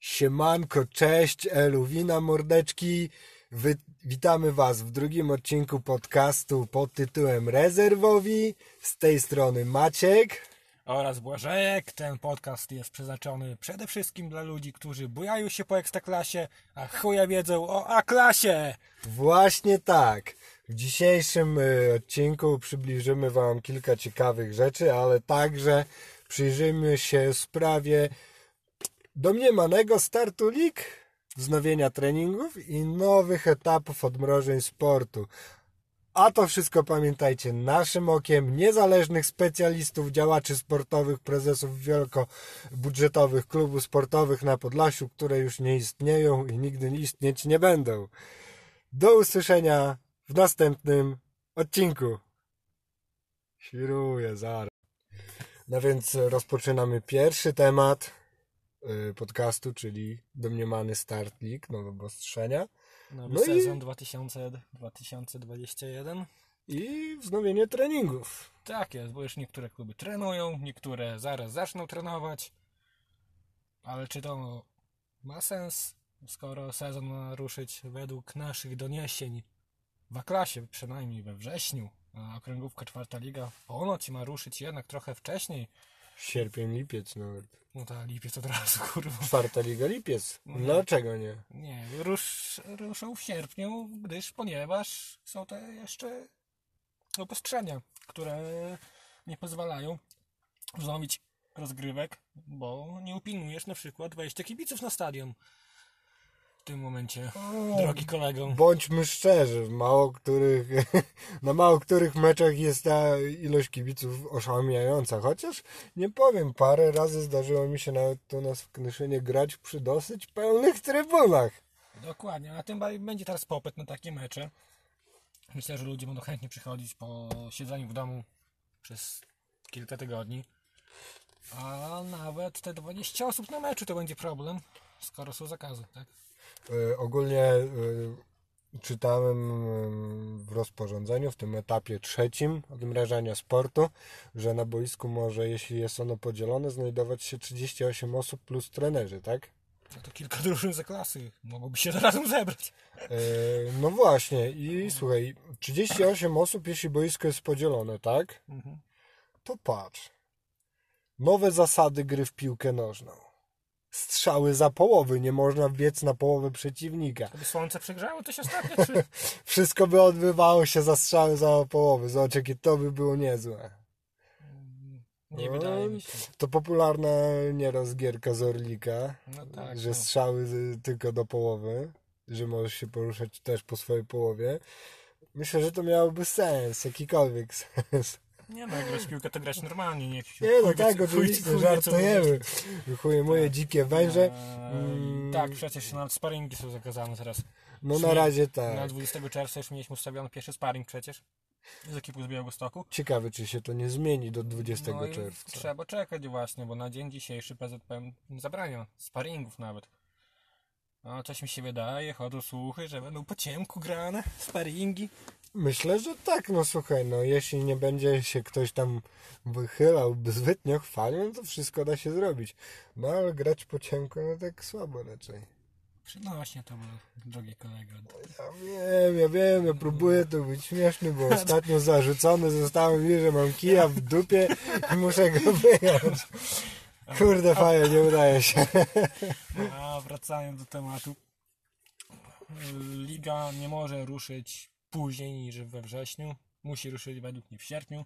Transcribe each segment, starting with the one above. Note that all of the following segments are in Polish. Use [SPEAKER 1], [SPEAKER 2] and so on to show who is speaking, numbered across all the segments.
[SPEAKER 1] Siemanko, cześć, Eluwina mordeczki. Wy, witamy Was w drugim odcinku podcastu pod tytułem Rezerwowi. Z tej strony Maciek.
[SPEAKER 2] oraz Błażejek. Ten podcast jest przeznaczony przede wszystkim dla ludzi, którzy bujają się po ekstraklasie, a chuja wiedzą o A-klasie.
[SPEAKER 1] Właśnie tak. W dzisiejszym y, odcinku przybliżymy Wam kilka ciekawych rzeczy, ale także przyjrzymy się sprawie domniemanego startu lig, wznowienia treningów i nowych etapów odmrożeń sportu. A to wszystko pamiętajcie naszym okiem, niezależnych specjalistów, działaczy sportowych, prezesów wielkobudżetowych klubów sportowych na Podlasiu, które już nie istnieją i nigdy istnieć nie będą. Do usłyszenia w następnym odcinku. Świruję zaraz. No więc rozpoczynamy pierwszy temat y, podcastu, czyli domniemany start league, nowe obostrzenia
[SPEAKER 2] Nowy
[SPEAKER 1] No i-
[SPEAKER 2] sezon 2000, 2021.
[SPEAKER 1] i wznowienie treningów.
[SPEAKER 2] Tak jest, bo już niektóre kluby trenują, niektóre zaraz zaczną trenować. Ale czy to ma sens, skoro sezon ma ruszyć według naszych doniesień w A-klasie, przynajmniej we wrześniu, a okręgówka czwarta liga ponoć ma ruszyć jednak trochę wcześniej.
[SPEAKER 1] Sierpień, lipiec nawet.
[SPEAKER 2] No ta lipiec od razu, kurwa.
[SPEAKER 1] Czwarta liga, lipiec. Dlaczego nie?
[SPEAKER 2] Nie, rusz, ruszą w sierpniu, gdyż ponieważ są te jeszcze obostrzenia, które nie pozwalają wznowić rozgrywek, bo nie upilnujesz na przykład wejścia kibiców na stadion w tym momencie, drogi kolego.
[SPEAKER 1] Bądźmy szczerzy, w mało których, na mało których meczach jest ta ilość kibiców oszałamiająca. Chociaż nie powiem, parę razy zdarzyło mi się nawet tu nas w Knyszynie grać przy dosyć pełnych trybunach.
[SPEAKER 2] Dokładnie, a tym bardziej będzie teraz popyt na takie mecze. Myślę, że ludzie będą chętnie przychodzić po siedzeniu w domu przez kilka tygodni. A nawet te 20 osób na meczu to będzie problem, skoro są zakazy, tak?
[SPEAKER 1] Y, Ogólnie y, czytałem y, w rozporządzeniu, w tym etapie trzecim odmrażania sportu, że na boisku może, jeśli jest ono podzielone, znajdować się 38 osób plus trenerzy, tak?
[SPEAKER 2] No to kilka drużyn za klasy mogłoby się razem zebrać.
[SPEAKER 1] E, No właśnie, i słuchaj, 38 osób, jeśli boisko jest podzielone, tak?
[SPEAKER 2] Mhm.
[SPEAKER 1] To patrz. Nowe zasady gry w piłkę nożną. Strzały za połowy, nie można biec na połowę przeciwnika.
[SPEAKER 2] Gdyby słońce przegrzało, to się ostatnio czy...
[SPEAKER 1] Wszystko by odbywało się za strzały za połowy. Zobacz, jakie to by było niezłe.
[SPEAKER 2] Nie
[SPEAKER 1] No.
[SPEAKER 2] wydaje mi się.
[SPEAKER 1] To popularna nieraz gierka z Orlika,
[SPEAKER 2] No tak,
[SPEAKER 1] że
[SPEAKER 2] no.
[SPEAKER 1] strzały z- tylko do połowy, że możesz się poruszać też po swojej połowie. Myślę, że to miałoby sens, jakikolwiek sens.
[SPEAKER 2] Nie no, jak grać w piłkę, to grać normalnie, nie
[SPEAKER 1] Nie no tak, oczywiście, żartujemy. Chuje moje dzikie węże. Mm.
[SPEAKER 2] Tak, przecież nawet sparingi są zakazane teraz.
[SPEAKER 1] No na
[SPEAKER 2] Śmie-
[SPEAKER 1] razie
[SPEAKER 2] Na
[SPEAKER 1] tak.
[SPEAKER 2] 20 czerwca już mieliśmy ustawiony pierwszy sparring przecież z ekipą z Białegostoku.
[SPEAKER 1] Ciekawe, czy się to nie zmieni do 20
[SPEAKER 2] No i
[SPEAKER 1] czerwca.
[SPEAKER 2] trzeba czekać właśnie, bo na dzień dzisiejszy PZPN zabrania sparingów nawet. No, coś mi się wydaje, chodzą słuchy, że będą po ciemku grane sparingi.
[SPEAKER 1] Myślę, że tak, no słuchaj, no jeśli nie będzie się ktoś tam wychylał zbytnio chwalił, to wszystko da się zrobić. No ale grać po ciemku, no tak słabo raczej.
[SPEAKER 2] Przynośnie to było, drogi kolego.
[SPEAKER 1] Ja wiem, ja wiem, ja próbuję tu być śmieszny, bo ostatnio zarzucony zostałem mi, że mam kija w dupie i muszę go wyjąć. Kurde, fajnie, nie udaje się.
[SPEAKER 2] A wracając do tematu. Liga nie może ruszyć później niż we wrześniu. Musi ruszyć według mnie w sierpniu,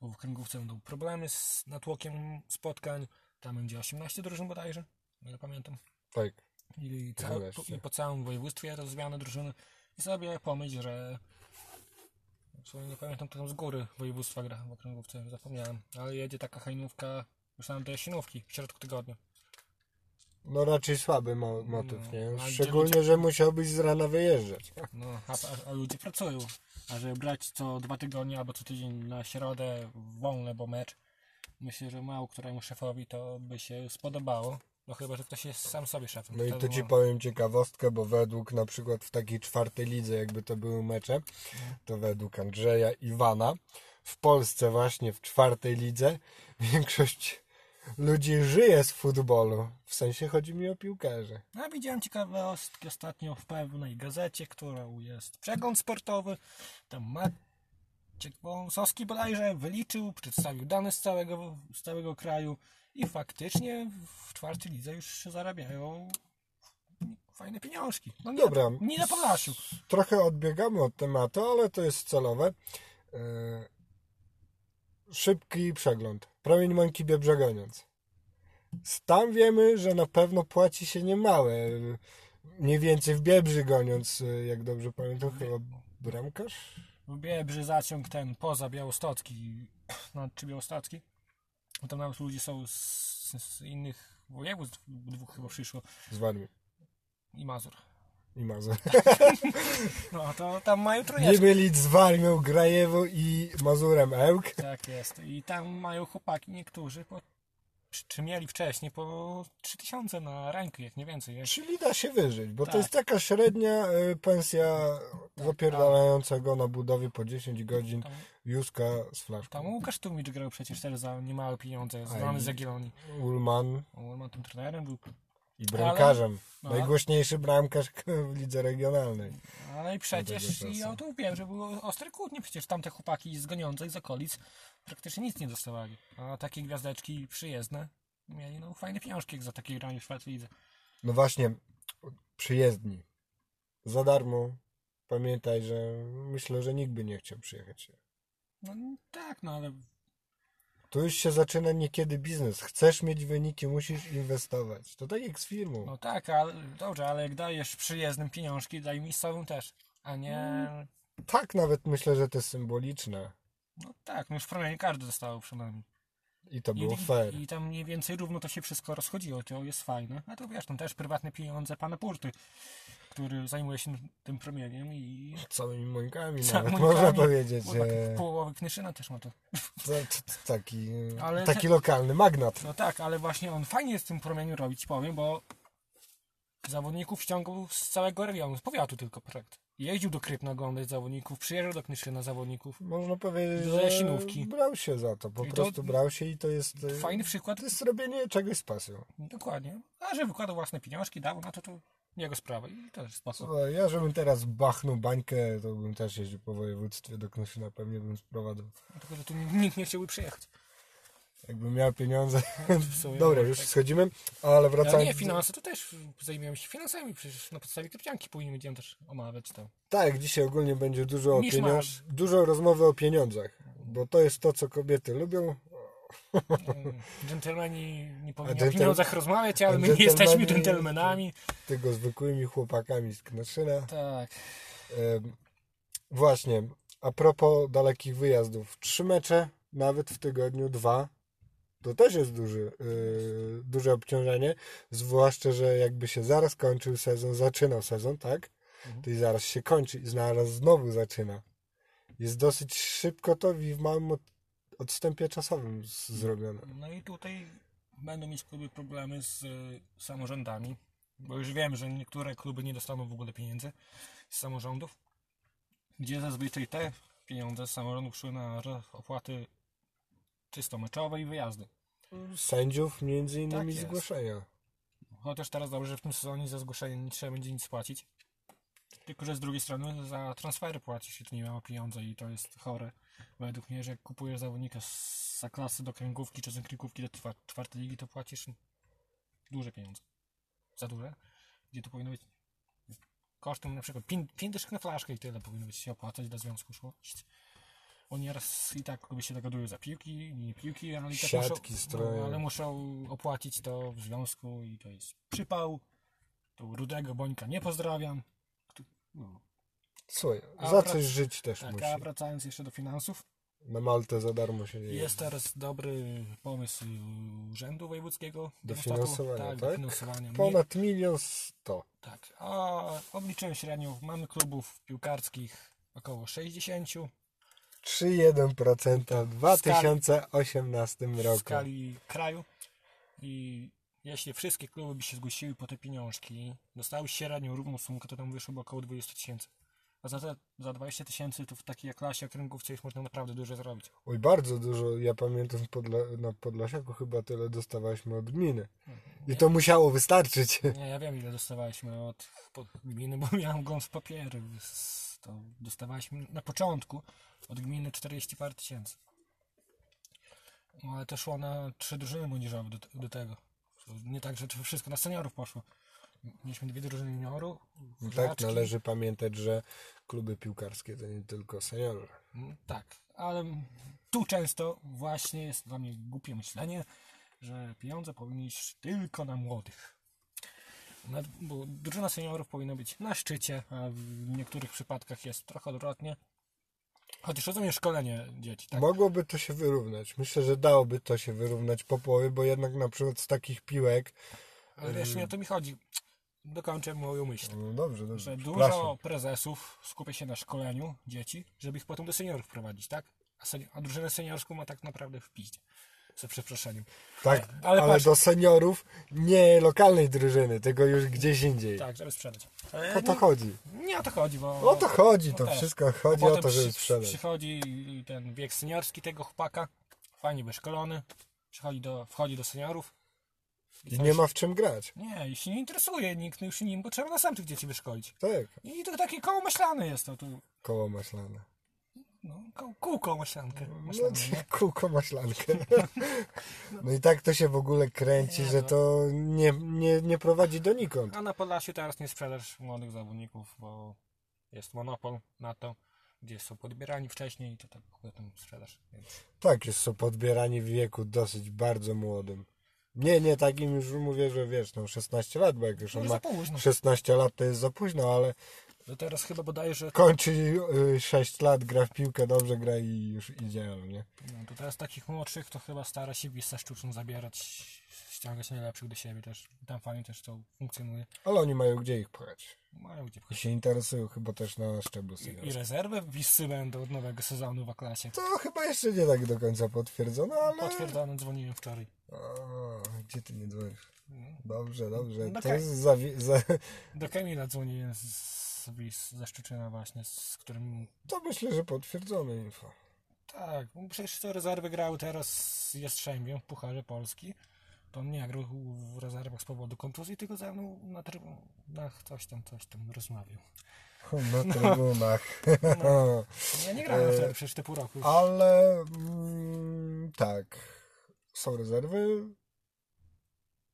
[SPEAKER 2] bo w kręgówce będą problemy z natłokiem spotkań. Tam będzie 18 drużyn bodajże, o ile pamiętam.
[SPEAKER 1] Tak.
[SPEAKER 2] I, ca-
[SPEAKER 1] Zgadza się.
[SPEAKER 2] I po całym województwie to zmiana drużyny. I sobie pomyśl, że w sumie nie pamiętam, kto tam z góry województwa gra w okręgówce, zapomniałem. Ale jedzie taka hajnówka już tam do Jasinówki w środku tygodnia.
[SPEAKER 1] No raczej słaby mo- motyw,
[SPEAKER 2] No,
[SPEAKER 1] nie?
[SPEAKER 2] a
[SPEAKER 1] Szczególnie, że musiałbyś z rana wyjeżdżać.
[SPEAKER 2] No, a, a, a ludzie pracują. A żeby brać co dwa tygodnie albo co tydzień na środę wolne, bo mecz, myślę, że mało któremu szefowi to by się spodobało. No chyba, że ktoś jest sam sobie szefem.
[SPEAKER 1] No i
[SPEAKER 2] To
[SPEAKER 1] tu
[SPEAKER 2] by
[SPEAKER 1] ci
[SPEAKER 2] było-
[SPEAKER 1] powiem ciekawostkę, bo według na przykład w takiej czwartej lidze, jakby to były mecze, to według Andrzeja Iwana w Polsce właśnie w czwartej lidze większość ludzi żyje z futbolu. W sensie chodzi mi o piłkarzy.
[SPEAKER 2] Ja widziałem ciekawostki ostatnio w pewnej gazecie, którą jest przegląd sportowy. Tam Maciek Wąsowski bodajże wyliczył, przedstawił dane z całego, z całego kraju i faktycznie w czwartej lidze już się zarabiają fajne pieniążki. No nie,
[SPEAKER 1] Dobra.
[SPEAKER 2] nie na Podlasiu.
[SPEAKER 1] Trochę odbiegamy od tematu, ale to jest celowe. Yy, Szybki przegląd. Promień Mąki Biebrzegoniec. Tam wiemy, że na pewno płaci się niemałe. Yy, Mniej więcej w Biebrzy goniąc, yy, jak dobrze pamiętam, chyba bramkarz?
[SPEAKER 2] W Biebrzy zaciąg ten poza Białostocki, no, czy Białostocki. Bo Tam nawet ludzie są z, z innych województw, dwóch chyba przyszło
[SPEAKER 1] Z Warmii
[SPEAKER 2] i Mazur.
[SPEAKER 1] i Mazur.
[SPEAKER 2] No to tam mają
[SPEAKER 1] Nie
[SPEAKER 2] trójeczkę.
[SPEAKER 1] mylić z Warmią, Grajewo i Mazurem Ełk.
[SPEAKER 2] Tak jest. I tam mają chłopaki niektórzy, po, czy, czy mieli wcześniej, po 3000 na rękę, jak nie więcej. Jak,
[SPEAKER 1] Czyli da się wyżyć, bo
[SPEAKER 2] Tak.
[SPEAKER 1] to jest taka średnia y, pensja zapierdalającego na budowie po 10 godzin
[SPEAKER 2] tam,
[SPEAKER 1] Józka z flaszką.
[SPEAKER 2] Tak. tam Łukasz Tumicz grał przecież też za niemałe pieniądze,
[SPEAKER 1] A,
[SPEAKER 2] znany
[SPEAKER 1] i-
[SPEAKER 2] z Jagiellonii.
[SPEAKER 1] Ulman
[SPEAKER 2] On ma tym trenerem był.
[SPEAKER 1] i bramkarzem.
[SPEAKER 2] no.
[SPEAKER 1] Najgłośniejszy bramkarz w lidze regionalnej.
[SPEAKER 2] Ale No, i przecież,
[SPEAKER 1] Dobrego
[SPEAKER 2] i
[SPEAKER 1] czasu.
[SPEAKER 2] ja to wiem, że były ostre kłótnie, przecież tamte chłopaki z goniących z okolic praktycznie nic nie dostawali. A takie gwiazdeczki przyjezdne mieli no fajne pieniążki jak za takie granie w Szwajcarii.
[SPEAKER 1] No właśnie, przyjezdni. Za darmo. Pamiętaj, że myślę, że nikt by nie chciał przyjechać.
[SPEAKER 2] No tak, no ale
[SPEAKER 1] Tu już się zaczyna niekiedy biznes. Chcesz mieć wyniki, musisz inwestować. To tak jak z firmą.
[SPEAKER 2] No tak, ale dobrze, ale jak dajesz przyjezdnym pieniążki, daj miejscowym też, a nie...
[SPEAKER 1] Tak nawet myślę, że to jest symboliczne.
[SPEAKER 2] No tak, no już w promieniu każdy dostał przynajmniej.
[SPEAKER 1] I to
[SPEAKER 2] I,
[SPEAKER 1] było fair.
[SPEAKER 2] I tam mniej więcej równo to się wszystko rozchodziło, to jest fajne. A to wiesz, tam też prywatne pieniądze pana Purty, który zajmuje się tym promieniem i...
[SPEAKER 1] Całymi mońkami
[SPEAKER 2] Całymi
[SPEAKER 1] nawet,
[SPEAKER 2] mońkami.
[SPEAKER 1] można powiedzieć.
[SPEAKER 2] Kurwa,
[SPEAKER 1] e,
[SPEAKER 2] Połowy tak knyszyna też ma to.
[SPEAKER 1] To, to, to taki, e,
[SPEAKER 2] Ale
[SPEAKER 1] taki lokalny magnat.
[SPEAKER 2] No tak, ale właśnie on fajnie jest w tym promieniu robić, powiem, bo zawodników ściągał z całego regionu, z powiatu tylko projekt. Jeździł do Krypna oglądać zawodników, przyjeżdżał do Knyszyna zawodników.
[SPEAKER 1] Można powiedzieć,
[SPEAKER 2] Do
[SPEAKER 1] że
[SPEAKER 2] Jasinówki.
[SPEAKER 1] brał się za to. Po
[SPEAKER 2] I to-
[SPEAKER 1] prostu brał się i to jest... e,
[SPEAKER 2] Fajny przykład
[SPEAKER 1] To jest robienie czegoś z pasją.
[SPEAKER 2] Dokładnie. A że wykładał własne pieniążki, dał na to, to jego sprawa. I to jest sposób.
[SPEAKER 1] Słuchaj, No, Ja żebym teraz bachnął bańkę, to bym też jeździł po województwie do Knyszyna, pewnie bym sprowadzał.
[SPEAKER 2] Tylko, że tu nikt nie chciałby przyjechać.
[SPEAKER 1] Jakbym miał pieniądze.
[SPEAKER 2] sumie
[SPEAKER 1] Dobra,
[SPEAKER 2] może
[SPEAKER 1] już
[SPEAKER 2] tak.
[SPEAKER 1] schodzimy, ale
[SPEAKER 2] Ale
[SPEAKER 1] wracając...
[SPEAKER 2] nie, finanse, to też zajmiemy się finansami, przecież na podstawie krypcianki później będziemy też omawiać to.
[SPEAKER 1] Tak, dzisiaj ogólnie będzie dużo o
[SPEAKER 2] Misz masz.
[SPEAKER 1] pieniążach, dużo rozmowy o pieniądzach, bo to jest to, co kobiety lubią.
[SPEAKER 2] Mm, Dżentelmeni nie powinni
[SPEAKER 1] dżentel-
[SPEAKER 2] o pieniądzach rozmawiać, ale
[SPEAKER 1] a
[SPEAKER 2] my nie
[SPEAKER 1] dżentelmeni-
[SPEAKER 2] jesteśmy dżentelmenami.
[SPEAKER 1] Tego zwykłymi chłopakami z Knaszyna.
[SPEAKER 2] Tak.
[SPEAKER 1] Em, Właśnie, a propos dalekich wyjazdów, trzy mecze, nawet w tygodniu dwa, to też jest duży, y, duże obciążenie, zwłaszcza, że jakby się zaraz kończył sezon, zaczynał sezon, tak?
[SPEAKER 2] Mhm.
[SPEAKER 1] To i zaraz się kończy i zaraz znowu zaczyna. Jest dosyć szybko to i w małym od, odstępie czasowym z, zrobione.
[SPEAKER 2] No i tutaj będą mieć kluby problemy z y, samorządami, bo już wiem, że niektóre kluby nie dostaną w ogóle pieniędzy z samorządów, gdzie zazwyczaj te pieniądze z samorządów szły na ro- opłaty czysto meczowe i wyjazdy.
[SPEAKER 1] Sędziów między innymi
[SPEAKER 2] Tak jest.
[SPEAKER 1] zgłoszenia.
[SPEAKER 2] Chociaż teraz dobrze, że w tym sezonie za zgłoszenie nie trzeba będzie nic płacić. Tylko, że z drugiej strony za transfery płaci się tu nie mało pieniądze i to jest chore. Według mnie, że jak kupujesz zawodnika z za klasy do kręgówki czy z kręgówki do czwa- czwartej ligi, to płacisz duże pieniądze. Za duże? Gdzie to powinno być kosztem na przykład 5 dyszek na flaszkę i tyle powinno być się opłacać dla związku szło. Oni raz i tak kluby się dogadują za piłki, nie piłki, ale i tak
[SPEAKER 1] Siatki
[SPEAKER 2] muszą,
[SPEAKER 1] stroją.
[SPEAKER 2] ale muszą opłacić to w związku i to jest przypał. Tu Rudego Bońka nie pozdrawiam. Kto- No.
[SPEAKER 1] Słuchaj,
[SPEAKER 2] A
[SPEAKER 1] za
[SPEAKER 2] wrac-
[SPEAKER 1] coś żyć też
[SPEAKER 2] Tak,
[SPEAKER 1] musi.
[SPEAKER 2] a wracając jeszcze do finansów,
[SPEAKER 1] Na Maltę za darmo się nie jedzie.
[SPEAKER 2] jest teraz dobry pomysł y, Urzędu Wojewódzkiego
[SPEAKER 1] Dofinansowania,
[SPEAKER 2] tak?
[SPEAKER 1] tak?
[SPEAKER 2] Do finansowania.
[SPEAKER 1] Ponad milion sto.
[SPEAKER 2] Tak, a obliczyłem średnią. Mamy klubów piłkarskich około 60.
[SPEAKER 1] 3,1% w 2018
[SPEAKER 2] w
[SPEAKER 1] roku.
[SPEAKER 2] skali kraju. I jeśli wszystkie kluby by się zgłosiły po te pieniążki, dostały średnią równą sumkę, to tam wyszłoby około 20 tysięcy. A za, te- za 20 tysięcy to w takiej klasie okręgówce już można naprawdę dużo zrobić.
[SPEAKER 1] Oj, bardzo dużo. Ja pamiętam w Podla- na Podlasiaku chyba tyle dostawaliśmy od gminy. I to musiało wystarczyć.
[SPEAKER 2] Nie, ja wiem ile dostawaliśmy od pod gminy, bo miałem gąs papiery. S- To dostawaliśmy na początku od gminy 40 par tysięcy. No, ale to szło na trzy drużyny młodzieżowe do, do tego. To Nie tak, że to wszystko na seniorów poszło. Mieliśmy dwie drużyny juniorów.
[SPEAKER 1] No tak,
[SPEAKER 2] żaczki.
[SPEAKER 1] należy pamiętać, że kluby piłkarskie to nie tylko seniorzy.
[SPEAKER 2] Mm, Tak, ale tu często właśnie jest dla mnie głupie myślenie, że pieniądze powinny iść tylko na młodych. Na, bo drużyna seniorów powinna być na szczycie, a w niektórych przypadkach jest trochę odwrotnie. Chociaż rozumiem szkolenie dzieci, tak?
[SPEAKER 1] Mogłoby to się wyrównać. Myślę, że dałoby to się wyrównać po połowie, bo jednak na przykład z takich piłek.
[SPEAKER 2] Ale wiesz, nie o to mi chodzi. Dokończę moją myśl.
[SPEAKER 1] No dobrze, dobrze.
[SPEAKER 2] Że
[SPEAKER 1] przepraszam.
[SPEAKER 2] dużo prezesów skupia się na szkoleniu dzieci, żeby ich potem do seniorów prowadzić, tak? A, seni- a drużynę seniorską ma tak naprawdę w piździe. Za przeproszeniem.
[SPEAKER 1] Tak, ale,
[SPEAKER 2] ale patrz-
[SPEAKER 1] do seniorów nie lokalnej drużyny, tylko już gdzieś indziej.
[SPEAKER 2] Tak, żeby sprzedać.
[SPEAKER 1] O to chodzi.
[SPEAKER 2] Nie o to chodzi, bo.
[SPEAKER 1] O to chodzi,
[SPEAKER 2] No
[SPEAKER 1] to
[SPEAKER 2] tak.
[SPEAKER 1] wszystko
[SPEAKER 2] Bo
[SPEAKER 1] chodzi o
[SPEAKER 2] potem
[SPEAKER 1] to, żeby
[SPEAKER 2] przy-
[SPEAKER 1] sprzedać.
[SPEAKER 2] Przychodzi ten wiek seniorski tego chłopaka, fajnie wyszkolony, przychodzi do, wchodzi do seniorów.
[SPEAKER 1] I nie ma w czym grać.
[SPEAKER 2] Nie, i się nie interesuje nikt już nim, bo trzeba następnych dzieci wyszkolić.
[SPEAKER 1] Tak,
[SPEAKER 2] I to takie koło myślane jest to tu.
[SPEAKER 1] koło maślane.
[SPEAKER 2] No, ko- kółko myślankę.
[SPEAKER 1] No,
[SPEAKER 2] myślane, nie?
[SPEAKER 1] kółko maślankę. No i tak to się w ogóle kręci,
[SPEAKER 2] Nie,
[SPEAKER 1] że
[SPEAKER 2] no.
[SPEAKER 1] to nie, nie, nie prowadzi donikąd.
[SPEAKER 2] A na Podlasiu teraz nie sprzedasz młodych zawodników, bo jest monopol na to, gdzie są podbierani wcześniej i to tak potem sprzedaż. Więc
[SPEAKER 1] Tak, jest są podbierani w wieku dosyć bardzo młodym. Nie, nie, takim już mówię, że wiesz, no 16 lat, bo jak już on
[SPEAKER 2] Już
[SPEAKER 1] ma
[SPEAKER 2] za późno.
[SPEAKER 1] 16 lat, to jest za późno, ale
[SPEAKER 2] To teraz chyba bodajże
[SPEAKER 1] kończy y, 6 lat, gra w piłkę, dobrze gra i już idealnie. nie?
[SPEAKER 2] No to teraz takich młodszych to chyba stara się Wisa sztuczną zabierać, ściągać najlepszych do siebie też. Tam fajnie też to funkcjonuje.
[SPEAKER 1] Ale oni mają gdzie ich pchać.
[SPEAKER 2] Mają gdzie
[SPEAKER 1] I
[SPEAKER 2] pchać.
[SPEAKER 1] się interesują chyba też na szczeblu
[SPEAKER 2] I
[SPEAKER 1] seniorskim.
[SPEAKER 2] rezerwy Wisy będą od nowego sezonu w A-klasie.
[SPEAKER 1] To chyba jeszcze nie tak do końca potwierdzone, ale...
[SPEAKER 2] Potwierdzone, dzwoniłem wczoraj.
[SPEAKER 1] O, gdzie ty nie dzwonisz?
[SPEAKER 2] No.
[SPEAKER 1] Dobrze, dobrze.
[SPEAKER 2] No
[SPEAKER 1] to
[SPEAKER 2] tak.
[SPEAKER 1] jest zawi- za...
[SPEAKER 2] Do Kamila dzwoniłem z- z Wis, ze Szczecina właśnie, z którym...
[SPEAKER 1] To myślę, że potwierdzone info.
[SPEAKER 2] Tak, bo przecież te rezerwy grały teraz z Jastrzębiem w Pucharze Polski. To on nie grał w rezerwach z powodu kontuzji, tylko ze mną na trybunach coś tam, coś tam rozmawiał. No.
[SPEAKER 1] Na trybunach.
[SPEAKER 2] Ja nie grałem wtedy przecież te pół roku.
[SPEAKER 1] Ale mm, tak, są rezerwy.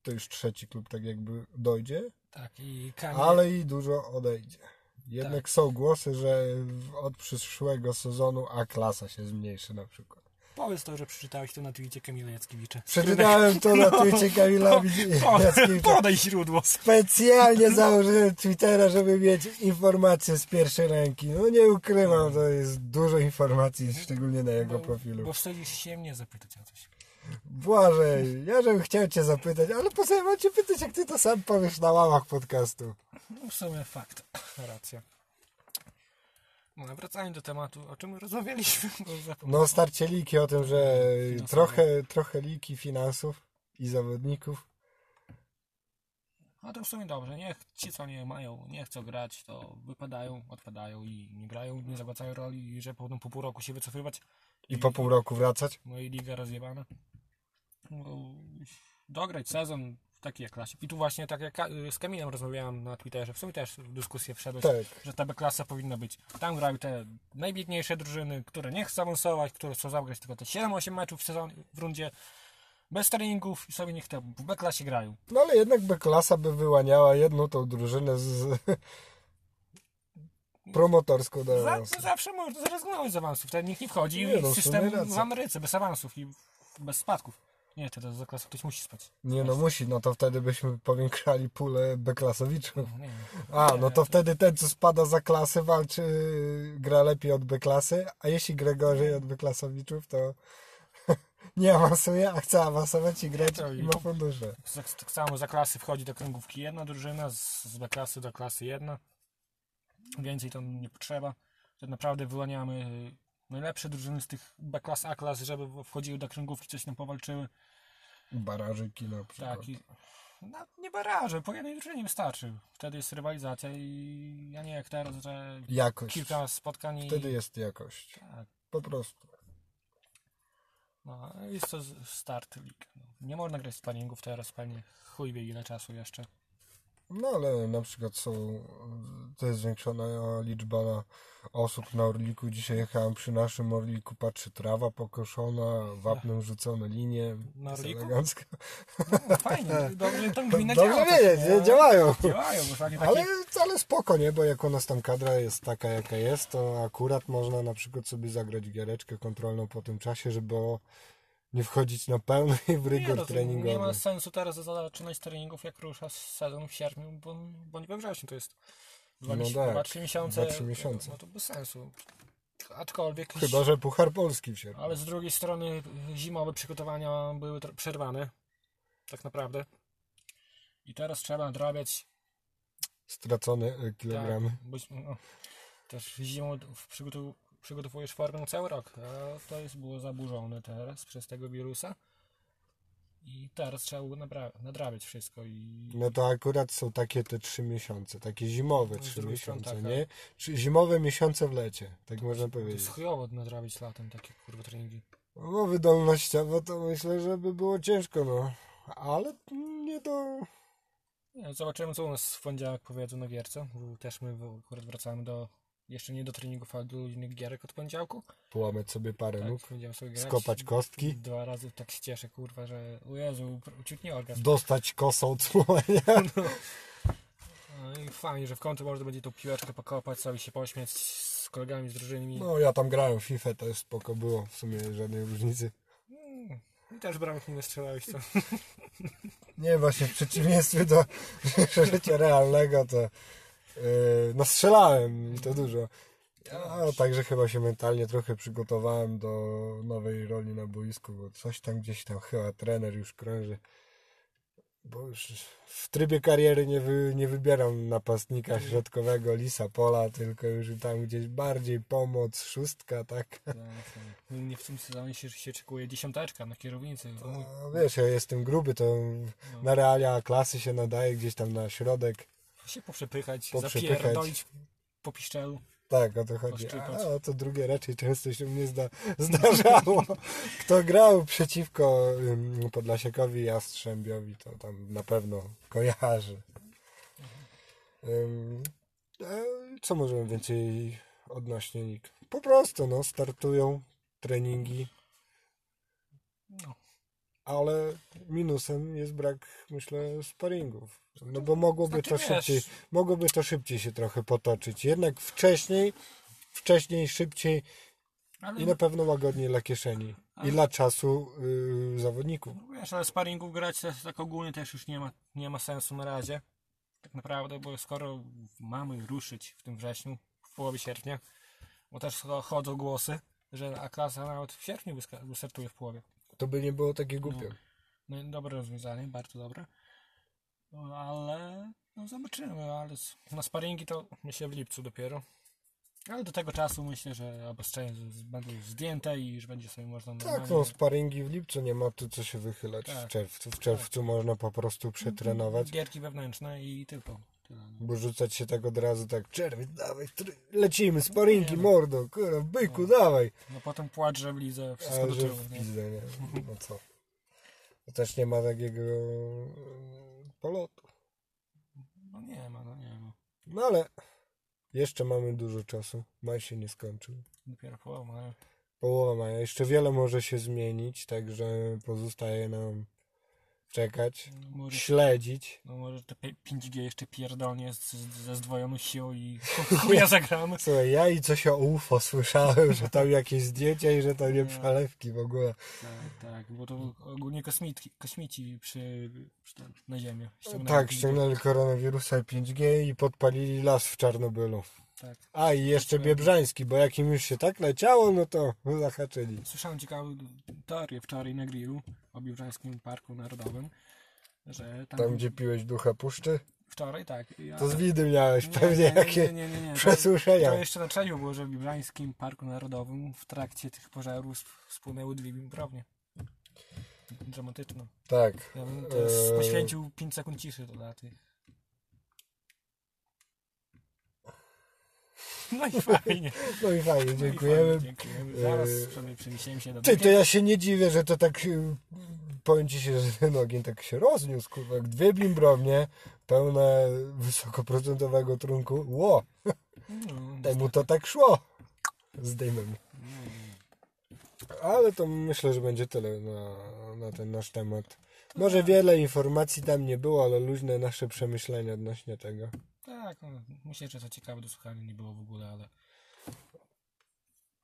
[SPEAKER 1] To już trzeci klub tak jakby dojdzie,
[SPEAKER 2] Tak, i Kamil...
[SPEAKER 1] ale i dużo odejdzie. Jednak
[SPEAKER 2] Tak.
[SPEAKER 1] są głosy, że w- od przyszłego sezonu A klasa się zmniejszy na przykład.
[SPEAKER 2] Powiedz to, że przeczytałeś to na Twitcie Kamila Jackiewicza.
[SPEAKER 1] Przeczytałem to na
[SPEAKER 2] No,
[SPEAKER 1] Twitcie Kamila Widzi-
[SPEAKER 2] Po,
[SPEAKER 1] Jackiewicza.
[SPEAKER 2] podaj źródło.
[SPEAKER 1] Specjalnie założyłem Twittera, żeby mieć informacje z pierwszej ręki. No nie ukrywam, to jest dużo informacji, szczególnie na jego profilu.
[SPEAKER 2] Bo wstydzisz się mnie zapytać o coś.
[SPEAKER 1] Błażej, ja żebym chciał cię zapytać, ale po co ja mam cię pytać, jak ty to sam powiesz na łamach podcastu?
[SPEAKER 2] No w sumie fakt. Racja. No, a wracając do tematu, o czym rozmawialiśmy, bo zapomniałem.
[SPEAKER 1] No starcie liki o tym, że trochę, trochę liki finansów i zawodników.
[SPEAKER 2] No to w sumie dobrze, niech ci, co nie mają, nie chcą grać, to wypadają, odpadają i nie grają, nie zapłacają roli i że potem po pół roku się wycofywać.
[SPEAKER 1] I po pół roku wracać.
[SPEAKER 2] No i liga rozjebana. No, dograć sezon w takiej jak klasie. I tu właśnie tak jak Ka- z Kamilem rozmawiałem na Twitterze, w sumie też w dyskusję wszedłeś,
[SPEAKER 1] Tak.
[SPEAKER 2] że ta klasa powinna być. Tam grały te najbiedniejsze drużyny, które nie chcą awansować, które chcą zagrać tylko te 7-8 meczów w sezonie, w rundzie. Bez treningów i sobie niech te w B-klasie grają.
[SPEAKER 1] No ale jednak by klasa by wyłaniała jedną tą drużynę z promotorską do
[SPEAKER 2] Za,
[SPEAKER 1] nas.
[SPEAKER 2] zawsze można zrezygnować z awansów, wtedy nikt nie wchodzi
[SPEAKER 1] Tak. Nie,
[SPEAKER 2] i
[SPEAKER 1] no, w sumie
[SPEAKER 2] system
[SPEAKER 1] racja.
[SPEAKER 2] w Ameryce bez awansów i bez spadków. Nie, teraz za klasą ktoś musi spać.
[SPEAKER 1] Nie no musi, no to wtedy byśmy powiększali pulę Beklasowiczów.
[SPEAKER 2] No, nie, wiem.
[SPEAKER 1] A, no to wtedy ten, co spada za klasę, walczy, gra lepiej od B-klasy, a jeśli gra gorzej od B-klasowiczów, to nie awansuje, a chce awansować i grać
[SPEAKER 2] To i-
[SPEAKER 1] i ma fundusze.
[SPEAKER 2] Tak, tak samo za klasy wchodzi do kręgówki jedna drużyna, z, z B klasy do klasy jedna. Więcej tam nie potrzeba. Tak naprawdę wyłaniamy y, najlepsze drużyny z tych B klas, A klas, żeby w- wchodziły do kręgówki, coś tam powalczyły.
[SPEAKER 1] Barażyki na przykład.
[SPEAKER 2] Tak, i No, nie barażę, po jednej drużynie mi starczy. Wtedy jest rywalizacja i ja nie jak teraz, że
[SPEAKER 1] Jakość.
[SPEAKER 2] kilka spotkań i...
[SPEAKER 1] Wtedy jest jakość.
[SPEAKER 2] Tak,
[SPEAKER 1] Po prostu.
[SPEAKER 2] no, jest to z- start league. No, nie można grać sparingów teraz pewnie, chuj wie ile czasu jeszcze.
[SPEAKER 1] No ale na przykład są, to jest zwiększona liczba na osób na Orliku. Dzisiaj jechałem przy naszym Orliku, patrzę, trawa pokoszona, wapnem rzucone linie.
[SPEAKER 2] Na
[SPEAKER 1] Jest
[SPEAKER 2] Orliku?
[SPEAKER 1] elegancko.
[SPEAKER 2] No, fajnie, dobrze, tam gmina
[SPEAKER 1] Dobrze
[SPEAKER 2] działa.
[SPEAKER 1] wiedzieć,
[SPEAKER 2] tak,
[SPEAKER 1] nie? działają.
[SPEAKER 2] Działają, bo takie...
[SPEAKER 1] Ale, ale spoko, nie? Bo jak u nas tam kadra jest taka, jaka jest, to akurat można na przykład sobie zagrać giereczkę kontrolną po tym czasie, żeby o- nie wchodzić na pełny w
[SPEAKER 2] Nie,
[SPEAKER 1] rygor
[SPEAKER 2] no, to
[SPEAKER 1] treningowy.
[SPEAKER 2] nie ma sensu teraz zaczynać treningów, jak rusza sezon w sierpniu, bo, bo nie we wrześniu to jest dwa,
[SPEAKER 1] No
[SPEAKER 2] no
[SPEAKER 1] tak,
[SPEAKER 2] dwa trzy miesiące.
[SPEAKER 1] dwa, trzy miesiące.
[SPEAKER 2] No to bez sensu. Aczkolwiek.
[SPEAKER 1] Chyba, że Puchar Polski w sierpniu.
[SPEAKER 2] Ale z drugiej strony zimowe przygotowania były tro- przerwane. Tak naprawdę. I teraz trzeba nadrabiać.
[SPEAKER 1] Stracone y,
[SPEAKER 2] Tak,
[SPEAKER 1] kilogramy.
[SPEAKER 2] bo, no, też zimą w- przygotu- przygotowujesz formę cały rok. A to jest było zaburzone teraz przez tego wirusa. I teraz trzeba było napra- nadrabiać wszystko i
[SPEAKER 1] No to akurat są takie te trzy miesiące, takie zimowe
[SPEAKER 2] No, z
[SPEAKER 1] trzy
[SPEAKER 2] drugiej strony
[SPEAKER 1] miesiące,
[SPEAKER 2] tak,
[SPEAKER 1] nie? Czy zimowe miesiące w lecie, tak można
[SPEAKER 2] To
[SPEAKER 1] powiedzieć.
[SPEAKER 2] jest chujowo nadrabiać latem takie kurwa treningi.
[SPEAKER 1] No wydolnościowo to myślę, że by było ciężko, no. Ale nie do...
[SPEAKER 2] Nie, zobaczymy co u nas w poniedziałek powiedzą na gierce. bo Też my w- akurat wracamy do, jeszcze nie do treningów, ale do innych gierek od poniedziałku.
[SPEAKER 1] Połamać sobie parę
[SPEAKER 2] Tak,
[SPEAKER 1] nóg,
[SPEAKER 2] będziemy sobie grać.
[SPEAKER 1] skopać kostki,
[SPEAKER 2] Dwa razy tak się cieszę kurwa, że o Jezu, pr- ciut nie orgazm.
[SPEAKER 1] dostać kosą cłonia.
[SPEAKER 2] No i fajnie, że w końcu można będzie tą piłeczkę pokopać, sobie się pośmiać z kolegami, z drużynymi.
[SPEAKER 1] No ja tam grałem w FIFA, to jest spoko było, w sumie żadnej różnicy.
[SPEAKER 2] Mm, I też bramek nie strzelałeś co.
[SPEAKER 1] Nie, właśnie w przeciwieństwie do życia realnego to yy, no strzelałem i to dużo. A także chyba się mentalnie trochę przygotowałem do nowej roli na boisku, bo coś tam gdzieś tam chyba trener już krąży. Bo już w trybie kariery nie, wy, nie wybieram napastnika środkowego, lisa pola, tylko już tam gdzieś bardziej pomoc, szóstka, tak.
[SPEAKER 2] No, Mnie w tym sezonie się, się czekuje dziesiąteczka na kierownicy. No, O mój
[SPEAKER 1] A No, wiesz, ja jestem gruby, to na realia klasy się nadaje gdzieś tam na środek.
[SPEAKER 2] się poprzepychać,
[SPEAKER 1] Poprzepychać.
[SPEAKER 2] zapierdolić po piszczelu.
[SPEAKER 1] Tak, o to chodzi.
[SPEAKER 2] Poszczypać.
[SPEAKER 1] A, o to drugie raczej często się mnie zda, zdarzało. Kto grał przeciwko ym, Podlasiekowi i Jastrzębiowi, to tam na pewno kojarzy. Ym, e, co możemy więcej odnośnie NIK? Po prostu, no, startują treningi,
[SPEAKER 2] No.
[SPEAKER 1] ale minusem jest brak, myślę, sparingów. No bo mogłoby
[SPEAKER 2] Znaczy,
[SPEAKER 1] to
[SPEAKER 2] wiesz,
[SPEAKER 1] szybciej, mogłoby to szybciej się trochę potoczyć. Jednak wcześniej, wcześniej, szybciej
[SPEAKER 2] Ale,
[SPEAKER 1] i na pewno łagodniej dla kieszeni i dla czasu y, zawodników.
[SPEAKER 2] wiesz, ale sparingów grać też tak ogólnie też już nie ma, nie ma sensu na razie. Tak naprawdę, bo skoro mamy ruszyć w tym wrześniu, w połowie sierpnia, bo też cho- chodzą głosy, że A-klasa nawet w sierpniu wyska- wystartuje w połowie.
[SPEAKER 1] To by nie było takie głupie.
[SPEAKER 2] No i dobre rozwiązanie, bardzo dobre. No, Ale no zobaczymy, ale s- na sparingi to myślę w lipcu dopiero. Ale do tego czasu myślę, że obostrzenia z- z- będą zdjęte i już będzie sobie można
[SPEAKER 1] Tak,
[SPEAKER 2] normalnie...
[SPEAKER 1] no sparingi w lipcu nie ma tu co się wychylać. W
[SPEAKER 2] Tak.
[SPEAKER 1] czerwcu, w czerwcu można po prostu przetrenować,
[SPEAKER 2] Gierki wewnętrzne i tylko. Tyle. no.
[SPEAKER 1] bo rzucać się tak od razu tak, czerwiec, dawaj, tr- lecimy, sparingi, mordo, kurwa, byku, dawaj.
[SPEAKER 2] No potem płacz, że w lidze wszystko
[SPEAKER 1] A,
[SPEAKER 2] do
[SPEAKER 1] że
[SPEAKER 2] tyłu.
[SPEAKER 1] w
[SPEAKER 2] nie?
[SPEAKER 1] pizdę, nie? No co? To Też nie ma takiego mm, polotu.
[SPEAKER 2] No nie ma, no nie ma.
[SPEAKER 1] No ale jeszcze mamy dużo czasu. Maj się nie skończył.
[SPEAKER 2] Dopiero połowa, ale
[SPEAKER 1] Połowa maja. Jeszcze wiele może się zmienić, także pozostaje nam czekać,
[SPEAKER 2] no może,
[SPEAKER 1] śledzić.
[SPEAKER 2] no może te pi- 5G jeszcze pierdolnie z, z, ze zdwojoną siłą i chuja zagramy.
[SPEAKER 1] Słuchaj, ja i coś o UFO słyszałem, że tam jakieś zdjęcia i że tam nie przelewki w ogóle.
[SPEAKER 2] Tak, tak, bo to ogólnie kosmitki, kosmici przy, przy tam, na Ziemię. ściągnęli
[SPEAKER 1] Tak,
[SPEAKER 2] kosmitów.
[SPEAKER 1] ściągnęli koronawirusa i 5G i podpalili las w Czarnobylu.
[SPEAKER 2] tak.
[SPEAKER 1] A i jeszcze Biebrzański, bo jak im już się tak leciało, no to zahaczyli.
[SPEAKER 2] Słyszałem ciekawą teorię wczoraj na grillu o Biłżańskim Parku Narodowym, że tam,
[SPEAKER 1] Tam gdzie piłeś ducha puszczy,
[SPEAKER 2] wczoraj tak. Ja,
[SPEAKER 1] to z widy miałeś
[SPEAKER 2] Nie,
[SPEAKER 1] pewnie
[SPEAKER 2] nie, nie,
[SPEAKER 1] jakie
[SPEAKER 2] nie, nie, nie, nie. To-
[SPEAKER 1] przesłyszenia.
[SPEAKER 2] To jeszcze na trzecią było, że w Biłżańskim Parku Narodowym w trakcie tych pożarów sp- spłynęły dwie wimprownie. dramatyczną.
[SPEAKER 1] Tak.
[SPEAKER 2] Ja bym teraz
[SPEAKER 1] Eee.
[SPEAKER 2] poświęcił 5 sekund ciszy dla tych. No i fajnie.
[SPEAKER 1] No i fajnie,
[SPEAKER 2] No i
[SPEAKER 1] dziękujemy.
[SPEAKER 2] fajnie, dziękujemy. Zaraz
[SPEAKER 1] Eee.
[SPEAKER 2] sobie przeniesiemy się do
[SPEAKER 1] Ty, to ja się nie dziwię, że to tak. y, Powiem ci się, że ten ogień tak się rozniósł, kurwa. jak Dwie bimbrownie pełne wysokoprocentowego trunku. Ło!
[SPEAKER 2] No,
[SPEAKER 1] Temu to tak szło. Z dymem. Ale to myślę, że będzie tyle na, na ten nasz temat. Może wiele informacji tam nie było, ale luźne nasze przemyślenia odnośnie tego.
[SPEAKER 2] tak, no, myślę, że to ciekawe do słuchania nie było w ogóle, ale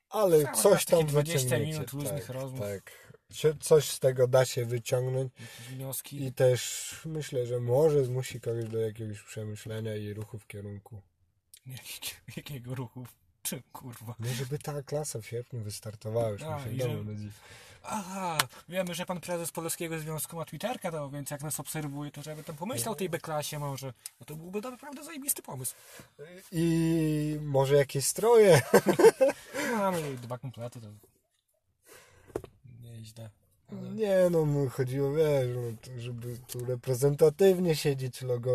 [SPEAKER 1] Ale
[SPEAKER 2] Cały
[SPEAKER 1] coś
[SPEAKER 2] czas takie
[SPEAKER 1] tam
[SPEAKER 2] 20
[SPEAKER 1] wyciągniecie.
[SPEAKER 2] minut luźnych
[SPEAKER 1] tak,
[SPEAKER 2] rozmów.
[SPEAKER 1] Tak. Się- Coś z tego da się wyciągnąć.
[SPEAKER 2] jakieś wnioski.
[SPEAKER 1] I też myślę, że może zmusi kogoś do jakiegoś przemyślenia i ruchu w kierunku.
[SPEAKER 2] Jakiego, jakiego ruchu? Czy kurwa?
[SPEAKER 1] No, żeby ta klasa w sierpniu wystartowała, już
[SPEAKER 2] A,
[SPEAKER 1] mi się no
[SPEAKER 2] i
[SPEAKER 1] domu
[SPEAKER 2] żeby-
[SPEAKER 1] nudzi.
[SPEAKER 2] Aha, wiemy, że pan prezes Polskiego Związku ma Twitterka, to, więc jak nas obserwuje, to żeby tam pomyślał o tej B-klasie może. No to byłby naprawdę zajebisty pomysł.
[SPEAKER 1] I może jakieś stroje.
[SPEAKER 2] Mamy No, dwa komplety, to nieźle.
[SPEAKER 1] Nie no, no, chodziło, wiesz, no, to, żeby tu reprezentatywnie siedzieć logo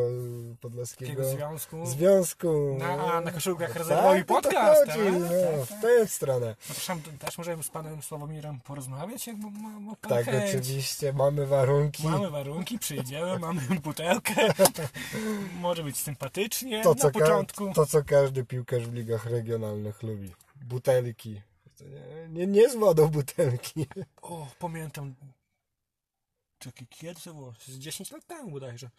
[SPEAKER 1] Podlaskiego
[SPEAKER 2] Jakiego związku?
[SPEAKER 1] Związku.
[SPEAKER 2] Na- a, na koszulkach
[SPEAKER 1] Tak,
[SPEAKER 2] rezerwowy
[SPEAKER 1] o to
[SPEAKER 2] podcast,
[SPEAKER 1] chodzi,
[SPEAKER 2] tak,
[SPEAKER 1] no,
[SPEAKER 2] tak,
[SPEAKER 1] W tę stronę.
[SPEAKER 2] Zapraszam, też możemy z panem Sławomirem porozmawiać, jak mam, mam pan
[SPEAKER 1] Tak,
[SPEAKER 2] chęć.
[SPEAKER 1] oczywiście, mamy warunki.
[SPEAKER 2] Mamy warunki, przyjdziemy, mamy butelkę, może być sympatycznie
[SPEAKER 1] to,
[SPEAKER 2] na
[SPEAKER 1] co
[SPEAKER 2] początku.
[SPEAKER 1] Ka- to, co każdy piłkarz w ligach regionalnych lubi. Butelki. To Nie, nie, nie z wodą butelki.
[SPEAKER 2] O, pamiętam. Czekaj, kiedy to było? Z 10 lat temu bodajże.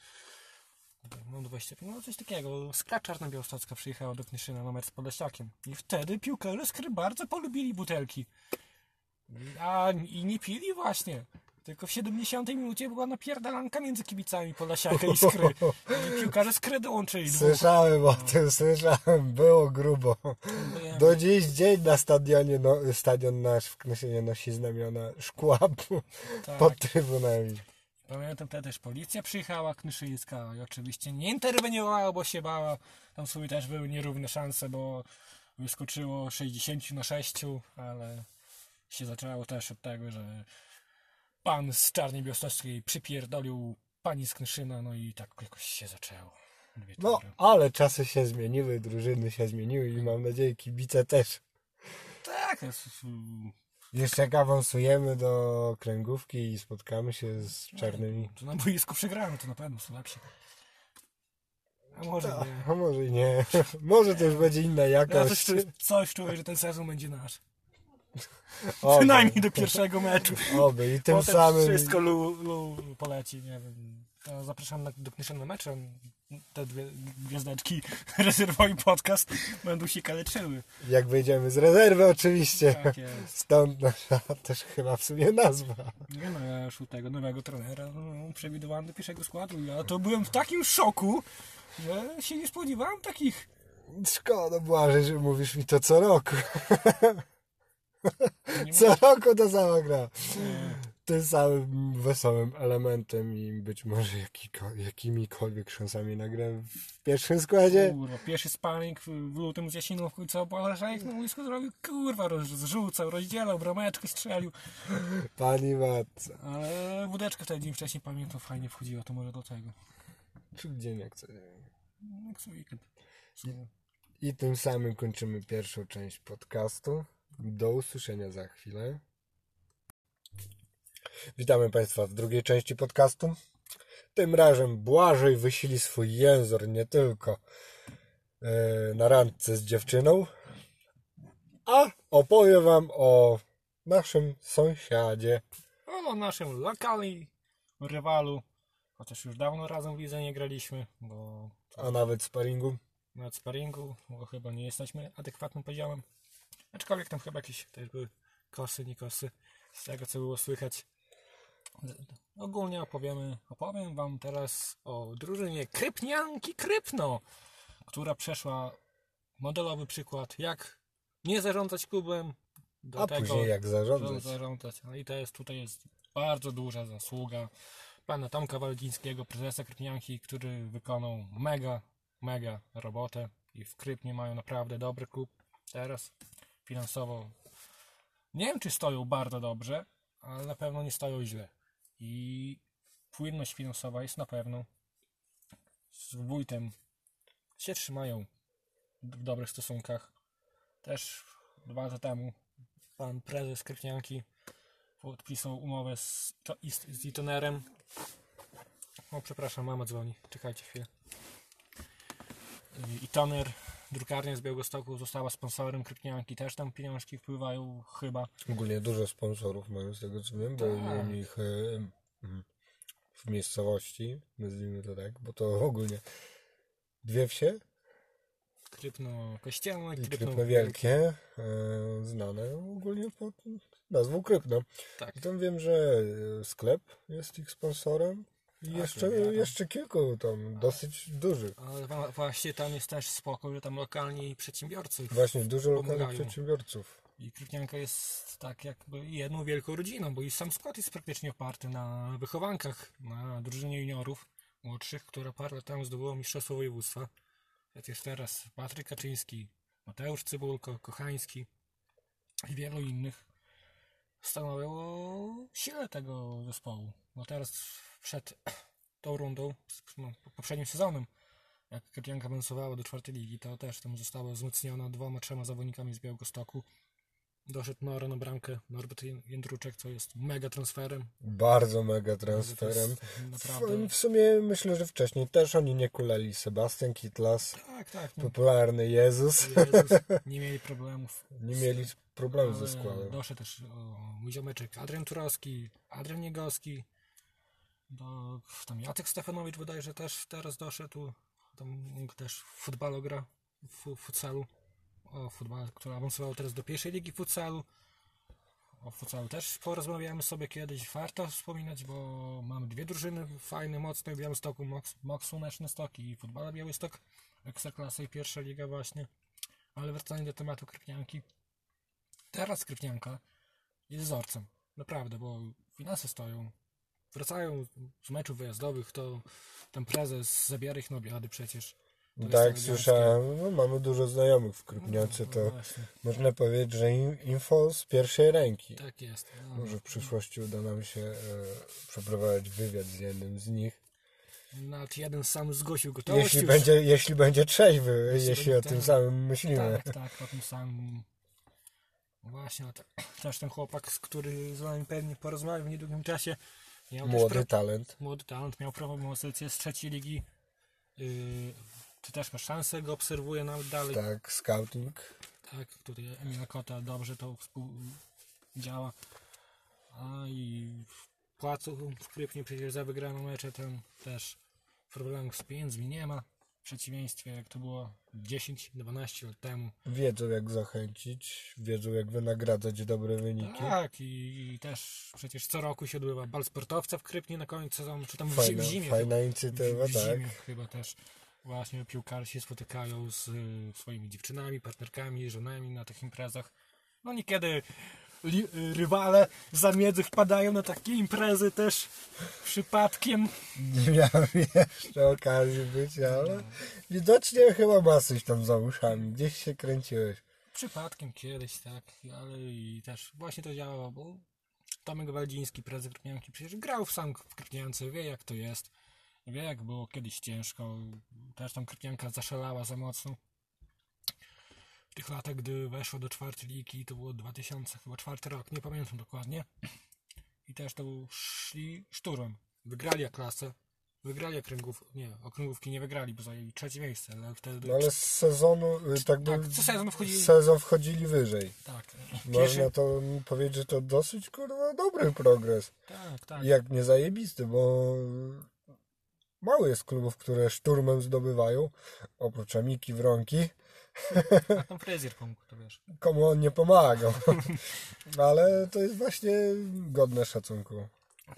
[SPEAKER 2] Mam 25, no coś takiego. Skra Czarnobiałostocka przyjechała do Knyszyna na mecz z Podlasiakiem. I wtedy piłkarze Skry bardzo polubili butelki. A i nie pili właśnie. Tylko w 70 minucie była napierdalanka między kibicami Podlasiaka i Skry. I piłkarze Skry dołączyli dwóch.
[SPEAKER 1] Słyszałem o tym, słyszałem. Było grubo.
[SPEAKER 2] e,
[SPEAKER 1] Do dziś dzień na stadionie, no, stadion nasz w Knysinie nosi znamiona szkła p-
[SPEAKER 2] Tak.
[SPEAKER 1] pod trybunami.
[SPEAKER 2] Pamiętam wtedy też policja przyjechała knyszyńska i oczywiście nie interweniowała, bo się bała. Tam sobie też były nierówne szanse, bo wyskoczyło 60 na 6, ale się zaczęło też od tego, że pan z Czarnej Białostockiej przypierdolił pani z Knyszyna, no i tak jakoś się zaczęło.
[SPEAKER 1] No, ale czasy się zmieniły, drużyny się zmieniły i mam nadzieję kibice też.
[SPEAKER 2] tak, to jest, mm,
[SPEAKER 1] Jeszcze jak awansujemy do kręgówki i spotkamy się z czarnymi.
[SPEAKER 2] to na boisku przegramy, to na pewno są lepsi. A może nie.
[SPEAKER 1] A może i nie. Może Tak. to już będzie inna
[SPEAKER 2] Ja
[SPEAKER 1] jakość.
[SPEAKER 2] coś, czuję- coś czuję, że ten sezon będzie nasz.
[SPEAKER 1] Oby.
[SPEAKER 2] Przynajmniej do pierwszego meczu.
[SPEAKER 1] Oby i tym
[SPEAKER 2] Potem
[SPEAKER 1] samym.
[SPEAKER 2] wszystko lu, lu poleci, nie wiem. To zapraszam na, do Knyszyn na mecze. Te dwie gwiazdeczki rezerwowy podcast będą się kaleczyły.
[SPEAKER 1] Jak wyjdziemy z rezerwy, oczywiście.
[SPEAKER 2] Tak jest.
[SPEAKER 1] Stąd nasza też chyba w sumie nazwa.
[SPEAKER 2] Nie no, ja już u tego nowego trenera no, przewidywałem do pierwszego składu. Ja to byłem w takim szoku, że się nie spodziewałem takich.
[SPEAKER 1] Szkoda, Błażej, że mówisz mi to co roku.
[SPEAKER 2] Nie
[SPEAKER 1] Co roku ta sama gra.
[SPEAKER 2] mówię,
[SPEAKER 1] Tym samym wesołym elementem i być może jakiko, jakimikolwiek szansami nagrę w pierwszym składzie.
[SPEAKER 2] Kurwa, pierwszy sparring w w lutym z Jasinówką i co, Błażejek na boisku zrobił, kurwa, roz, zrzucał, rozdzielał, brameczkę strzelił.
[SPEAKER 1] Pani matce.
[SPEAKER 2] Ale wódeczka wtedy dzień wcześniej pamiętam fajnie wchodziła, to może do tego.
[SPEAKER 1] Czy dzień jak co dzień.
[SPEAKER 2] No, Jak co weekend.
[SPEAKER 1] I tym samym kończymy pierwszą część podcastu. Do usłyszenia za chwilę. Witamy Państwa w drugiej części podcastu. Tym razem Błażej wysili swój język nie tylko e, na randce z dziewczyną, a opowiem Wam o naszym sąsiadzie.
[SPEAKER 2] Ale o naszym lokali rywalu, chociaż już dawno razem w lidze nie graliśmy, bo
[SPEAKER 1] A nawet sparingu.
[SPEAKER 2] na sparingu, bo chyba nie jesteśmy adekwatnym poziomem. Aczkolwiek tam chyba jakieś też były kosy, nie kosy, z tego co było słychać. Z- Ogólnie opowiemy, opowiem Wam teraz o drużynie Krypnianki Krypno, która przeszła modelowy przykład, jak nie zarządzać klubem, do
[SPEAKER 1] A później jak zarządzać.
[SPEAKER 2] zarządzać. No i to jest, tutaj jest bardzo duża zasługa pana Tomka Walgińskiego, prezesa Krypnianki, który wykonał mega, mega robotę i w Krypnie mają naprawdę dobry klub. Teraz finansowo nie wiem, czy stoją bardzo dobrze, ale na pewno nie stoją źle. i płynność finansowa jest na pewno. Z wójtem się trzymają w dobrych stosunkach. Też dwa lata temu pan prezes Krypnianki podpisał umowę z, to- i z, z Itonerem. O, przepraszam, mama dzwoni. Czekajcie chwilę. I toner, drukarnia z Białegostoku została sponsorem Krypnianki, też tam pieniążki wpływają chyba.
[SPEAKER 1] Ogólnie dużo sponsorów mają z tego co wiem, bo
[SPEAKER 2] Tak.
[SPEAKER 1] u nich e, mm, w miejscowości, nazwijmy to tak, bo to ogólnie dwie wsie,
[SPEAKER 2] Krypno Kościelne,
[SPEAKER 1] i
[SPEAKER 2] Krypno,
[SPEAKER 1] Krypno Wielkie, e, znane ogólnie pod nazwą Krypno.
[SPEAKER 2] Tak.
[SPEAKER 1] I tam wiem, że e, sklep jest ich sponsorem i
[SPEAKER 2] Tak,
[SPEAKER 1] jeszcze,
[SPEAKER 2] wiele.
[SPEAKER 1] jeszcze kilku tam, dosyć dużych.
[SPEAKER 2] Ale wa- właśnie tam jest też spoko, że tam lokalni przedsiębiorcy.
[SPEAKER 1] Właśnie dużo lokalnych
[SPEAKER 2] Pomagają.
[SPEAKER 1] przedsiębiorców.
[SPEAKER 2] I Krypnianka jest tak jakby jedną wielką rodziną, bo i sam skład jest praktycznie oparty na wychowankach, na drużynie juniorów młodszych, która parę lat temu zdobyła mistrzostwo województwa. Jak jest teraz Patryk Kaczyński, Mateusz Cybulko, Kochański i wielu innych stanowiło siłę tego zespołu. Bo teraz przed tą rundą, no, poprzednim sezonem, jak Krypnianka awansowała do czwartej ligi, to też tam została wzmocniona dwoma, trzema zawodnikami z Białegostoku. Doszedł Noro na bramkę, Norbert Jęd- Jędruczek, co jest mega transferem.
[SPEAKER 1] Bardzo mega
[SPEAKER 2] To jest
[SPEAKER 1] transferem.
[SPEAKER 2] Naprawdę.
[SPEAKER 1] W, w sumie myślę, że wcześniej też oni nie kulali. Sebastian Kitlas,
[SPEAKER 2] Tak, tak. No,
[SPEAKER 1] popularny Jezus.
[SPEAKER 2] Jezus, nie mieli problemów.
[SPEAKER 1] Nie mieli problemu ze
[SPEAKER 2] Ale
[SPEAKER 1] składem.
[SPEAKER 2] E, Doszedł też o, mój ziomeczek Adrian Turowski, Adrian Niegoski, do, tam Jacek Stefanowicz bodajże też teraz doszedł, tam też w futbalu gra, w w futsalu, o futbal, który awansował teraz do pierwszej ligi futsalu. O futsalu też porozmawiamy sobie kiedyś, warto wspominać, bo mamy dwie drużyny fajne, mocne w Białymstoku, Mox, Mox Słoneczny Stok i Futbala Białystok, Ekstraklasa i pierwsza liga właśnie. Ale wracając do tematu Krypnianki, teraz Skrypnianka jest wzorcem. Naprawdę, bo finanse stoją. Wracają z meczów wyjazdowych, to ten prezes zabiera ich na obiady przecież. To jest
[SPEAKER 1] Tak,
[SPEAKER 2] eleganckie.
[SPEAKER 1] słyszałem. No, mamy dużo znajomych w Krupniacy,
[SPEAKER 2] No
[SPEAKER 1] to
[SPEAKER 2] właśnie,
[SPEAKER 1] można powiedzieć, że in- info z pierwszej ręki.
[SPEAKER 2] tak jest. No.
[SPEAKER 1] Może w przyszłości uda nam się e, przeprowadzić wywiad z jednym z nich.
[SPEAKER 2] Nawet jeden sam zgłosił gotowość
[SPEAKER 1] Jeśli
[SPEAKER 2] już.
[SPEAKER 1] będzie, jeśli będzie trzeźwy, jeśli o
[SPEAKER 2] będzie
[SPEAKER 1] tym
[SPEAKER 2] tak.
[SPEAKER 1] samym myślimy.
[SPEAKER 2] Tak, tak, o tym samym. Właśnie, no to, też ten chłopak, z który z nami pewnie porozmawia w niedługim czasie. Miał też
[SPEAKER 1] Młody
[SPEAKER 2] pro-
[SPEAKER 1] talent.
[SPEAKER 2] młody talent, miał propozycję z trzeciej ligi. Yy, ty też masz szansę, go obserwuję nawet dalej. Tak,
[SPEAKER 1] Tak, scouting.
[SPEAKER 2] tutaj Emila Kota dobrze to współ... działa. A i płacą w kwietniu przecież za wygraną mecze ten też problemów z pieniędzmi nie ma. W przeciwieństwie jak to było 10-12 lat temu.
[SPEAKER 1] Wiedzą jak zachęcić, wiedzą jak wynagradzać dobre wyniki.
[SPEAKER 2] Tak, i, i też przecież co roku się odbywa bal sportowca w Krypnie na koniec sezonu, czy tam w, zi-
[SPEAKER 1] Fajna,
[SPEAKER 2] w zimie.
[SPEAKER 1] fajna
[SPEAKER 2] chyba,
[SPEAKER 1] inicjatywa,
[SPEAKER 2] w, w
[SPEAKER 1] tak.
[SPEAKER 2] zimie chyba też właśnie piłkarze się spotykają z y, swoimi dziewczynami, partnerkami, żonami na tych imprezach. No niekiedy li, y, rywale zamiedzy wpadają na takie imprezy też przypadkiem.
[SPEAKER 1] Nie miałem jeszcze okazji być, ale widocznie chyba ma coś tam za uszami. Gdzieś się kręciłeś.
[SPEAKER 2] Przypadkiem kiedyś, tak, ale i też właśnie to działało, bo Tomek Waldziński, prezes Krpnianki, przecież grał sam w Krpniance, wie jak to jest, wie jak było kiedyś ciężko, też tam Krpnianka zaszalała za mocno. W tych latach, gdy weszło do czwartej ligi, to było 2000, chyba czwarty rok, nie pamiętam dokładnie. I też to był- szli szturmem. Wygrali klasę, wygrali okręgów, nie, okręgówki nie wygrali, bo zajęli trzecie miejsce, ale wtedy...
[SPEAKER 1] No ale z sezonu, y, tak by
[SPEAKER 2] Tak, co sezon wchodzili...
[SPEAKER 1] z sezon wchodzili wyżej.
[SPEAKER 2] Tak.
[SPEAKER 1] Można to powiedzieć, że to dosyć kurwa dobry progres.
[SPEAKER 2] Tak, tak.
[SPEAKER 1] Jak nie zajebisty, bo mało jest klubów, które szturmem zdobywają, oprócz Amiki, Wronki.
[SPEAKER 2] A tam fryzjer pomógł, to wiesz.
[SPEAKER 1] komu on nie pomagał. Ale to jest właśnie godne szacunku.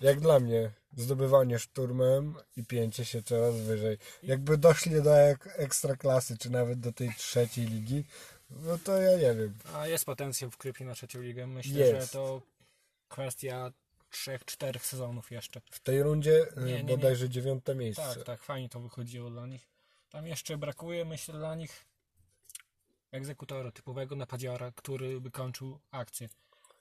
[SPEAKER 1] Jak dla mnie, zdobywanie szturmem i pięcie się coraz wyżej. Jakby doszli do ek ekstraklasy, czy nawet do tej trzeciej ligi, no to ja nie wiem.
[SPEAKER 2] A jest potencjał w Krypie na trzecią ligę. Myślę,
[SPEAKER 1] Jest.
[SPEAKER 2] że to kwestia trzech, czterech sezonów jeszcze.
[SPEAKER 1] W tej rundzie y,
[SPEAKER 2] Nie, nie, nie.
[SPEAKER 1] bodajże dziewiąte miejsce.
[SPEAKER 2] Tak, tak, fajnie to wychodziło dla nich. Tam jeszcze brakuje, myślę, dla nich egzekutora, typowego napadziora, który by kończył akcję.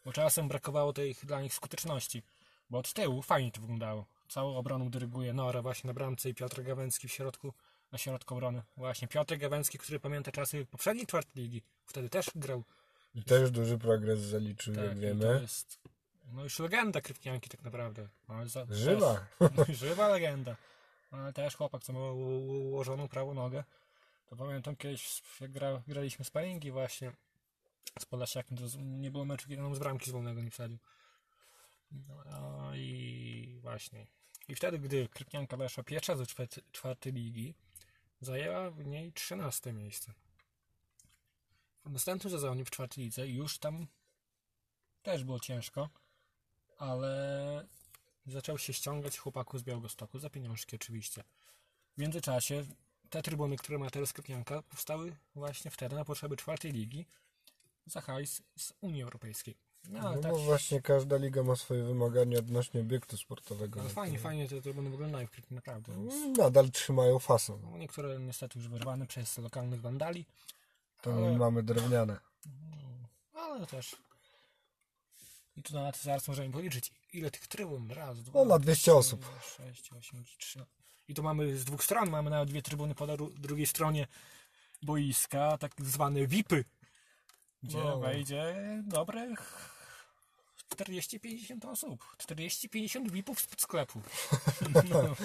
[SPEAKER 2] Bo czasem brakowało tej dla nich skuteczności. Bo od tyłu fajnie to wyglądało. Całą obroną dyryguje Nora właśnie na bramce i Piotr Gawęcki w środku, na środku obrony. Właśnie Piotr Gawęcki, który pamięta czasy poprzedniej czwartej ligi. Wtedy też grał.
[SPEAKER 1] I też duży progres zaliczyłem,
[SPEAKER 2] Tak, i To
[SPEAKER 1] wiemy.
[SPEAKER 2] jest, no już legenda Krypnianki tak naprawdę. Ale za,
[SPEAKER 1] Żywa.
[SPEAKER 2] Też, żywa legenda. No Ale też chłopak, co ma u- u- ułożoną prawą nogę. To pamiętam kiedyś, jak gra, graliśmy sparingi właśnie z Podlasiakiem, to z- nie było meczu, kiedy on z bramki z wolnego nie wsadził. No i właśnie. I wtedy, gdy Krypnianka weszła pierwsza ze czwarty, czwartej ligi, zajęła w niej 13 miejsce. W następnym sezonie w czwartej lidze już tam też było ciężko, ale zaczął się ściągać chłopaków z Białegostoku, za pieniążki oczywiście. W międzyczasie te trybuny, które ma teraz Krypnianka, powstały właśnie wtedy na potrzeby czwartej ligi za hajs z Unii Europejskiej. No, ale
[SPEAKER 1] No
[SPEAKER 2] tak
[SPEAKER 1] bo właśnie każda liga ma swoje wymagania odnośnie obiektu sportowego.
[SPEAKER 2] ale no, fajnie, fajnie te trybuny wyglądają w Krypie, naprawdę.
[SPEAKER 1] No. Nadal trzymają fason.
[SPEAKER 2] No, niektóre niestety już wyrwane przez lokalnych wandali,
[SPEAKER 1] To
[SPEAKER 2] Ale-
[SPEAKER 1] mamy drewniane.
[SPEAKER 2] No, ale też. I tu nawet zaraz możemy policzyć, ile tych trybun. Raz, dwa,
[SPEAKER 1] No na 200 osób.
[SPEAKER 2] 6, 8, 3. No. I tu mamy z dwóch stron, mamy nawet dwie trybuny po daru- drugiej stronie boiska, tak zwane VIPy, gdzie
[SPEAKER 1] No.
[SPEAKER 2] wejdzie dobrych 40-50 osób. 40-50 VIPów spod sklepu. No.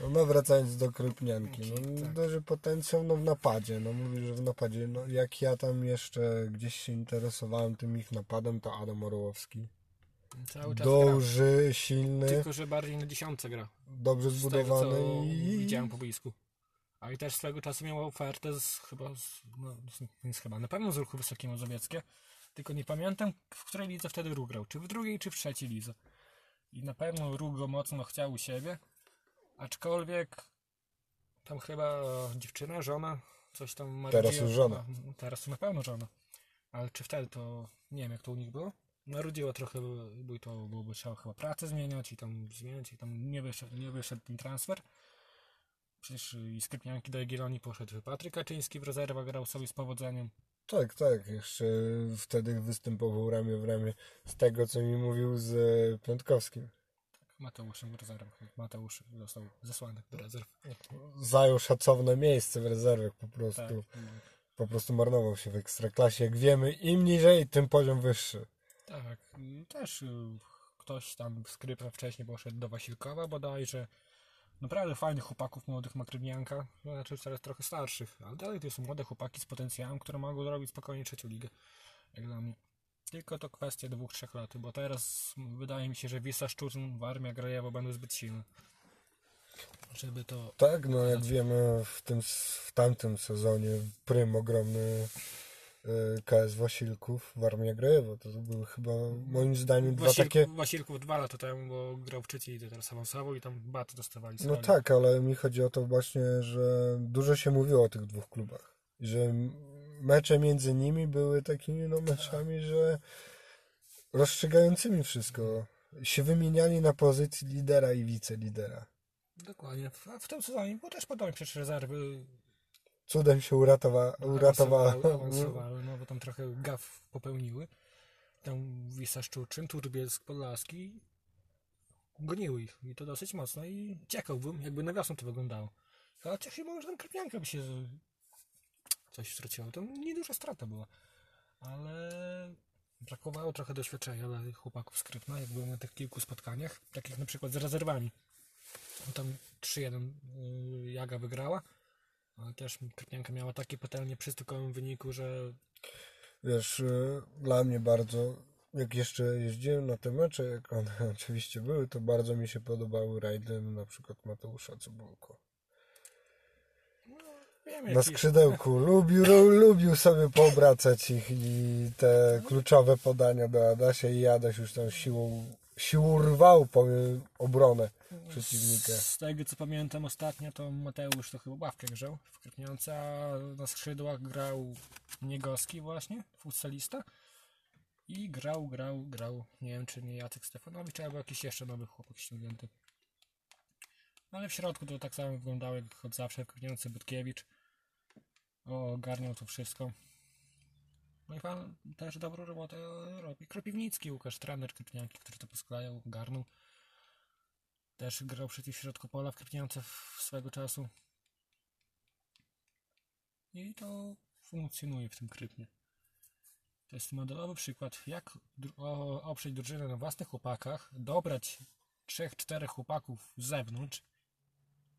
[SPEAKER 1] No, no wracając do Krypnianki, no,
[SPEAKER 2] tak.
[SPEAKER 1] duży potencjał no, w napadzie, no mówisz, że w napadzie, no jak ja tam jeszcze gdzieś się interesowałem tym ich napadem, to Adam Orłowski,
[SPEAKER 2] Cały czas gra.
[SPEAKER 1] duży, silny,
[SPEAKER 2] Tylko, że bardziej na dziesiątce gra.
[SPEAKER 1] dobrze
[SPEAKER 2] Z tego,
[SPEAKER 1] zbudowany
[SPEAKER 2] co
[SPEAKER 1] i
[SPEAKER 2] widziałem po boisku. A i też swego czasu miał ofertę z chyba, z, no, z, nie z chyba, na pewno z ruchu Wysokim Mazowieckie. Tylko nie pamiętam, w której lidze wtedy Róg grał. Czy w drugiej, czy w trzeciej lidze. I na pewno Róg go mocno chciał u siebie. Aczkolwiek tam chyba dziewczyna, żona, coś tam ma
[SPEAKER 1] Teraz
[SPEAKER 2] rodziła-
[SPEAKER 1] już żona.
[SPEAKER 2] no, Teraz to na pewno żona. Ale czy wtedy to, nie wiem jak to u nich było. Narodziło trochę, bo to byłoby trzeba chyba pracę zmieniać i tam zmieniać i tam nie wyszedł, nie wyszedł ten transfer. Przecież i z Krypnianki do Jagiellonii poszedł Patryk Kaczyński w rezerwę, grał sobie z powodzeniem.
[SPEAKER 1] tak, tak, jeszcze wtedy występował ramię w ramię z tego, co mi mówił z e, Piątkowskim.
[SPEAKER 2] Mateuszem w rezerwę. Mateusz został zesłany do rezerw.
[SPEAKER 1] Zajął szacowne miejsce w rezerwach po prostu.
[SPEAKER 2] Tak.
[SPEAKER 1] po prostu marnował się w ekstraklasie. Jak wiemy, im niżej, tym poziom wyższy.
[SPEAKER 2] Tak, i też y, ktoś tam z Krypem wcześniej poszedł do Wasilkowa bodajże. Naprawdę fajnych chłopaków młodych ma Krybnianka, znaczy teraz trochę starszych, ale dalej to są młode chłopaki z potencjałem, które mogą zrobić spokojnie trzecią ligę, jak dla mnie. Tylko to kwestia dwóch, trzech lat, bo teraz wydaje mi się, że Wisa Szczurzyn, Warmia, Grajewo będą zbyt silne, żeby to...
[SPEAKER 1] Tak, no jak wiemy, w, tym, w tamtym sezonie prym ogromny y, KS Wasilków w Armii Grajewo. To były chyba, moim zdaniem, dwa
[SPEAKER 2] Wasilk,
[SPEAKER 1] takie...
[SPEAKER 2] Wasilków dwa lata temu, bo grał w trzeciej lidze, teraz awansował i tam bat dostawali.
[SPEAKER 1] No
[SPEAKER 2] soli.
[SPEAKER 1] tak, ale mi chodzi o to właśnie, że dużo się mówiło o tych dwóch klubach. I Że m- mecze między nimi były takimi no, meczami, że rozstrzygającymi wszystko. Się wymieniali na pozycji lidera i wicelidera.
[SPEAKER 2] Dokładnie. W, w tym sezonie było też podobnie, przecież rezerwy
[SPEAKER 1] cudem się uratowa,
[SPEAKER 2] No,
[SPEAKER 1] uratowała.
[SPEAKER 2] awansowały, awansowały, no bo tam trochę gaf popełniły. Tam Wisa Szczuczyn, Turbielsk, Podlaski goniły ich i to dosyć mocno i ciekałbym, jakby na wiosnę to wyglądało. Ale chociaż chyba, że tam Krypianka by się z- coś straciło. To nieduża strata była. Ale brakowało trochę doświadczenia dla tych chłopaków z Krypna, jak byłem na tych kilku spotkaniach, takich na przykład z rezerwami. No Tam 3-1 y, Jaga wygrała, ale też Krypnianka miała taki patelnie przy stukowym wyniku, że
[SPEAKER 1] Wiesz, y, dla mnie bardzo, jak jeszcze jeździłem na te mecze, jak one oczywiście były, to bardzo mi się podobały rajdy na przykład Mateusza Cebulko.
[SPEAKER 2] wiem
[SPEAKER 1] Na
[SPEAKER 2] jaki jest.
[SPEAKER 1] skrzydełku lubił, ru- lubił sobie poobracać ich i te kluczowe podania do Adasia i Adaś już tam siłą, siłą rwał powiem, obronę przeciwnika.
[SPEAKER 2] Z tego co pamiętam ostatnio, to Mateusz to chyba ławkę grzał w Krypniance, a na skrzydłach grał Niegoski właśnie, futsalista. I grał, grał, grał, nie wiem czy nie Jacek Stefanowicz, albo jakiś jeszcze nowy chłopak ściągnięty. No ale w środku to tak samo wyglądało jak od zawsze w Krypniance Butkiewicz. Ogarniał to wszystko. No i pan też dobrą robotę robi Kropiwnicki, Łukasz, trener Krypnianki, który to posklejał, garnął. Też grał przeciw środku pola w Krypniance w swego czasu. I to funkcjonuje w tym Krypnie. To jest modelowy przykład, jak dru- o- oprzeć drużynę na własnych chłopakach, dobrać trzech, czterech chłopaków z zewnątrz,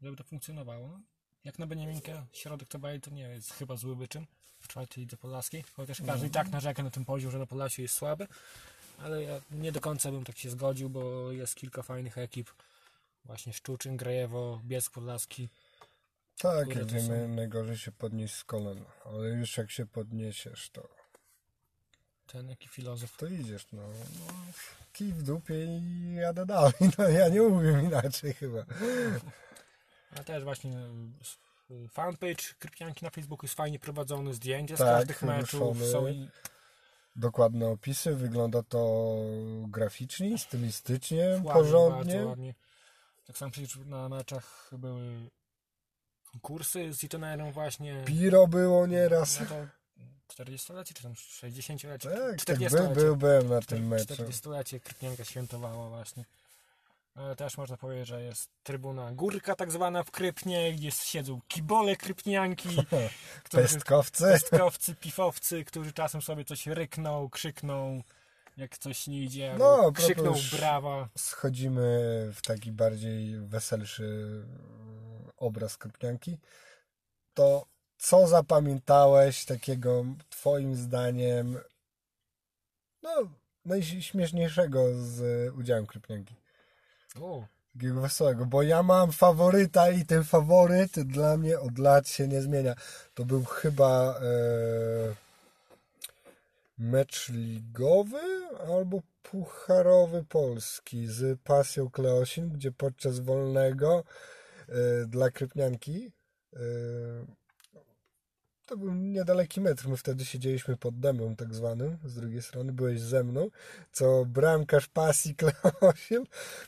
[SPEAKER 2] żeby to funkcjonowało. No, Jak na Beniaminkę środek to bali, to nie jest chyba zły wyczyn w czwartej lidze podlaskiej, chociaż każdy i tak narzeka na tym poziom, że na Podlasiu jest słaby, ale ja nie do końca bym tak się zgodził, bo jest kilka fajnych ekip, właśnie Szczuczyn, Grajewo, Bielsk Podlaski,
[SPEAKER 1] Tak,
[SPEAKER 2] Kurde, to
[SPEAKER 1] jedziemy
[SPEAKER 2] są-
[SPEAKER 1] najgorzej się podnieść z kolan, ale już jak się podniesiesz, to,
[SPEAKER 2] ten jaki filozof.
[SPEAKER 1] to idziesz, no, no kij w dupie i jadę dalej, no ja nie umiem inaczej chyba.
[SPEAKER 2] A też właśnie y, fanpage Krypnianki na Facebooku jest fajnie prowadzony, zdjęcia z
[SPEAKER 1] Tak,
[SPEAKER 2] każdych meczów,
[SPEAKER 1] wyruszony.
[SPEAKER 2] są i
[SPEAKER 1] Dokładne opisy, wygląda to graficznie, stylistycznie,
[SPEAKER 2] Ładnie,
[SPEAKER 1] porządnie.
[SPEAKER 2] Bardzo ładnie. Tak samo przecież na meczach były konkursy z Itonerem właśnie.
[SPEAKER 1] Piro było nieraz.
[SPEAKER 2] No to 40-lecie, czy tam 60-lecie,
[SPEAKER 1] Tak, tak
[SPEAKER 2] 40-lecie.
[SPEAKER 1] by, by, byłem na tym meczu.
[SPEAKER 2] 40-lecie Krypnianka świętowała właśnie. Ale też można powiedzieć, że jest trybuna górka tak zwana w Krypnie, gdzie siedzą kibole Krypnianki, którzy
[SPEAKER 1] Pestkowcy.
[SPEAKER 2] pestkowcy, pifowcy, którzy czasem sobie coś rykną, krzykną, jak coś nie idzie,
[SPEAKER 1] No, a
[SPEAKER 2] albo
[SPEAKER 1] propos
[SPEAKER 2] krzykną
[SPEAKER 1] już-
[SPEAKER 2] brawa.
[SPEAKER 1] Schodzimy w taki bardziej weselszy mm, obraz Krypnianki. To co zapamiętałeś takiego twoim zdaniem no, najśmieszniejszego z udziałem Krypnianki?
[SPEAKER 2] O,
[SPEAKER 1] Takiego wesołego, bo ja mam faworyta i ten faworyt dla mnie od lat się nie zmienia. To był chyba e, mecz ligowy albo pucharowy Polski z Pasją Kleosin, gdzie podczas wolnego e, dla Krypnianki e, to był niedaleki metr, my wtedy siedzieliśmy pod dębem tak zwanym, z drugiej strony byłeś ze mną, co bramkarz Pasji Kleosin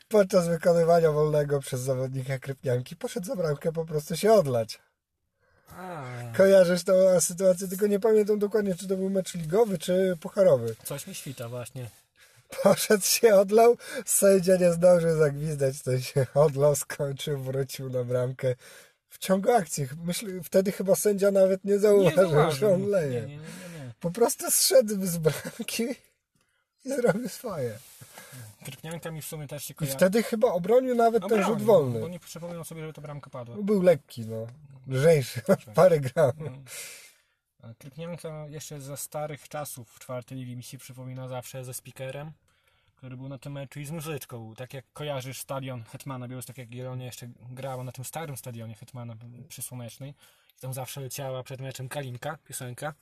[SPEAKER 1] podczas wykonywania wolnego przez zawodnika Krypnianki poszedł za bramkę po prostu się odlać.
[SPEAKER 2] a.
[SPEAKER 1] Kojarzysz tą sytuację, tylko nie pamiętam dokładnie, czy to był mecz ligowy, czy pucharowy.
[SPEAKER 2] Coś mi świta właśnie.
[SPEAKER 1] Poszedł się odlał, sędzia nie zdążył zagwizdać, ten się odlał, skończył, wrócił na bramkę. W ciągu akcji, myśl, wtedy chyba sędzia nawet nie zauważył, że on
[SPEAKER 2] Nie, nie,
[SPEAKER 1] leje.
[SPEAKER 2] nie, nie, nie.
[SPEAKER 1] Po prostu zszedł z bramki i zrobił swoje.
[SPEAKER 2] Krypnianka mi w sumie też się
[SPEAKER 1] I
[SPEAKER 2] kojarzy.
[SPEAKER 1] wtedy chyba obronił nawet ten rzut wolny.
[SPEAKER 2] Bo nie przypomniał sobie, żeby ta bramka padła.
[SPEAKER 1] Był lekki, no. Lżejszy, parę gramów.
[SPEAKER 2] A Krypnianka E, jeszcze ze starych czasów w czwartej ligi mi się przypomina zawsze ze speakerem, który był na tym meczu i z muzyczką. Tak jak kojarzysz stadion Hetmana Białystok, tak jak Jelonia jeszcze grała na tym starym stadionie Hetmana przysłonecznej. I tam zawsze leciała przed meczem Kalinka, piosenka.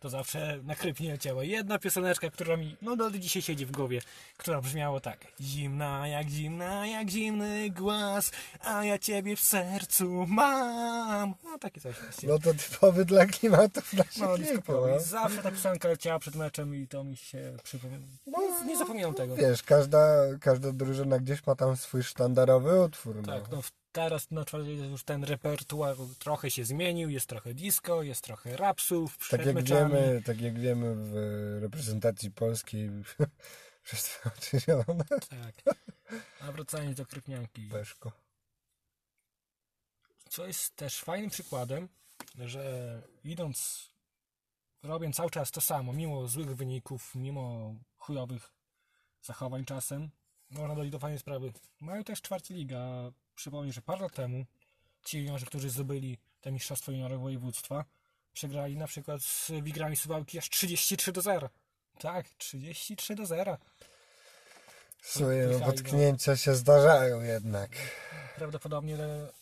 [SPEAKER 2] To zawsze na krypnie leciała jedna pioseneczka, która mi no do dzisiaj siedzi w głowie, która brzmiała tak. Zimna jak zimna, jak zimny głaz, a ja ciebie w sercu mam. No takie coś. właśnie.
[SPEAKER 1] No to typowy dla klimatów naszych
[SPEAKER 2] No,
[SPEAKER 1] kilku,
[SPEAKER 2] disco polo. I zawsze ta piosenka leciała przed meczem i to mi się przypomina. No, nie zapomniałem tego.
[SPEAKER 1] Wiesz, każda, każda drużyna gdzieś ma tam swój sztandarowy utwór. No.
[SPEAKER 2] Tak, no w- teraz na przykład już ten repertuar trochę się zmienił, jest trochę disco, jest trochę rapsów przed
[SPEAKER 1] tak, jak
[SPEAKER 2] meczami.
[SPEAKER 1] wiemy, tak jak wiemy w reprezentacji polskiej przez oczy zielone.
[SPEAKER 2] Tak. A wracając do Krypnianki.
[SPEAKER 1] Peszko.
[SPEAKER 2] Co jest też fajnym przykładem, że idąc, robiąc cały czas to samo, mimo złych wyników, mimo chujowych zachowań czasem, można dojść do fajnej sprawy. Mają też czwarta liga. Przypomnę, że parę lat temu ci juniorzy, którzy zdobyli te mistrzostwo juniorów województwa, przegrali na przykład z Wigrami Suwałki aż 33 do 0. Tak, 33 do 0.
[SPEAKER 1] Słuchaj, no
[SPEAKER 2] Michał,
[SPEAKER 1] potknięcia się zdarzają jednak.
[SPEAKER 2] Prawdopodobnie, ale-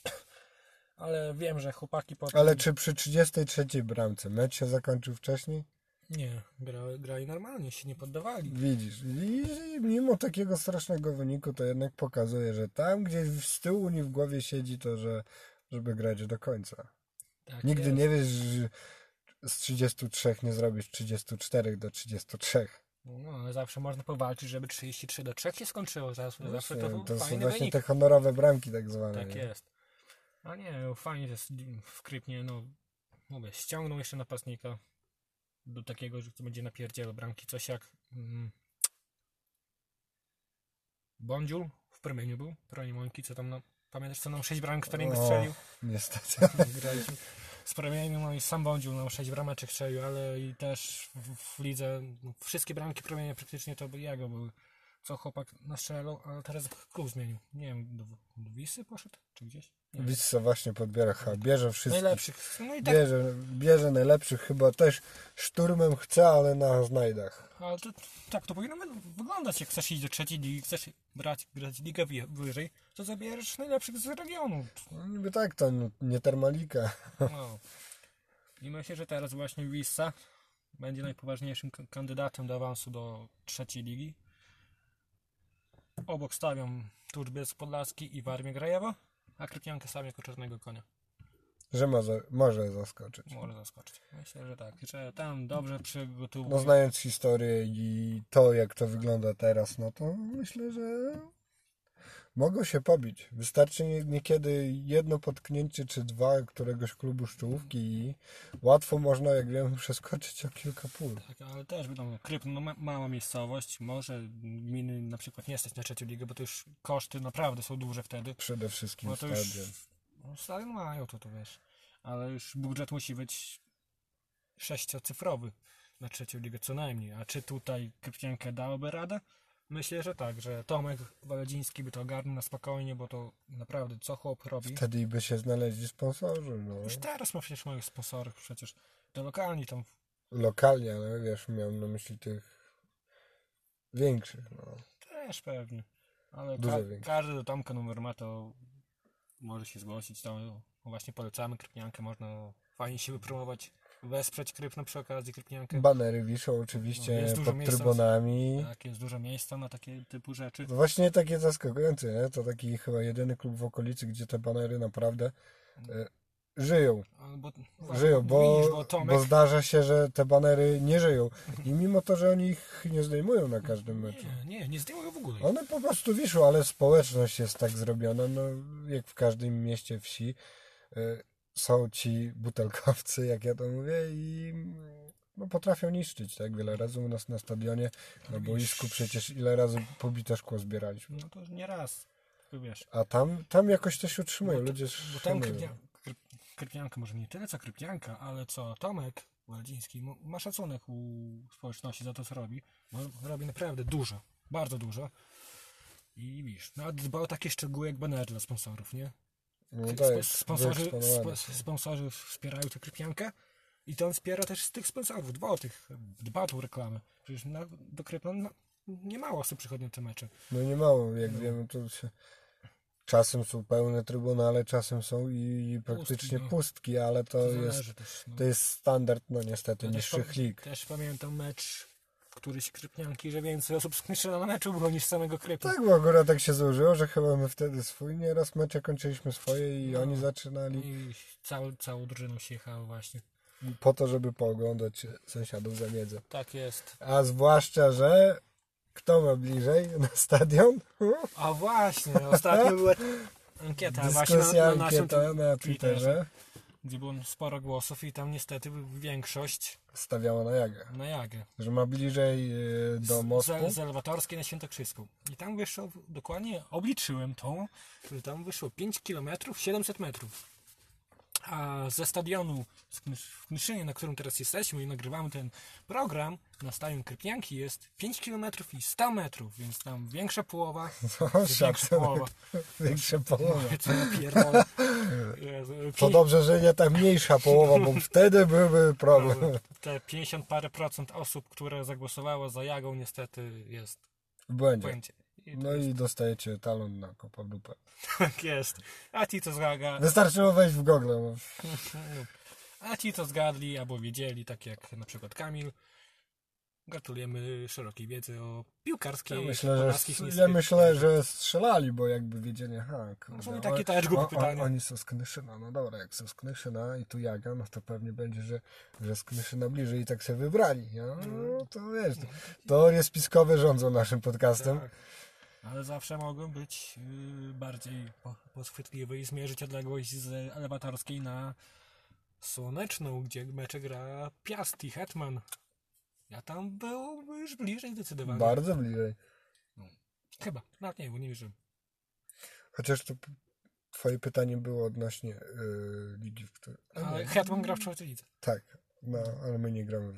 [SPEAKER 2] ale wiem, że chłopaki po
[SPEAKER 1] Ale czy przy 33 bramce mecz się zakończył wcześniej?
[SPEAKER 2] Nie, gra, grali normalnie, się nie poddawali.
[SPEAKER 1] Widzisz, i i mimo takiego strasznego wyniku, to jednak pokazuje, że tam gdzieś w- z tyłu nie w głowie siedzi to, że żeby grać do końca.
[SPEAKER 2] Tak
[SPEAKER 1] Nigdy
[SPEAKER 2] jest.
[SPEAKER 1] nie wiesz, że z 33 nie zrobisz 34 do 33.
[SPEAKER 2] No, ale zawsze można powalczyć, żeby 33 do 3 się skończyło. Zawsze, No zawsze to był
[SPEAKER 1] to są
[SPEAKER 2] fajny
[SPEAKER 1] No właśnie
[SPEAKER 2] wynik.
[SPEAKER 1] te honorowe bramki tak zwane.
[SPEAKER 2] Tak
[SPEAKER 1] nie?
[SPEAKER 2] jest. A nie, no, fajnie jest w Krypnie, no mówię, ściągnął jeszcze napastnika do takiego, że to będzie napierdzielał bramki, coś jak mm, Bądziul w promieniu był, promień Mąki, co tam, no, pamiętasz co nam 6 bramek Sterling
[SPEAKER 1] O,
[SPEAKER 2] strzelił?
[SPEAKER 1] niestety.
[SPEAKER 2] Graliśmy z promieniem, no i sam Bądził nam 6 brameczek strzelił, ale i też w, w lidze no, wszystkie bramki promienia praktycznie to by jego były. Co chłopak nastrzelał, ale teraz klub zmienił. Nie wiem, do, do Wisy poszedł, czy gdzieś? Nie wiem.
[SPEAKER 1] Wissa właśnie podbiera, ha, bierze wszystkich.
[SPEAKER 2] Najlepszych. No i tak
[SPEAKER 1] Bierze, bierze najlepszych, chyba też szturmem chce, ale na znajdach.
[SPEAKER 2] Ale to, tak to powinno wy- wyglądać, jak chcesz iść do trzeciej ligi, chcesz brać, grać ligę wy- wyżej, to zabierzesz najlepszych z regionu.
[SPEAKER 1] No, niby tak, to n- nie termalika.
[SPEAKER 2] No. I myślę, że teraz właśnie Wissa będzie najpoważniejszym k- kandydatem do awansu do trzeciej ligi. Obok stawiam Turzbiec Podlaski i Warmię Grajewo, a Krypiankę stawiam jako czarnego konia.
[SPEAKER 1] Że może, może zaskoczyć.
[SPEAKER 2] Może zaskoczyć. Myślę, że tak, że tam dobrze przygotowują.
[SPEAKER 1] No znając historię i to, jak to wygląda teraz, no to myślę, że mogą się pobić. Wystarczy nie- niekiedy jedno potknięcie czy dwa któregoś klubu z czołówki i łatwo można, jak wiem, przeskoczyć o kilka pól.
[SPEAKER 2] Tak, ale też wiadomo, Kryp, no ma- mała miejscowość, może gminy na przykład nie stać na trzecią ligę, bo to już koszty naprawdę są duże wtedy.
[SPEAKER 1] Przede wszystkim
[SPEAKER 2] Bo No to już
[SPEAKER 1] stadion.
[SPEAKER 2] no, stadion mają to, to wiesz, ale już budżet musi być sześciocyfrowy na trzecią ligę co najmniej. A czy tutaj Krypciankę dałoby radę? Myślę, że tak, że Tomek Waledziński by to ogarnął na spokojnie, bo to naprawdę co chłop robi.
[SPEAKER 1] Wtedy by się znaleźli sponsorzy, no.
[SPEAKER 2] Już teraz ma przecież moich sponsorów, przecież to lokalni tam
[SPEAKER 1] Lokalnie, ale wiesz, miałem na myśli tych większych, no.
[SPEAKER 2] Też pewnie. Ale
[SPEAKER 1] Dużo
[SPEAKER 2] ka-
[SPEAKER 1] większy.
[SPEAKER 2] każdy do Tomka numer ma, to może się zgłosić. Tam no, właśnie polecamy Krypniankę, można fajnie się wypromować, wesprzeć Krypno przy okazji Krypniankę.
[SPEAKER 1] Banery wiszą oczywiście
[SPEAKER 2] No, Jest dużo
[SPEAKER 1] pod
[SPEAKER 2] miejsca.
[SPEAKER 1] trybunami.
[SPEAKER 2] tak, jest dużo miejsca na takie typu rzeczy.
[SPEAKER 1] To właśnie takie zaskakujące, nie? To taki chyba jedyny klub w okolicy, gdzie te banery naprawdę e, żyją.
[SPEAKER 2] Albo,
[SPEAKER 1] Żyją, bo,
[SPEAKER 2] widzisz, bo Tomek
[SPEAKER 1] bo zdarza się, że te banery nie żyją. I mimo to, że oni ich nie zdejmują na każdym meczu.
[SPEAKER 2] nie, nie, nie zdejmuje w ogóle.
[SPEAKER 1] One po prostu wiszą, ale społeczność jest tak zrobiona, no jak w każdym mieście, wsi. e, Są ci butelkowcy, jak ja to mówię, i mm, no, potrafią niszczyć, tak? Wiele razy u nas na stadionie, na boisku przecież ile razy pobite szkło zbieraliśmy.
[SPEAKER 2] No to nie raz, tylko wiesz.
[SPEAKER 1] A tam, tam jakoś to się utrzymują,
[SPEAKER 2] Bo No to-
[SPEAKER 1] ludzie
[SPEAKER 2] Bo tam
[SPEAKER 1] szanują.
[SPEAKER 2] krypnia, kryp, krypnianka, może nie tyle co krypnianka, ale co Tomek Waldziński m- ma szacunek u społeczności za to, co robi, bo robi naprawdę dużo, bardzo dużo. I widzisz, nawet dba o takie szczegóły jak banery dla sponsorów, nie?
[SPEAKER 1] No
[SPEAKER 2] Sp-
[SPEAKER 1] tak,
[SPEAKER 2] sponsorzy,
[SPEAKER 1] wyeksponowane. tak.
[SPEAKER 2] spo- sponsorzy wspierają tę krypniankę i to on wspiera też z tych sponsorów, dba o tych, dba o tą reklamę. Przecież na, do krypna nie mało osób przychodzi na te mecze.
[SPEAKER 1] No nie mało, jak wiemy, to się... Czasem są pełne trybunale, czasem są i praktycznie
[SPEAKER 2] no.
[SPEAKER 1] pustki, ale to jest,
[SPEAKER 2] Zależy też, no.
[SPEAKER 1] to jest standard, no niestety,
[SPEAKER 2] Ja
[SPEAKER 1] niższych
[SPEAKER 2] też, pa-
[SPEAKER 1] lig.
[SPEAKER 2] Też pamiętam mecz któryś Krypnianki, że więcej osób skończyło na meczu było niż samego Krypy.
[SPEAKER 1] Tak, bo akurat tak się złożyło, że chyba my wtedy swój nieraz mecze kończyliśmy swoje i
[SPEAKER 2] No.
[SPEAKER 1] oni zaczynali
[SPEAKER 2] I całą, całą drużyną się jechało właśnie.
[SPEAKER 1] po to, żeby pooglądać sąsiadów za wiedzę.
[SPEAKER 2] Tak jest.
[SPEAKER 1] A zwłaszcza, że kto ma bliżej na stadion?
[SPEAKER 2] A właśnie, ostatnio była ankieta właśnie na,
[SPEAKER 1] Dyskusja,
[SPEAKER 2] na naszym
[SPEAKER 1] ankieta na Twitterze
[SPEAKER 2] gdzie było sporo głosów i tam niestety większość
[SPEAKER 1] stawiała na Jagę.
[SPEAKER 2] na Jagę.
[SPEAKER 1] że ma bliżej y, do mostu.
[SPEAKER 2] Z, z Elewatorskiej na Świętokrzyską. I tam wyszło, dokładnie obliczyłem to, że tam wyszło 5 km 700 metrów. A ze stadionu w Knysz- w Knyszynie, na którym teraz jesteśmy i nagrywamy ten program, na stadion Krypnianki jest 5 km i 100 metrów, więc tam większa połowa,
[SPEAKER 1] No,
[SPEAKER 2] jest większa połowa.
[SPEAKER 1] Szacunek, większa połowa.
[SPEAKER 2] Co ja pierdolę. Jezu,
[SPEAKER 1] To
[SPEAKER 2] pię-
[SPEAKER 1] dobrze, że nie ta mniejsza połowa, bo wtedy byłby problem.
[SPEAKER 2] Te 50 parę procent osób, które zagłosowało za Jagą, niestety jest
[SPEAKER 1] W
[SPEAKER 2] w
[SPEAKER 1] błędzie.
[SPEAKER 2] błędzie. I
[SPEAKER 1] No i dostajecie talon na kopa w dupę.
[SPEAKER 2] tak jest. A ci to zaga,
[SPEAKER 1] Wystarczyło wejść w Google. no.
[SPEAKER 2] A ci, co zgadli albo wiedzieli, tak jak na przykład Kamil, gratulujemy szerokiej wiedzy o piłkarskiej
[SPEAKER 1] Ja
[SPEAKER 2] o
[SPEAKER 1] myślę,
[SPEAKER 2] polskich
[SPEAKER 1] że, ja
[SPEAKER 2] instytucjach.
[SPEAKER 1] myślę, że strzelali, bo jakby wiedzieli, ha, kurde,
[SPEAKER 2] Może i
[SPEAKER 1] o-
[SPEAKER 2] takie też głupie
[SPEAKER 1] o- o-
[SPEAKER 2] pytanie.
[SPEAKER 1] Oni są z Knyszyna, no dobra, jak są z Knyszyna i tu Jaga, no to pewnie będzie, że, że z Knyszyna bliżej i tak się wybrali. No, to wiesz, teorie spiskowe rządzą naszym podcastem.
[SPEAKER 2] Tak. Ale zawsze mogą być yy, bardziej po, poschwytliwe i zmierzyć odległość z elewatorskiej na słoneczną, gdzie mecze gra Piast i Hetman. Ja tam był już bliżej zdecydowanie.
[SPEAKER 1] Bardzo bliżej.
[SPEAKER 2] Chyba, nawet nie, bo nie wierzyłem.
[SPEAKER 1] Chociaż to p- twoje pytanie było odnośnie y, ligi, w której... a
[SPEAKER 2] Ale
[SPEAKER 1] nie.
[SPEAKER 2] Hetman gra w czwartej lidze.
[SPEAKER 1] Tak, no, ale my nie gramy w...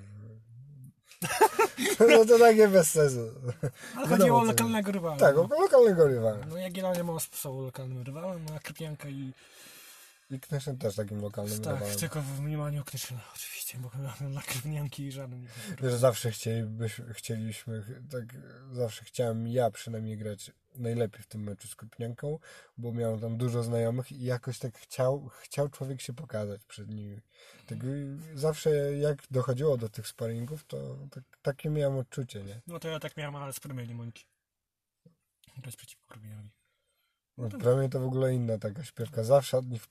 [SPEAKER 1] No to takie bez sensu.
[SPEAKER 2] Ale
[SPEAKER 1] Wiadomo,
[SPEAKER 2] chodziło o
[SPEAKER 1] co
[SPEAKER 2] lokalnego rywala.
[SPEAKER 1] No Tak, o lokalnego rywala.
[SPEAKER 2] No Jagiellonia Most są lokalnym rywalem, no a Krypianka i
[SPEAKER 1] I Kneszyn też takim lokalnym
[SPEAKER 2] tak,
[SPEAKER 1] rywalem.
[SPEAKER 2] tylko w mniemaniu Knyszyna oczywiście, bo dla Krypianki żaden nie gra.
[SPEAKER 1] Wiesz, zawsze chcielibyśmy, chcieliśmy, tak zawsze chciałem ja przynajmniej grać najlepiej w tym meczu z Kopnianką, bo miałem tam dużo znajomych i jakoś tak chciał, chciał człowiek się pokazać przed nimi. Tak, y, zawsze jak dochodziło do tych sparingów, to tak, takie miałem odczucie, nie?
[SPEAKER 2] No to ja tak miałem, ale z promieni Moniki. Grać przeciwko Krypianowi.
[SPEAKER 1] No, Dla mnie to w ogóle inna taka śpiewka. Zawsze od nich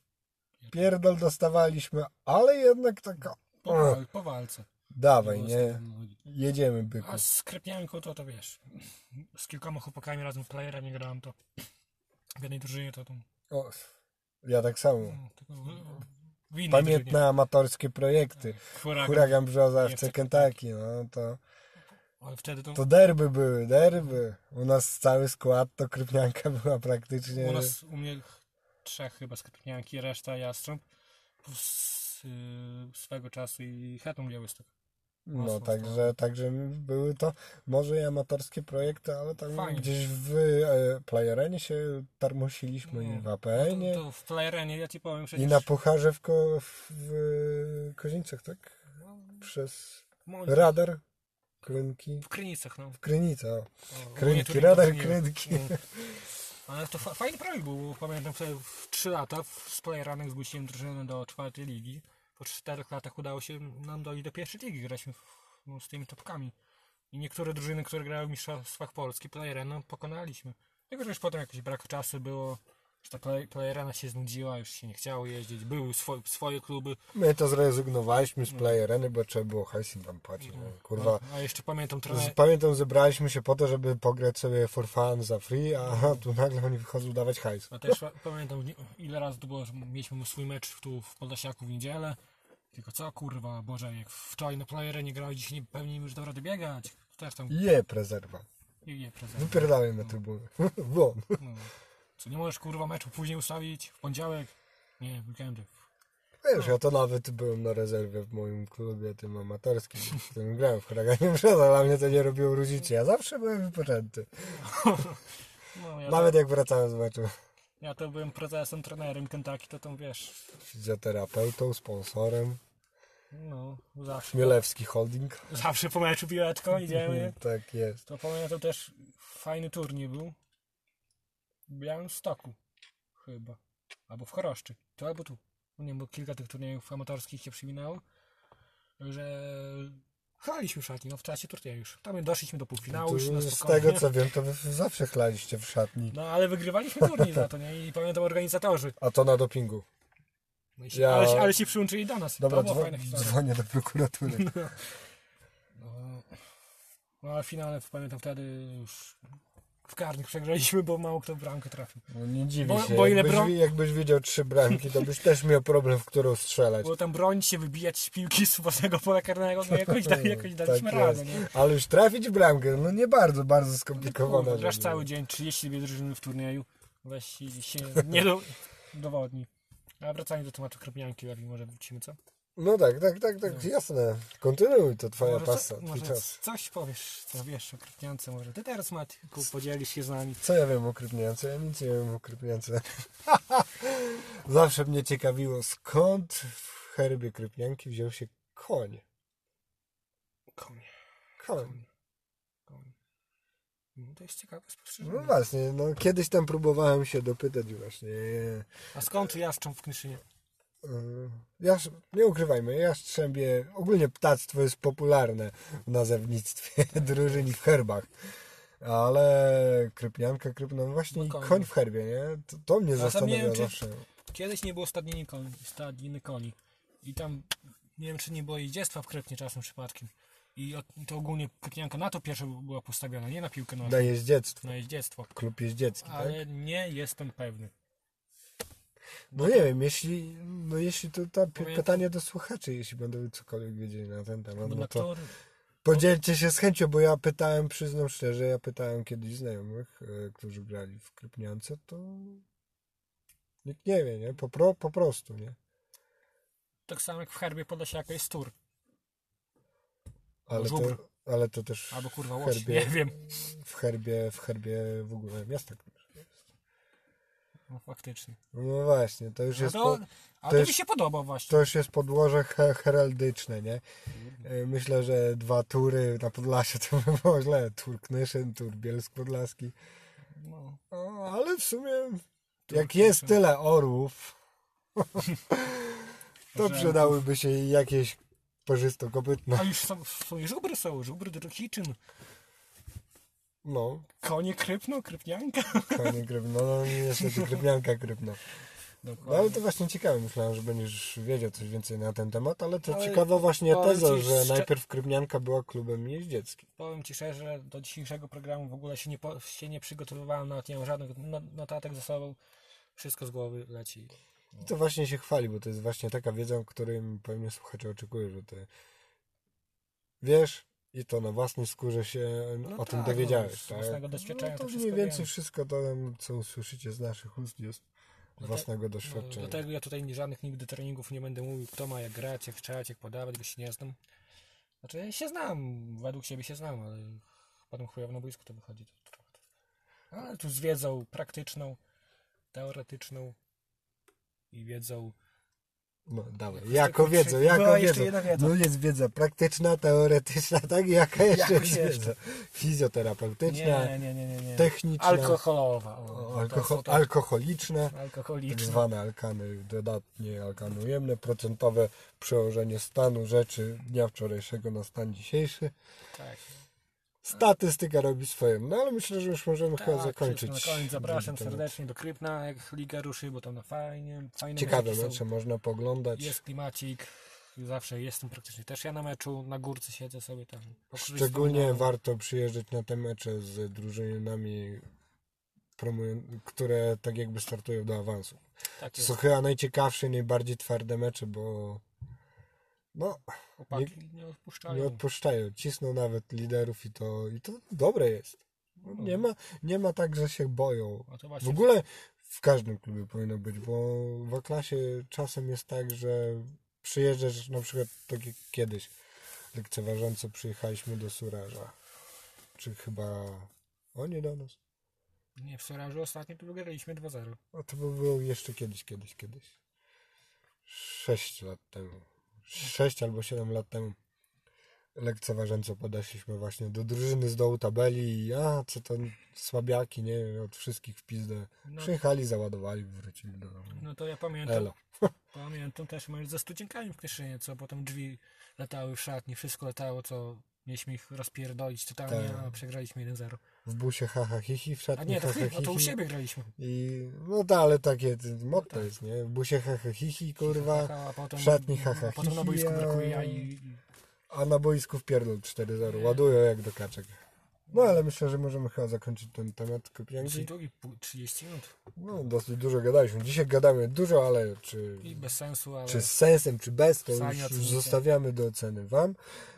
[SPEAKER 1] pierdol dostawaliśmy, ale jednak taka,
[SPEAKER 2] Po,
[SPEAKER 1] Tak.
[SPEAKER 2] wal- po walce.
[SPEAKER 1] dawaj,
[SPEAKER 2] Było
[SPEAKER 1] nie?
[SPEAKER 2] stadion Moniki.
[SPEAKER 1] Jedziemy, byku.
[SPEAKER 2] A z Krypianką to to wiesz, z kilkoma chłopakami razem w playera nie grałem, to w jednej drużynie to tam...
[SPEAKER 1] O, ja tak samo.
[SPEAKER 2] No, tylko w, w innej drużynie.
[SPEAKER 1] Pamiętne amatorskie projekty.
[SPEAKER 2] Huragan.
[SPEAKER 1] Huragan Brzoza,
[SPEAKER 2] Nie,
[SPEAKER 1] FC Kentucky, no to,
[SPEAKER 2] Ale wtedy to,
[SPEAKER 1] to derby były, derby. U nas cały skład to Krypnianka była praktycznie...
[SPEAKER 2] u nas, u mnie trzech chyba skrypnianki, reszta jastrząb, plus yy, swego czasu i Hetman Białystok.
[SPEAKER 1] No,
[SPEAKER 2] mocno
[SPEAKER 1] także,
[SPEAKER 2] stało.
[SPEAKER 1] także były to może i amatorskie projekty, ale tam
[SPEAKER 2] Fajnie.
[SPEAKER 1] gdzieś w e, playerenie się tarmosiliśmy i w
[SPEAKER 2] No,
[SPEAKER 1] apn
[SPEAKER 2] To, to w playerenie, ja ci powiem przecież...
[SPEAKER 1] i na pucharze w, ko, w, w Kozińcach, tak?
[SPEAKER 2] no,
[SPEAKER 1] Przez
[SPEAKER 2] mo-
[SPEAKER 1] radar, krynki,
[SPEAKER 2] w Krynicach, no.
[SPEAKER 1] krynica, o.
[SPEAKER 2] O, ogólnie
[SPEAKER 1] krynki,
[SPEAKER 2] Turin to
[SPEAKER 1] radar,
[SPEAKER 2] nie-
[SPEAKER 1] krynki.
[SPEAKER 2] Mm. Ale to fa- fajny projekt był, bo pamiętam wtedy w 3 lata w- z playeranek zgłosiłem drużynę do czwartej ligi. Po 4 latach udało się nam dojść do pierwszej ligi, graliśmy w, no, z tymi topkami. I niektóre drużyny, które grały w mistrzostwach Polski, playerena pokonaliśmy. Tylko, że już potem jakiś brak czasu było, że ta play, playerena się znudziła, już się nie chciało jeździć, były swo, swoje kluby.
[SPEAKER 1] My to zrezygnowaliśmy z playereny, bo trzeba było hajsy tam płacić. no, Kurwa,
[SPEAKER 2] A jeszcze pamiętam
[SPEAKER 1] Z,
[SPEAKER 2] trener,
[SPEAKER 1] pamiętam, zebraliśmy się po to, żeby pograć sobie for fun za free, a tu nagle oni wychodzą dawać hajs.
[SPEAKER 2] Ja też pa- pamiętam nie- ile razy to było, że mieliśmy swój mecz w- tu w Podlasiaku w niedzielę. Tylko co kurwa, Boże, jak wczoraj na playery nie grałeś, dzisiaj nie, pewnie im już dał radę biegać. Też tam
[SPEAKER 1] Je, prezerwa.
[SPEAKER 2] nie, nie prezent.
[SPEAKER 1] Wypierdalaj na trybunę. Won.
[SPEAKER 2] No. Co nie możesz kurwa meczu później ustawić w poniedziałek? Nie, w weekendy.
[SPEAKER 1] Wiesz, ja to nawet byłem na rezerwie w moim klubie tym amatorskim, w którym grałem w huraganie przez, ale mnie to nie robiło różnicy. Ja zawsze byłem wypoczęty.
[SPEAKER 2] No, ja,
[SPEAKER 1] Nawet jak wracałem z meczu.
[SPEAKER 2] ja to byłem prezesem, trenerem Kentucky, to tam wiesz,
[SPEAKER 1] Fizjoterapeutą, sponsorem,
[SPEAKER 2] no zawsze,
[SPEAKER 1] Mielewski Holding.
[SPEAKER 2] zawsze po meczu piłeczką idziemy.
[SPEAKER 1] Tak jest.
[SPEAKER 2] To pamiętam też fajny turniej był w Białymstoku chyba, albo w Choroszczy, to albo tu. Nie wiem, bo kilka tych turniejów amatorskich się przyminało, że chlaliśmy szatni, no w czasie turnieju już. Tam doszliśmy do półfinału już na
[SPEAKER 1] Tu, z
[SPEAKER 2] spokojnie.
[SPEAKER 1] tego co wiem, to wy zawsze chlaliście w szatni.
[SPEAKER 2] No ale wygrywaliśmy turniej za to, nie? I pamiętam organizatorzy.
[SPEAKER 1] A to na dopingu.
[SPEAKER 2] No i się,
[SPEAKER 1] Ja-
[SPEAKER 2] ale, się- ale się przyłączyli do nas.
[SPEAKER 1] Dobra,
[SPEAKER 2] to była
[SPEAKER 1] dzwo-
[SPEAKER 2] fajna historia.
[SPEAKER 1] dzwonię do prokuratury.
[SPEAKER 2] No, no ale w finale pamiętam wtedy już w karnych przegraliśmy, bo mało kto w bramkę trafił.
[SPEAKER 1] No nie dziwię
[SPEAKER 2] Bo-
[SPEAKER 1] się.
[SPEAKER 2] bo ile
[SPEAKER 1] jakbyś,
[SPEAKER 2] bro-
[SPEAKER 1] wi- jakbyś widział trzy bramki, to byś też miał problem, w którą strzelać.
[SPEAKER 2] Było tam bronić się, wybijać piłki z własnego pola karnego, no jakoś, da, jakoś daliśmy
[SPEAKER 1] Tak
[SPEAKER 2] radę,
[SPEAKER 1] jest.
[SPEAKER 2] nie?
[SPEAKER 1] Ale już trafić bramkę, no nie bardzo, bardzo skomplikowana
[SPEAKER 2] Kurwa,
[SPEAKER 1] rzecz.
[SPEAKER 2] Grasz cały dzień, 32 drużyny w turnieju, weź i się nie do, dowodni. A wracając do tematu Krypnianki, lepiej może wrócimy, co?
[SPEAKER 1] No tak, tak, tak, tak, jasne. Kontynuuj, to twoja
[SPEAKER 2] Może,
[SPEAKER 1] pasa,
[SPEAKER 2] co,
[SPEAKER 1] twój
[SPEAKER 2] może
[SPEAKER 1] czas.
[SPEAKER 2] coś powiesz, co wiesz o Krypniance, może ty teraz, Matku, podzielisz się z nami.
[SPEAKER 1] Co ja wiem o Krypniance? Ja nic nie wiem o Krypniance. Zawsze mnie ciekawiło, skąd w herbie Krypnianki wziął się koń.
[SPEAKER 2] Koń,
[SPEAKER 1] Koń.
[SPEAKER 2] koń. No to jest ciekawe
[SPEAKER 1] No
[SPEAKER 2] spostrzeżenie.
[SPEAKER 1] właśnie, no kiedyś tam próbowałem się dopytać właśnie. e,
[SPEAKER 2] A skąd jaszczą w Knyszynie?
[SPEAKER 1] Y, Jasz, nie ukrywajmy, jastrzębie, ogólnie ptactwo jest popularne w nazewnictwie drużyn i w herbach. Ale krypnianka, kryp, no właśnie
[SPEAKER 2] No
[SPEAKER 1] i
[SPEAKER 2] koń.
[SPEAKER 1] koń w herbie, nie? To, to mnie
[SPEAKER 2] sam nie
[SPEAKER 1] zastanawia
[SPEAKER 2] wiem, czy-
[SPEAKER 1] zawsze.
[SPEAKER 2] Kiedyś nie było stadniny koni, stadniny koni. I tam, nie wiem czy nie było jeździectwa w Krepnie czasem przypadkiem. I o- to ogólnie Krypnianka na to pierwsza była postawiona, nie na piłkę nożną,
[SPEAKER 1] Na jeździectwo,
[SPEAKER 2] na jeździectwo.
[SPEAKER 1] klub jeździecki, tak?
[SPEAKER 2] No Ale nie jestem pewny.
[SPEAKER 1] No nie wiem, jeśli, no jeśli to ta pi-
[SPEAKER 2] Pamiętam-
[SPEAKER 1] pytanie do słuchaczy, jeśli będą cokolwiek wiedzieli na ten temat,
[SPEAKER 2] Bo
[SPEAKER 1] no
[SPEAKER 2] na
[SPEAKER 1] to
[SPEAKER 2] tor,
[SPEAKER 1] podzielcie się z chęcią, bo ja e, pytałem, przyznam szczerze, ja pytałem kiedyś znajomych, y, którzy grali w krypniance, to Nikt nie wie, nie? Po, pro, po prostu, nie?
[SPEAKER 2] Tak samo jak w herbie Podlasiaka jest tur.
[SPEAKER 1] Ale to,
[SPEAKER 2] żubr.
[SPEAKER 1] ale to też
[SPEAKER 2] Albo kurwa
[SPEAKER 1] w
[SPEAKER 2] łoś, nie
[SPEAKER 1] herbie,
[SPEAKER 2] wiem.
[SPEAKER 1] w herbie, w herbie w ogóle miasta.
[SPEAKER 2] No faktycznie.
[SPEAKER 1] No właśnie, to już
[SPEAKER 2] No
[SPEAKER 1] jest...
[SPEAKER 2] to,
[SPEAKER 1] po-
[SPEAKER 2] a
[SPEAKER 1] to
[SPEAKER 2] to
[SPEAKER 1] jest-
[SPEAKER 2] mi się podoba właśnie.
[SPEAKER 1] To już jest podłoże he- heraldyczne, nie? E, Myślę, że dwa tury na Podlasie to by było źle. Tur Knyszyn, Tur Bielsk Podlaski.
[SPEAKER 2] No.
[SPEAKER 1] No, ale w sumie jak jest tyle orłów, to
[SPEAKER 2] Że-
[SPEAKER 1] przydałyby się i jakieś parzysto kopytne.
[SPEAKER 2] A już są, są i żubry są, żubry do chiczyn.
[SPEAKER 1] No,
[SPEAKER 2] Konie krypną, krypnianka.
[SPEAKER 1] konie grypno. No niestety grypnianka grypno. No ale to właśnie ciekawe, myślałem, że będziesz wiedział coś więcej na ten temat, ale to
[SPEAKER 2] Ale
[SPEAKER 1] ciekawa właśnie
[SPEAKER 2] powiem
[SPEAKER 1] teza,
[SPEAKER 2] ci
[SPEAKER 1] że
[SPEAKER 2] szczer-
[SPEAKER 1] najpierw Krybnianka była klubem jeździeckim.
[SPEAKER 2] Powiem Ci szczerze, do dzisiejszego programu w ogóle się nie, po- się nie przygotowywałem, nawet nie mam żadnych no- notatek ze sobą. Wszystko z głowy leci.
[SPEAKER 1] I to właśnie się chwali, bo to jest właśnie taka wiedza, o której pewnie słuchacze oczekują, że ty wiesz i to na własnej skórze się
[SPEAKER 2] No
[SPEAKER 1] o tym
[SPEAKER 2] tak, no,
[SPEAKER 1] dowiedziałeś.
[SPEAKER 2] z
[SPEAKER 1] tak?
[SPEAKER 2] własnego doświadczenia
[SPEAKER 1] no,
[SPEAKER 2] to
[SPEAKER 1] to mniej
[SPEAKER 2] wszystko
[SPEAKER 1] więcej
[SPEAKER 2] wiem.
[SPEAKER 1] wszystko to, co usłyszycie z naszych ust jest
[SPEAKER 2] te-
[SPEAKER 1] własnego
[SPEAKER 2] No,
[SPEAKER 1] doświadczenia.
[SPEAKER 2] Do tego ja tutaj żadnych nigdy treningów nie będę mówił, kto ma jak grać, jak strzelać, jak podawać, bo się nie znam. Znaczy ja się znam, według siebie się znam, ale potem chujowo na boisku to wychodzi. To trochę. Ale tu z wiedzą praktyczną, teoretyczną i wiedzą
[SPEAKER 1] No dawaj,
[SPEAKER 2] Jakoś
[SPEAKER 1] jako
[SPEAKER 2] tylko
[SPEAKER 1] wiedzą,
[SPEAKER 2] trzy-
[SPEAKER 1] jako
[SPEAKER 2] Była jeszcze
[SPEAKER 1] wiedzą.
[SPEAKER 2] jedna wiedza.
[SPEAKER 1] No jest wiedza praktyczna, teoretyczna, tak? Jaka jeszcze
[SPEAKER 2] Jakoś
[SPEAKER 1] jest
[SPEAKER 2] jeszcze.
[SPEAKER 1] wiedza? Fizjoterapeutyczna,
[SPEAKER 2] Nie, tak, nie, nie, nie, nie.
[SPEAKER 1] techniczna,
[SPEAKER 2] Alkoholowa.
[SPEAKER 1] o,
[SPEAKER 2] O,
[SPEAKER 1] alkohol,
[SPEAKER 2] to, to,
[SPEAKER 1] alkoholiczna. tak
[SPEAKER 2] alkoholiczna.
[SPEAKER 1] zwane alkany dodatnie, alkany ujemne, procentowe przełożenie stanu rzeczy dnia wczorajszego na stan dzisiejszy.
[SPEAKER 2] Tak.
[SPEAKER 1] Statystyka robi swoje, no ale myślę, że już możemy chyba
[SPEAKER 2] Tak,
[SPEAKER 1] zakończyć.
[SPEAKER 2] wszystko Na koniec zapraszam
[SPEAKER 1] ten temat.
[SPEAKER 2] serdecznie do Krypna, jak liga ruszy, bo tam na fajnie. Fajne
[SPEAKER 1] Ciekawe
[SPEAKER 2] mecze są.
[SPEAKER 1] mecze, można poglądać.
[SPEAKER 2] Jest klimacik. Zawsze jestem praktycznie też ja na meczu, na górce siedzę sobie tam. pokrzyżuję
[SPEAKER 1] Szczególnie
[SPEAKER 2] wspominam.
[SPEAKER 1] warto przyjeżdżać na te mecze z drużynami, promują- które tak jakby startują do awansu.
[SPEAKER 2] Tak
[SPEAKER 1] To
[SPEAKER 2] jest,
[SPEAKER 1] są chyba najciekawsze, najbardziej twarde mecze, bo no,
[SPEAKER 2] chłopaki nie
[SPEAKER 1] Nie
[SPEAKER 2] odpuszczają.
[SPEAKER 1] odpuszczają, cisną nawet liderów i to, i to dobre jest. No, Nie ma, nie ma tak, że się boją.
[SPEAKER 2] A to
[SPEAKER 1] W
[SPEAKER 2] właśnie
[SPEAKER 1] ogóle w każdym klubie powinno być, bo w klasie czasem jest tak, że przyjeżdżasz na przykład tak jak kiedyś lekceważąco przyjechaliśmy do Suraża. Czy chyba oni do nas?
[SPEAKER 2] nie w Sorażu ostatnio tu wygraliśmy 2-0.
[SPEAKER 1] A to by było jeszcze kiedyś, kiedyś, kiedyś. Sześć lat temu. Sześć albo siedem lat temu. Lekceważąco podeszliśmy właśnie do drużyny z dołu tabeli i a, co to słabiaki, nie, od wszystkich w pizdę.
[SPEAKER 2] No.
[SPEAKER 1] Przyjechali, załadowali, wrócili do domu.
[SPEAKER 2] No to ja pamiętam.
[SPEAKER 1] Elo. Tak.
[SPEAKER 2] Pamiętam też mecz ze studzienkami w Kieszynie, co potem drzwi latały w szatni, wszystko latało, co mieliśmy ich rozpierdolić totalnie,
[SPEAKER 1] Tak.
[SPEAKER 2] a przegraliśmy 1-0.
[SPEAKER 1] W busie haha hihi, w
[SPEAKER 2] A
[SPEAKER 1] szatni
[SPEAKER 2] nie, to,
[SPEAKER 1] haha
[SPEAKER 2] chy- a to u
[SPEAKER 1] hihi.
[SPEAKER 2] siebie tak. graliśmy.
[SPEAKER 1] I no tak, ale takie motto jest, nie? W busie haha hihi, kurwa,
[SPEAKER 2] A potem,
[SPEAKER 1] w szatni haha
[SPEAKER 2] a potem na boisku
[SPEAKER 1] hihi, a-
[SPEAKER 2] brakuje ja i, i
[SPEAKER 1] a na boisku wpierdol 4-0. Ładują jak do kaczek. No ale myślę, że możemy chyba zakończyć ten temat
[SPEAKER 2] dosyć
[SPEAKER 1] kopianki.
[SPEAKER 2] długi, pół- 30 minut.
[SPEAKER 1] No dosyć dużo gadaliśmy. Dzisiaj gadamy dużo, ale czy,
[SPEAKER 2] I bez sensu, ale
[SPEAKER 1] czy z sensem, czy bez, to
[SPEAKER 2] Sami
[SPEAKER 1] już
[SPEAKER 2] ocenicie.
[SPEAKER 1] zostawiamy do oceny Wam.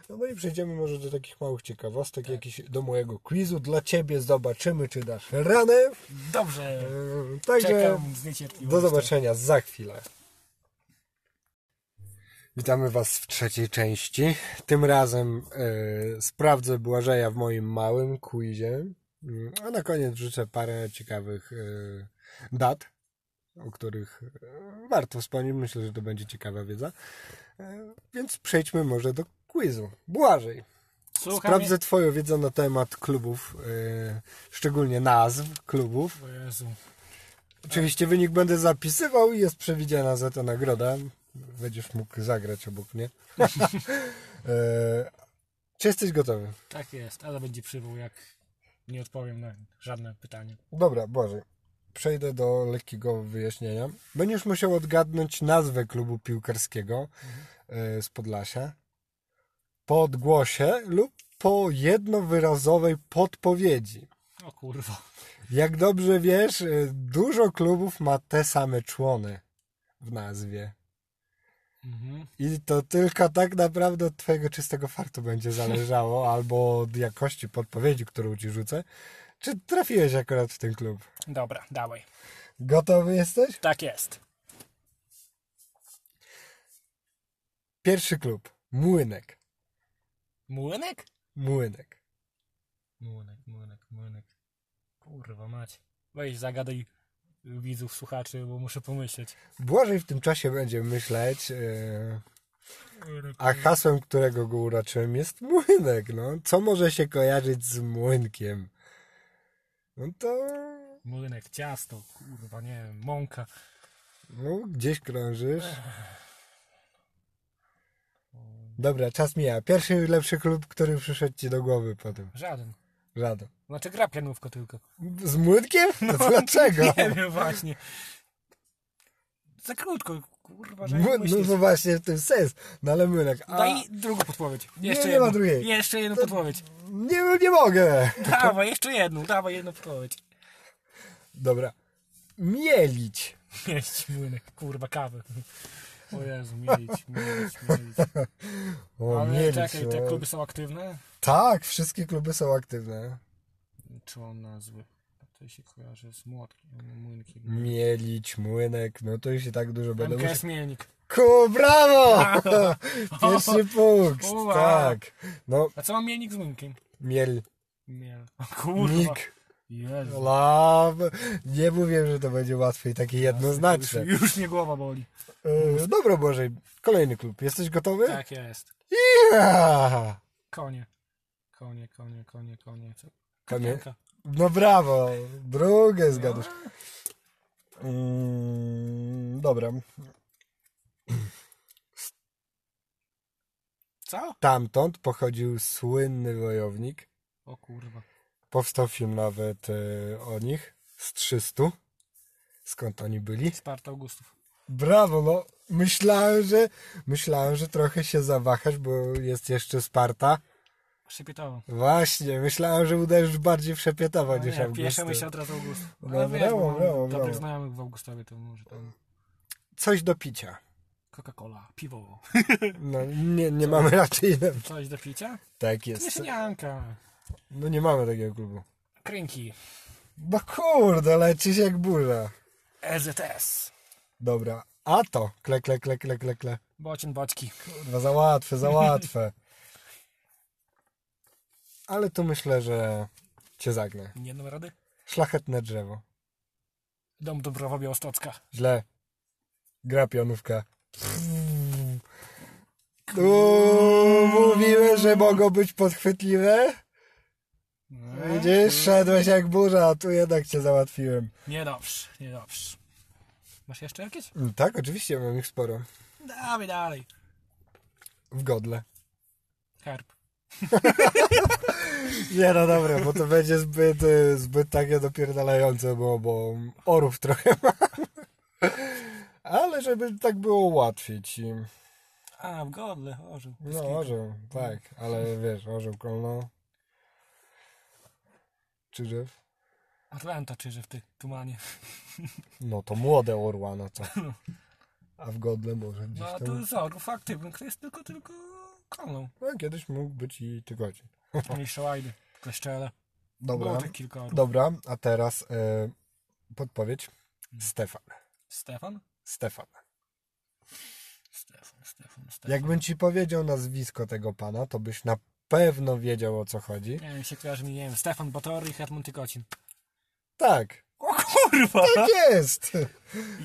[SPEAKER 1] No, no i przejdziemy może do takich małych ciekawostek,
[SPEAKER 2] Tak.
[SPEAKER 1] jakiś do mojego quizu. Dla Ciebie zobaczymy, czy dasz ranę.
[SPEAKER 2] dobrze,
[SPEAKER 1] Eee, Także...
[SPEAKER 2] czekam z
[SPEAKER 1] Do
[SPEAKER 2] niecierpliwością.
[SPEAKER 1] zobaczenia za chwilę. Witamy Was w trzeciej części. Tym razem e, sprawdzę Błażeja w moim małym quizie. Mm, A na koniec rzucę parę ciekawych e, dat, o których e, warto wspomnieć. Myślę, że to będzie ciekawa wiedza. E, Więc przejdźmy może do quizu. Błażej,
[SPEAKER 2] Słucham
[SPEAKER 1] sprawdzę Twoją wiedzę na temat klubów, e, szczególnie nazw klubów.
[SPEAKER 2] je- O Jezu.
[SPEAKER 1] Oczywiście wynik będę zapisywał i jest przewidziana za to nagroda. Będziesz mógł zagrać obok mnie. E, Czy jesteś gotowy?
[SPEAKER 2] Tak jest, ale będzie przywoł, jak nie odpowiem na żadne pytanie.
[SPEAKER 1] Dobra, Boże. Przejdę do lekkiego wyjaśnienia. Będziesz musiał odgadnąć nazwę klubu piłkarskiego e, z Podlasia po odgłosie lub po jednowyrazowej podpowiedzi.
[SPEAKER 2] O kurwa.
[SPEAKER 1] Jak dobrze wiesz, e, dużo klubów ma te same człony w nazwie.
[SPEAKER 2] Mhm.
[SPEAKER 1] I to tylko tak naprawdę od twojego czystego fartu będzie zależało, albo od jakości podpowiedzi, którą ci rzucę. Czy trafiłeś akurat w ten klub?
[SPEAKER 2] Dobra, dawaj.
[SPEAKER 1] Gotowy jesteś?
[SPEAKER 2] Tak jest.
[SPEAKER 1] Pierwszy klub. Młynek.
[SPEAKER 2] Młynek?
[SPEAKER 1] Młynek.
[SPEAKER 2] Młynek, młynek, młynek. Kurwa mać. Weź zagadaj widzów, słuchaczy, bo muszę pomyśleć.
[SPEAKER 1] Błażej w tym czasie będzie myśleć, yy, a hasłem, którego go uraczyłem jest młynek. No. Co może się kojarzyć z młynkiem? No to
[SPEAKER 2] Młynek, ciasto, kurwa, nie wiem, mąka.
[SPEAKER 1] no, gdzieś krążysz. Dobra, czas mija. Pierwszy lepszy klub, który przyszedł ci do głowy po tym.
[SPEAKER 2] Żaden.
[SPEAKER 1] Żaden.
[SPEAKER 2] Znaczy gra pianówka tylko.
[SPEAKER 1] Z młynkiem? No, Dlaczego?
[SPEAKER 2] Nie wiem właśnie. Za krótko, kurwa, że
[SPEAKER 1] Mły- No,
[SPEAKER 2] myślisz.
[SPEAKER 1] no właśnie w tym sens. No ale młynek. A...
[SPEAKER 2] Daj drugą podpowiedź. Jeszcze
[SPEAKER 1] nie
[SPEAKER 2] jedną.
[SPEAKER 1] ma drugiej.
[SPEAKER 2] Jeszcze jedną podpowiedź.
[SPEAKER 1] Nie, nie mogę.
[SPEAKER 2] Dawaj, jeszcze jedną, dawaj jedną podpowiedź.
[SPEAKER 1] Dobra. Mielić.
[SPEAKER 2] Mielić młynek, kurwa, kawy. O Jezu, mielić, mielić, mielić.
[SPEAKER 1] O,
[SPEAKER 2] Ale
[SPEAKER 1] mielić.
[SPEAKER 2] czekaj, te
[SPEAKER 1] no.
[SPEAKER 2] kluby są aktywne?
[SPEAKER 1] Tak, wszystkie kluby są aktywne.
[SPEAKER 2] Czy on nazwy? To się kojarzy z młotkiem, młynkiem.
[SPEAKER 1] Mielić, młynek, no to już i tak dużo będę musiał.
[SPEAKER 2] MKS Mielnik.
[SPEAKER 1] Ku, brawo! Pierwszy punkt,
[SPEAKER 2] Ua.
[SPEAKER 1] tak. No,
[SPEAKER 2] A co ma Mielnik z młynkiem?
[SPEAKER 1] miel,
[SPEAKER 2] Miel. O Kurwa.
[SPEAKER 1] nik,
[SPEAKER 2] Jezu.
[SPEAKER 1] love. Nie mówię, że to będzie łatwe i takie jednoznaczne.
[SPEAKER 2] Już, już mnie głowa boli.
[SPEAKER 1] E, Dobra, Boże, kolejny klub. Jesteś gotowy?
[SPEAKER 2] Tak jest.
[SPEAKER 1] Ja!
[SPEAKER 2] Konie. Konie, konie, konie, konie. Co?
[SPEAKER 1] Konie?
[SPEAKER 2] Kapianka.
[SPEAKER 1] No brawo, drugie zgadłeś.
[SPEAKER 2] No.
[SPEAKER 1] Mm, dobra,
[SPEAKER 2] Co?
[SPEAKER 1] stamtąd pochodził słynny wojownik.
[SPEAKER 2] O kurwa.
[SPEAKER 1] Powstał film nawet e, o nich z 300. Skąd oni byli?
[SPEAKER 2] Sparta Augustów.
[SPEAKER 1] Brawo, no. Myślałem, że myślałem, że trochę się zawahasz, bo jest jeszcze Sparta.
[SPEAKER 2] Szypietowo.
[SPEAKER 1] Właśnie, myślałem, że uderzysz bardziej w Szepietowa niż
[SPEAKER 2] No Nie, pierwsze
[SPEAKER 1] Augustę.
[SPEAKER 2] myślę od razu August.
[SPEAKER 1] No,
[SPEAKER 2] Ale wiesz,
[SPEAKER 1] brawo,
[SPEAKER 2] bo
[SPEAKER 1] brawo,
[SPEAKER 2] mam dobrych
[SPEAKER 1] brawo.
[SPEAKER 2] znajomych w Augustowie, to może tam
[SPEAKER 1] Coś do picia.
[SPEAKER 2] Coca-Cola, piwo.
[SPEAKER 1] No, nie, nie mamy raczej.
[SPEAKER 2] Coś do picia?
[SPEAKER 1] Tak jest.
[SPEAKER 2] Mieszanianka.
[SPEAKER 1] No nie mamy takiego klubu.
[SPEAKER 2] Krynki.
[SPEAKER 1] No kurde, lecisz jak burza.
[SPEAKER 2] E EZS.
[SPEAKER 1] Dobra, a to kle, kle, kle, kle, kle, kle.
[SPEAKER 2] Bocin, boczki.
[SPEAKER 1] Kurwa, za łatwe, za łatwe. Ale tu myślę, że cię zagnę.
[SPEAKER 2] Nie dam rady?
[SPEAKER 1] Szlachetne drzewo.
[SPEAKER 2] Dom Dąbrowa Białostocka.
[SPEAKER 1] Źle. Gra pionówka. Uuu, mówiłem, że mogą być podchwytliwe. Widzisz, szedłeś jak burza, a tu jednak cię załatwiłem.
[SPEAKER 2] Niedobrze, niedobrze. Masz jeszcze jakieś?
[SPEAKER 1] Mm, Tak, oczywiście mam ich sporo.
[SPEAKER 2] Dawaj dalej.
[SPEAKER 1] W godle.
[SPEAKER 2] Karp.
[SPEAKER 1] Nie, no dobra, bo to będzie zbyt, y, zbyt takie dopierdalające, bo, bo orów trochę mam. Ale żeby tak było łatwiej ci.
[SPEAKER 2] A, w godle, orzeł.
[SPEAKER 1] No, orzeł, tak, ale wiesz, orzeł kolno. Czy drzew?
[SPEAKER 2] Atlanta czyże w ty tumanie.
[SPEAKER 1] No to młode orła, no co? A w godle może gdzieś
[SPEAKER 2] No,
[SPEAKER 1] tam.
[SPEAKER 2] to z orów aktywnych to jest tylko, tylko koną.
[SPEAKER 1] No, kiedyś mógł być i tygodzi.
[SPEAKER 2] I szałajdy, kleszczele. Było
[SPEAKER 1] Dobra,
[SPEAKER 2] tych kilka orów.
[SPEAKER 1] dobra, a teraz y, podpowiedź. Stefan.
[SPEAKER 2] Stefan?
[SPEAKER 1] Stefan.
[SPEAKER 2] Stefan, Stefan, Stefan.
[SPEAKER 1] Jakbym ci powiedział nazwisko tego pana, to byś na pewno wiedział o co chodzi.
[SPEAKER 2] Nie wiem, się kojarzy mi, nie wiem, Stefan Batory i Hetman Tykocin.
[SPEAKER 1] Tak,
[SPEAKER 2] O kurwa!
[SPEAKER 1] tak jest!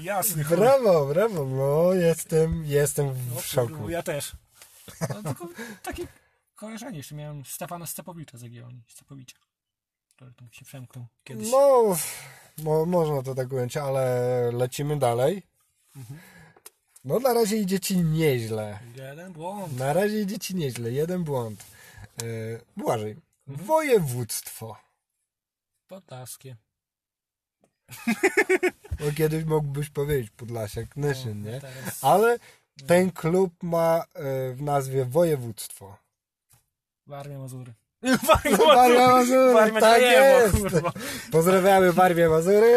[SPEAKER 2] Jasny chuj.
[SPEAKER 1] Brawo, brawo, no jestem, jestem
[SPEAKER 2] O
[SPEAKER 1] w
[SPEAKER 2] kurwa,
[SPEAKER 1] szoku.
[SPEAKER 2] Ja też. No, tylko takie kojarzenie, jeszcze miałem Stefana Stepowicza z Jagiellonii. Stepowicza. Który tam się przemknął kiedyś.
[SPEAKER 1] No, mo, można to tak ująć, ale lecimy dalej. No na razie idzie ci nieźle.
[SPEAKER 2] Jeden błąd.
[SPEAKER 1] Na razie idzie ci nieźle, jeden błąd. Yy, Błażej, województwo.
[SPEAKER 2] Podlaskie.
[SPEAKER 1] Bo kiedyś mógłbyś powiedzieć Podlasiak, Nyszyn, nie?
[SPEAKER 2] Teraz
[SPEAKER 1] Ale ten klub ma e, w nazwie województwo.
[SPEAKER 2] Warmia Mazury.
[SPEAKER 1] Warmia Mazury,
[SPEAKER 2] Warmia
[SPEAKER 1] tak
[SPEAKER 2] Czerniewo,
[SPEAKER 1] jest.
[SPEAKER 2] kurwa.
[SPEAKER 1] Pozdrawiamy Barwie Mazury.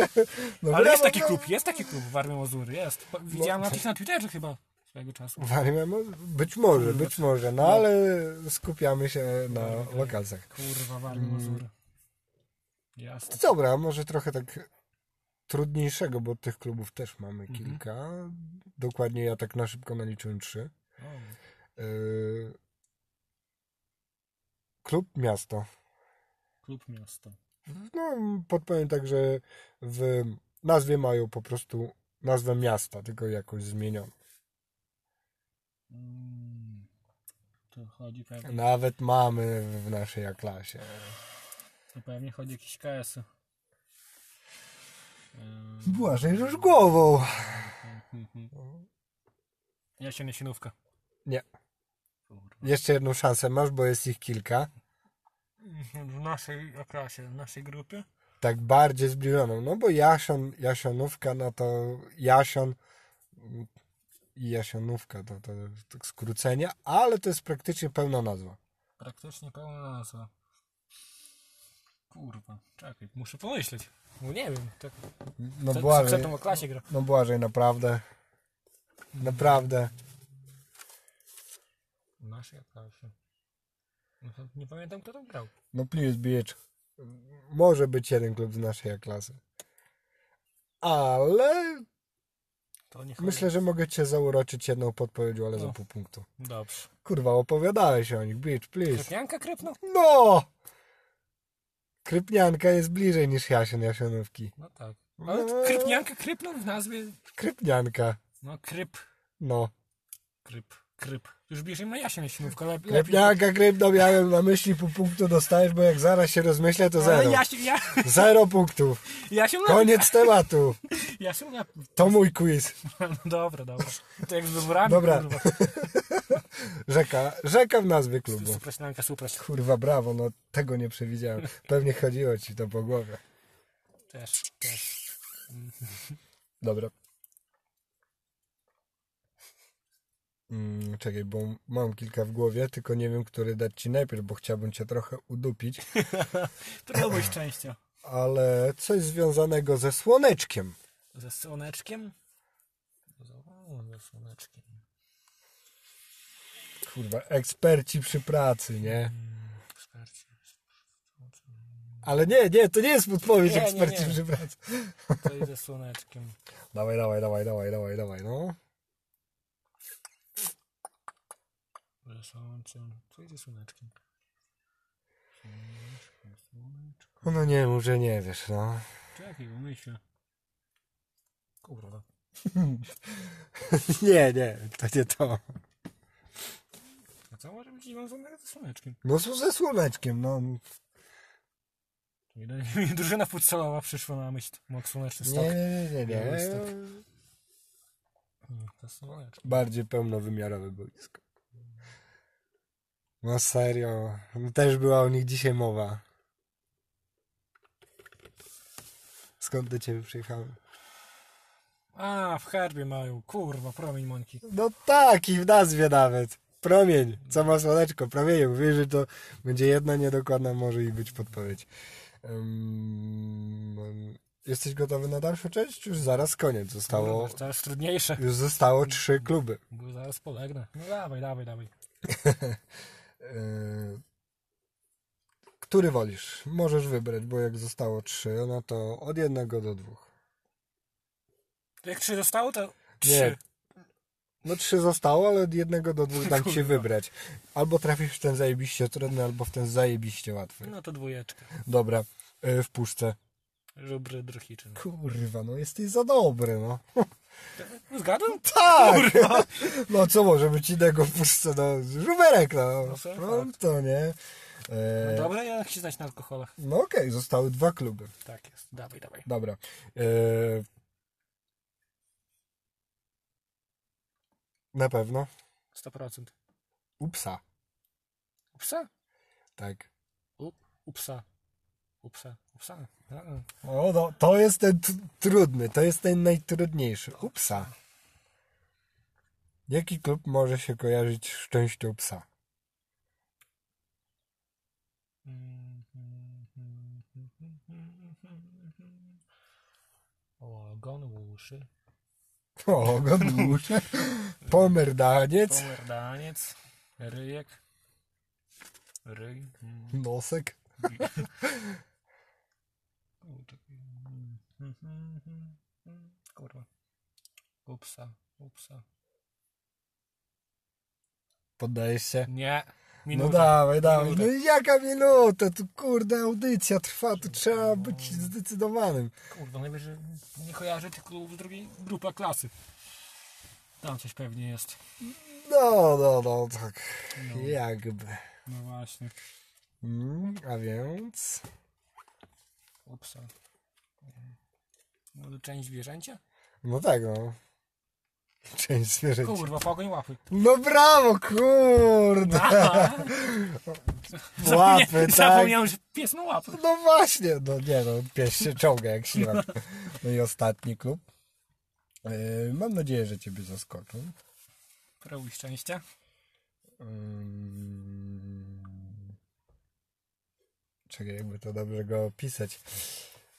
[SPEAKER 1] No,
[SPEAKER 2] Ale jest
[SPEAKER 1] brawo,
[SPEAKER 2] taki
[SPEAKER 1] brawo.
[SPEAKER 2] klub, jest taki klub Warmia Mazury, jest. Po- Widziałem na tych na Twitterze chyba swojego czasu.
[SPEAKER 1] Warmia Mazury. Być może, być może, no ale skupiamy się na lokalcach. Mm.
[SPEAKER 2] Kurwa, Warmia Mazury. Jasne.
[SPEAKER 1] Dobra, może trochę tak trudniejszego, bo tych klubów też mamy
[SPEAKER 2] Mhm.
[SPEAKER 1] kilka. Dokładnie ja tak na szybko naliczyłem trzy.
[SPEAKER 2] O,
[SPEAKER 1] Yy, Klub miasto.
[SPEAKER 2] klub miasto.
[SPEAKER 1] No, podpowiem tak, że w nazwie mają po prostu nazwę miasta, tylko jakoś zmienioną.
[SPEAKER 2] Mm, tu chodzi pewnie,
[SPEAKER 1] Nawet mamy w naszej A-klasie.
[SPEAKER 2] tu pewnie chodzi jakiś KS. -y. Ym,
[SPEAKER 1] Błażej już głową.
[SPEAKER 2] mm, mm. Jasień Jasienówka.
[SPEAKER 1] Nie.
[SPEAKER 2] Kurwa.
[SPEAKER 1] Jeszcze jedną szansę masz, bo jest ich kilka.
[SPEAKER 2] W naszej klasie, w naszej grupie?
[SPEAKER 1] Tak bardziej zbliżoną. No bo Jasion, Jasionówka, no to Jasion i Jasionówka to, to, to skrócenie, ale to jest praktycznie pełna nazwa.
[SPEAKER 2] Praktycznie pełna nazwa. Kurwa, czekaj, muszę pomyśleć. No nie wiem, tak.
[SPEAKER 1] No
[SPEAKER 2] Przed, przed
[SPEAKER 1] Błażej,
[SPEAKER 2] tą o klasie gra.
[SPEAKER 1] no Błażej, naprawdę. Naprawdę.
[SPEAKER 2] W naszej klasie. No to Nie pamiętam kto tam grał.
[SPEAKER 1] No please, bitch. Może być jeden klub z naszej klasy. Ale
[SPEAKER 2] To nie chodzi.
[SPEAKER 1] myślę, że mogę cię zauroczyć jedną podpowiedzią, ale za
[SPEAKER 2] No.
[SPEAKER 1] pół punktu.
[SPEAKER 2] Dobrze.
[SPEAKER 1] Kurwa, opowiadałeś o nich, bitch, please.
[SPEAKER 2] Krypnianka krypnął?
[SPEAKER 1] No! Krypnianka jest bliżej niż Jasien Jasionówki.
[SPEAKER 2] No tak.
[SPEAKER 1] No.
[SPEAKER 2] Ale krypnianka krypnął w nazwie.
[SPEAKER 1] Krypnianka.
[SPEAKER 2] No kryp,
[SPEAKER 1] No.
[SPEAKER 2] kryp, kryp. Już bliżej ma Jasień Jasienówka, ale lepiej.
[SPEAKER 1] Krypnianka, krypno miałem na myśli, pół punktu dostajesz, bo jak zaraz się rozmyślę, to
[SPEAKER 2] Ale
[SPEAKER 1] zero.
[SPEAKER 2] Jasiu, ja,
[SPEAKER 1] Zero punktów.
[SPEAKER 2] Jasiu, ma-
[SPEAKER 1] Koniec tematu.
[SPEAKER 2] Jasiu, ma-
[SPEAKER 1] To mój quiz.
[SPEAKER 2] no dobra, dobra. To jak z wyborami,
[SPEAKER 1] Dobra.
[SPEAKER 2] kurwa.
[SPEAKER 1] Rzeka. Rzeka w nazwie klubu.
[SPEAKER 2] Supraślanka, supraś.
[SPEAKER 1] Kurwa, brawo, no tego nie przewidziałem. Pewnie chodziło ci to po głowie.
[SPEAKER 2] Też, też.
[SPEAKER 1] Dobra. Mm, czekaj, bo mam kilka w głowie, tylko nie wiem, który dać ci najpierw, bo chciałbym cię trochę udupić,
[SPEAKER 2] Próbuj szczęścia.
[SPEAKER 1] ale coś związanego ze słoneczkiem.
[SPEAKER 2] Ze słoneczkiem? O, Ze słoneczkiem.
[SPEAKER 1] Kurwa, eksperci przy pracy, nie?
[SPEAKER 2] Eksperci.
[SPEAKER 1] Ale nie, nie, to nie jest podpowiedź
[SPEAKER 2] Nie, nie,
[SPEAKER 1] eksperci
[SPEAKER 2] nie.
[SPEAKER 1] przy pracy.
[SPEAKER 2] Coś ze słoneczkiem.
[SPEAKER 1] Dawaj, dawaj, dawaj, dawaj, dawaj, dawaj, no.
[SPEAKER 2] Ze słoneczkiem. Coś ze słoneczkiem. Słoneczko, słoneczko.
[SPEAKER 1] No nie mów, że nie wiesz, no.
[SPEAKER 2] Czekaj, bo myślę. Kurwa.
[SPEAKER 1] nie, nie, to nie to.
[SPEAKER 2] A no co może być związanego ze słoneczkiem?
[SPEAKER 1] No są ze słoneczkiem, no.
[SPEAKER 2] Czyli do- mi Drużyna futsalowa przyszła na myśl. Mok słoneczny
[SPEAKER 1] Nie,
[SPEAKER 2] stok.
[SPEAKER 1] nie, nie, nie.
[SPEAKER 2] Nie,
[SPEAKER 1] nie.
[SPEAKER 2] stok. Ze słoneczkiem.
[SPEAKER 1] bardziej pełnowymiarowe boisko. No serio, no też była o nich dzisiaj mowa. Skąd do ciebie przyjechałem?
[SPEAKER 2] A, w herbie mają. Kurwa, promień mąki.
[SPEAKER 1] No tak, i w nazwie nawet. Promień, co ma słoneczko, promieniu. Mówię, że to będzie jedna niedokładna, może i być podpowiedź. Ym, jesteś gotowy na dalszą część? Już zaraz koniec. Zostało,
[SPEAKER 2] Kurwa, coraz trudniejsze.
[SPEAKER 1] już zostało trzy kluby.
[SPEAKER 2] Bo zaraz polegnę. No dawaj, dawaj, dawaj.
[SPEAKER 1] Yy, Który wolisz? Możesz wybrać, bo jak zostało trzy, no to od jednego do dwóch.
[SPEAKER 2] Jak trzy zostało, to
[SPEAKER 1] Nie.
[SPEAKER 2] trzy.
[SPEAKER 1] No trzy zostało, ale od jednego do dwóch dam ci wybrać. Albo trafisz w ten zajebiście trudny, albo w ten zajebiście łatwy.
[SPEAKER 2] No to dwójeczka.
[SPEAKER 1] Dobra, yy, w puszce.
[SPEAKER 2] Żubry Drochiczyn.
[SPEAKER 1] Kurwa, no jesteś za dobry, no.
[SPEAKER 2] No Zgadłem?
[SPEAKER 1] Tak! No co może być innego w puszce? No, żuberek, no.
[SPEAKER 2] No, fair
[SPEAKER 1] Pronto, nie?
[SPEAKER 2] No
[SPEAKER 1] Yy,
[SPEAKER 2] dobra, ja chcę znać na alkoholach.
[SPEAKER 1] No okej, zostały dwa kluby.
[SPEAKER 2] Tak jest. Dawaj, dawaj.
[SPEAKER 1] Dobra. Eee, Na pewno.
[SPEAKER 2] 100%.
[SPEAKER 1] Upsa.
[SPEAKER 2] Upsa?
[SPEAKER 1] Tak.
[SPEAKER 2] Up, upsa. Upsa. Upsa. A, a.
[SPEAKER 1] O, no, to jest ten t- trudny, to jest ten najtrudniejszy. Upsa. Jaki klub może się kojarzyć z szczęścią psa?
[SPEAKER 2] Ogon łuszy.
[SPEAKER 1] O, Godłusze. Pomerdaniec.
[SPEAKER 2] Pomerdaniec. Ryjek. Ryj.
[SPEAKER 1] Nosek.
[SPEAKER 2] Mm. Mhm, mhm, mhm. Kurwa. Upsa, upsa.
[SPEAKER 1] Poddajesz się?
[SPEAKER 2] Nie.
[SPEAKER 1] No
[SPEAKER 2] Minuta.
[SPEAKER 1] dawaj, dawaj.
[SPEAKER 2] Minuta.
[SPEAKER 1] No i jaka minuta? Tu kurde audycja trwa, tu trzeba być zdecydowanym.
[SPEAKER 2] Kurwa, najwyżej nie kojarzę tych klubów z drugiej grupa klasy. Tam coś pewnie jest.
[SPEAKER 1] No, no, no, tak. Jakby.
[SPEAKER 2] No właśnie.
[SPEAKER 1] Mm, a więc.
[SPEAKER 2] Upsa. Może część zwierzęcia?
[SPEAKER 1] No tak, no. Część zwierzęcia.
[SPEAKER 2] Kurwa, pogoń łapy.
[SPEAKER 1] No brawo, kurde.
[SPEAKER 2] No,
[SPEAKER 1] Łapy, tak.
[SPEAKER 2] Zapomniałem, że pies ma łapy.
[SPEAKER 1] No właśnie, no nie no, pies się ciąga jak siłak. No i ostatni klub. Yy, mam nadzieję, że ciebie zaskoczą. Yy,
[SPEAKER 2] Prołuj szczęścia.
[SPEAKER 1] Mm. Czekaj, jakby to dobrze go opisać.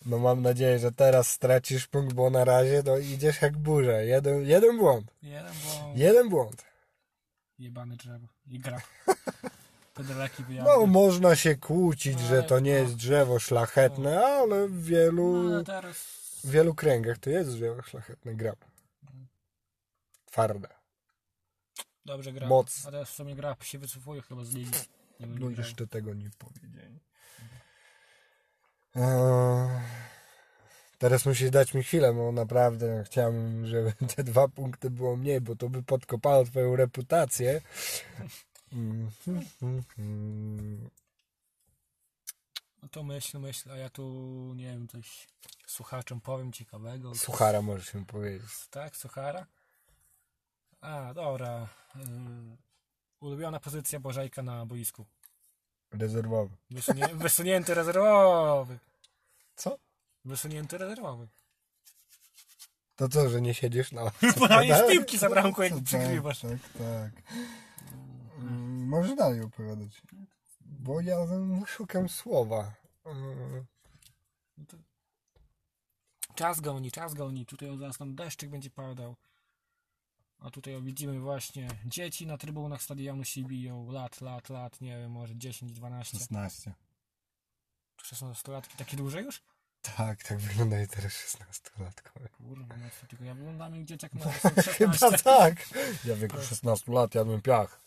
[SPEAKER 1] No mam nadzieję, że teraz stracisz punkt, bo na razie no idziesz jak burza. Jeden, jeden błąd.
[SPEAKER 2] Jeden, bo
[SPEAKER 1] Jeden błąd.
[SPEAKER 2] jebane drzewo. I gra. Pedalaki wyjadę.
[SPEAKER 1] No można się kłócić, że to nie jest drzewo szlachetne, ale w wielu,
[SPEAKER 2] No, ale teraz...
[SPEAKER 1] w wielu kręgach to jest drzewo szlachetne. Gram. Twarde.
[SPEAKER 2] Dobrze gra.
[SPEAKER 1] Moc.
[SPEAKER 2] A teraz w sumie gra się wycofuje chyba z ligi.
[SPEAKER 1] No
[SPEAKER 2] Nie będzie grał.
[SPEAKER 1] jeszcze tego nie powiedzieli.
[SPEAKER 2] Mhm.
[SPEAKER 1] Eee, Teraz musisz dać mi chwilę, bo naprawdę chciałbym, żeby te dwa punkty było mniej, bo to by podkopało twoją reputację. Mhm.
[SPEAKER 2] No to myśl, myśl, a ja tu, nie wiem, coś słuchaczom powiem ciekawego.
[SPEAKER 1] Suchara możesz mi powiedzieć.
[SPEAKER 2] Tak, Suchara? A, dobra. Ym, Ulubiona pozycja Bożajka na boisku.
[SPEAKER 1] Rezerwowy.
[SPEAKER 2] Wysunie, wysunięty rezerwowy.
[SPEAKER 1] Co?
[SPEAKER 2] Wysunięty rezerwowy.
[SPEAKER 1] To co, że nie siedzisz na ławce?
[SPEAKER 2] Dajesz
[SPEAKER 1] Tak?
[SPEAKER 2] No, piłki za bramką, jak
[SPEAKER 1] Tak,
[SPEAKER 2] przegrywasz.
[SPEAKER 1] Tak, tak. Mm, Możesz dalej opowiadać. Bo ja szukam słowa. Mm.
[SPEAKER 2] Czas goni, czas goni. Tutaj zaraz nam deszczyk będzie padał. A tutaj widzimy właśnie dzieci na trybunach stadionu się biją. Lat, lat, lat, nie wiem, może 10, 12.
[SPEAKER 1] 16.
[SPEAKER 2] 16-latki, takie duże już?
[SPEAKER 1] Tak, tak wyglądają teraz 16-latkowie.
[SPEAKER 2] Kurwa, no to tylko ja wyglądam jak dzieciak ma
[SPEAKER 1] Chyba
[SPEAKER 2] 16.
[SPEAKER 1] tak. Ja w wieku 16 lat jadłem piach.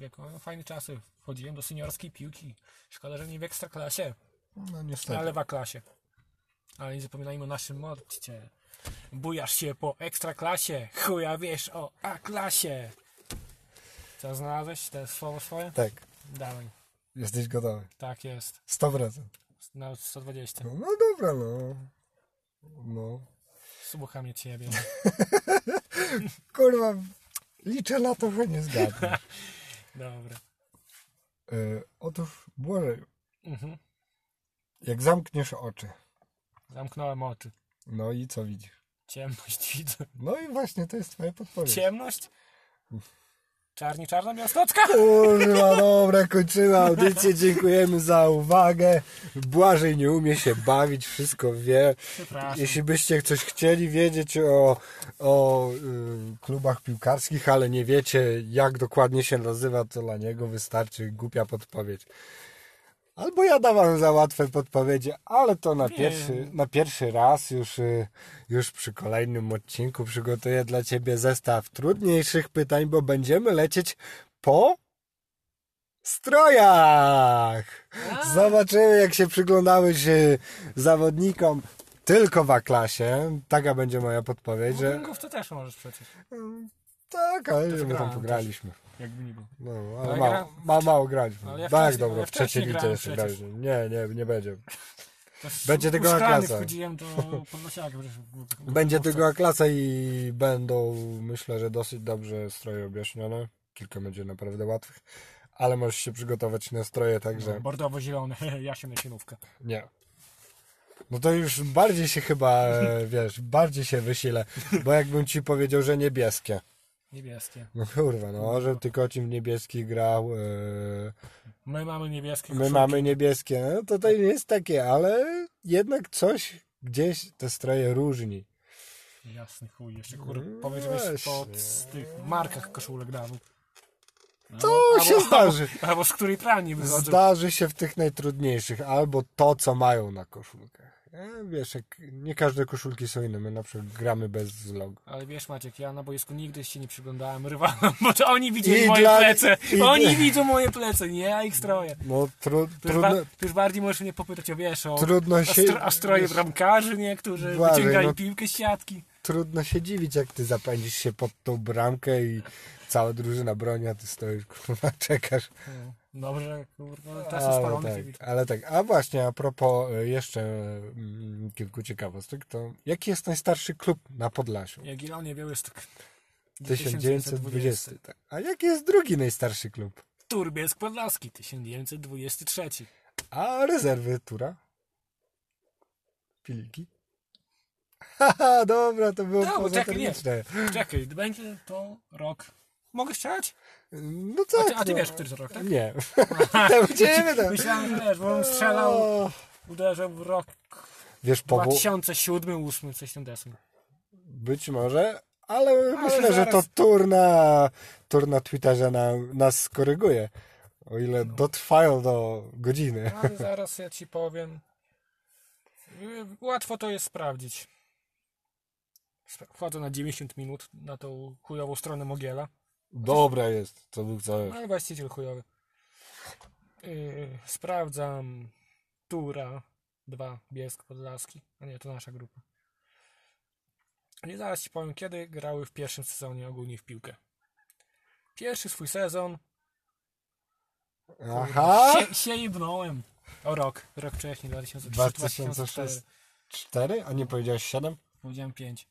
[SPEAKER 2] Jak, no, fajne czasy. Chodziłem do seniorskiej piłki. Szkoda, że nie w ekstraklasie,
[SPEAKER 1] No niestety.
[SPEAKER 2] ale w A-klasie. Ale nie zapominajmy o naszym motcie. Bujasz się po ekstraklasie, chuja wiesz o A-klasie. Co znalazłeś? Te słowo swoje?
[SPEAKER 1] Tak,
[SPEAKER 2] Dawaj.
[SPEAKER 1] jesteś gotowy.
[SPEAKER 2] Tak jest.
[SPEAKER 1] 100%.
[SPEAKER 2] Nawet 120.
[SPEAKER 1] No, no dobra, no. No.
[SPEAKER 2] Słucham je ciebie.
[SPEAKER 1] Kurwa, liczę na to, że nie zgadnę.
[SPEAKER 2] Dobra.
[SPEAKER 1] Y, otóż, Błażej,
[SPEAKER 2] Mhm.
[SPEAKER 1] jak zamkniesz oczy,
[SPEAKER 2] Zamknąłem oczy.
[SPEAKER 1] no i co widzisz?
[SPEAKER 2] Ciemność widzę.
[SPEAKER 1] No i właśnie, to jest twoja podpowiedź.
[SPEAKER 2] Ciemność? Czarni, czarna białostoczka?
[SPEAKER 1] Kurwa, dobra, kończymy audycję, dziękujemy za uwagę. Błażej nie umie się bawić, wszystko wie.
[SPEAKER 2] Przepraszam.
[SPEAKER 1] Jeśli byście coś chcieli wiedzieć o, o y, klubach piłkarskich, ale nie wiecie jak dokładnie się nazywa, to dla niego wystarczy głupia podpowiedź. Albo ja dawam za łatwe podpowiedzi, ale to na, pierwszy, na pierwszy raz już, y, już przy kolejnym odcinku przygotuję dla Ciebie zestaw trudniejszych pytań, bo będziemy lecieć po strojach. Zobaczymy, jak się przyglądałeś y, zawodnikom tylko w A-klasie. Taka będzie moja podpowiedź, że
[SPEAKER 2] Wingów to też możesz przecież.
[SPEAKER 1] tak, ale my tam
[SPEAKER 2] grałem
[SPEAKER 1] pograliśmy.
[SPEAKER 2] Jakby nie było.
[SPEAKER 1] No,
[SPEAKER 2] Ale
[SPEAKER 1] ale
[SPEAKER 2] ja
[SPEAKER 1] mało,
[SPEAKER 2] grałem-
[SPEAKER 1] ma, mało graliśmy.
[SPEAKER 2] Ale ja
[SPEAKER 1] tak,
[SPEAKER 2] wcześniej-
[SPEAKER 1] dobra,
[SPEAKER 2] ale
[SPEAKER 1] w trzeciej
[SPEAKER 2] wcześniej
[SPEAKER 1] lidze
[SPEAKER 2] grałem
[SPEAKER 1] jeszcze
[SPEAKER 2] przecież.
[SPEAKER 1] graliśmy. Nie, nie, nie będzie.
[SPEAKER 2] To z
[SPEAKER 1] Będzie tego
[SPEAKER 2] uszkany
[SPEAKER 1] A-klasa.
[SPEAKER 2] wchodziłem do Podlasiaka. przecież w- w-
[SPEAKER 1] Będzie
[SPEAKER 2] w-
[SPEAKER 1] tylko A-klasa i będą, myślę, że dosyć dobrze stroje objaśnione. Kilka będzie naprawdę łatwych. Ale możesz się przygotować na stroje,
[SPEAKER 2] No,
[SPEAKER 1] także
[SPEAKER 2] Bordowo-zielony, jasieneczynówka.
[SPEAKER 1] Nie. No to już bardziej się chyba, e, wiesz, bardziej się wysilę, bo jakbym ci powiedział, że niebieskie.
[SPEAKER 2] Niebieskie.
[SPEAKER 1] No kurwa, no, że tylko ci w niebieskich grał, e,
[SPEAKER 2] My mamy niebieskie
[SPEAKER 1] my
[SPEAKER 2] koszulki.
[SPEAKER 1] mamy niebieskie, no to to jest takie, ale jednak coś gdzieś te stroje różni.
[SPEAKER 2] Jasny chuj, jeszcze kur... Powiedz, że jest
[SPEAKER 1] No
[SPEAKER 2] pod z tych markach koszulek dawu.
[SPEAKER 1] To się zdarzy.
[SPEAKER 2] No, Albo z której pralni wychodzą.
[SPEAKER 1] Zdarzy się w tych najtrudniejszych, albo to, co mają na koszulkach. E, Wiesz, jak nie każde koszulki są inne. My na przykład gramy bez logo.
[SPEAKER 2] Ale wiesz Maciek, ja na boisku nigdy się nie przyglądałem rywalom, bo to oni widzieli
[SPEAKER 1] I
[SPEAKER 2] moje
[SPEAKER 1] dla-
[SPEAKER 2] plece.
[SPEAKER 1] i dla-
[SPEAKER 2] Oni widzą moje plece, nie ja ich stroję.
[SPEAKER 1] No tru,
[SPEAKER 2] Ty już, ba-
[SPEAKER 1] trudno,
[SPEAKER 2] ty już bardziej możesz mnie popytać o wiesz, o,
[SPEAKER 1] trudno
[SPEAKER 2] o,
[SPEAKER 1] się...
[SPEAKER 2] stro, o stroje bramkarzy, nie? Którzy
[SPEAKER 1] Uważaj,
[SPEAKER 2] wyciągali
[SPEAKER 1] no.
[SPEAKER 2] piłkę z siatki.
[SPEAKER 1] trudno się dziwić, jak ty zapędzisz się pod tą bramkę i cała drużyna broni, a ty stoisz, kurwa, czekasz.
[SPEAKER 2] Dobrze, kurwa, no, teraz jest
[SPEAKER 1] Ale
[SPEAKER 2] spalony
[SPEAKER 1] tak,
[SPEAKER 2] kibic.
[SPEAKER 1] ale tak. A właśnie, a propos y, jeszcze mm, kilku ciekawostek, to jaki jest najstarszy klub na Podlasiu?
[SPEAKER 2] Jagiellonie Białystok.
[SPEAKER 1] 1920. Tak. A jaki jest drugi najstarszy klub?
[SPEAKER 2] Turbiesk Podlaski, 1923.
[SPEAKER 1] A rezerwy Tura? Piliki? Haha, dobra, to było
[SPEAKER 2] No,
[SPEAKER 1] poza
[SPEAKER 2] czekaj, nie.
[SPEAKER 1] termiczne.
[SPEAKER 2] Czekaj, będzie to rok. Mogę strzelać?
[SPEAKER 1] No tak.
[SPEAKER 2] A ty, a ty
[SPEAKER 1] no.
[SPEAKER 2] wiesz, który to rok, tak?
[SPEAKER 1] Nie. Tam Gdzie my tam?
[SPEAKER 2] Myślałem, że wiesz, bo on strzelał,
[SPEAKER 1] O.
[SPEAKER 2] uderzył w rok
[SPEAKER 1] Wiesz, powo-
[SPEAKER 2] 2007, 8, coś ten deseń.
[SPEAKER 1] być może, ale, myślę, że
[SPEAKER 2] zaraz-
[SPEAKER 1] to tur na, tur na Twitterze na, nas skoryguje. O ile
[SPEAKER 2] No.
[SPEAKER 1] dotrwają do godziny.
[SPEAKER 2] Ale zaraz ja ci powiem. Y, Łatwo to jest sprawdzić. Spra- Wchodzę na 90 minut na tą chujową stronę Mogiela.
[SPEAKER 1] Dobra jest, to był cały.
[SPEAKER 2] No i właściciel chujowy. Yy, sprawdzam Tura 2 Biesk Podlaski. A nie, to nasza grupa. I zaraz ci powiem, kiedy grały w pierwszym sezonie ogólnie w piłkę. Pierwszy swój sezon
[SPEAKER 1] Aha!
[SPEAKER 2] się, się jebnąłem. O rok, rok wcześniej, 2006.
[SPEAKER 1] 2006. 4? A nie powiedziałeś 7?
[SPEAKER 2] Powiedziałem 5.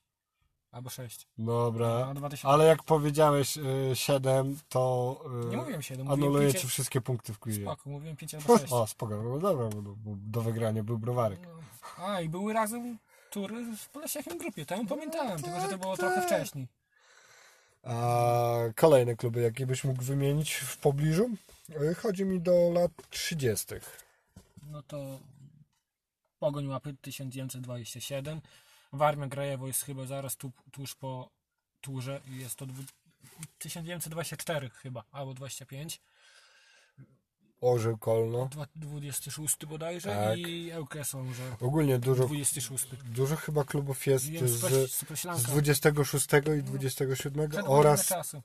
[SPEAKER 2] Albo No, 6.
[SPEAKER 1] Dobra.
[SPEAKER 2] A 2000.
[SPEAKER 1] Ale jak powiedziałeś 7, to y,
[SPEAKER 2] Nie mówiłem 7, mówiłem
[SPEAKER 1] anuluję
[SPEAKER 2] 5.
[SPEAKER 1] ci wszystkie punkty w quizie.
[SPEAKER 2] Spoko, mówiłem 5 albo 6.
[SPEAKER 1] O, spoko. No dobra, bo do, bo do wygrania był browarek.
[SPEAKER 2] No. A, i były razem tury w Podlasiakiem grupie, tam pamiętałem, tylko że to było
[SPEAKER 1] No tak,
[SPEAKER 2] trochę
[SPEAKER 1] tak.
[SPEAKER 2] wcześniej.
[SPEAKER 1] A kolejne kluby, jakie byś mógł wymienić w pobliżu? Y, Chodzi mi do lat 30.
[SPEAKER 2] No to Pogoń Łapy 1927. Warmia Grajewo jest chyba zaraz tu, tuż po turze i jest to dwu- 1924 chyba, albo 25.
[SPEAKER 1] Orzeł Kolno.
[SPEAKER 2] Dwa- 26 bodajże
[SPEAKER 1] Tak.
[SPEAKER 2] i Ełkę są, że
[SPEAKER 1] Ogólnie dużo,
[SPEAKER 2] 26.
[SPEAKER 1] dużo chyba klubów jest
[SPEAKER 2] Wiem,
[SPEAKER 1] z, z
[SPEAKER 2] Supreślanka.
[SPEAKER 1] 26 i 27
[SPEAKER 2] No. Przed
[SPEAKER 1] oraz,
[SPEAKER 2] czasu.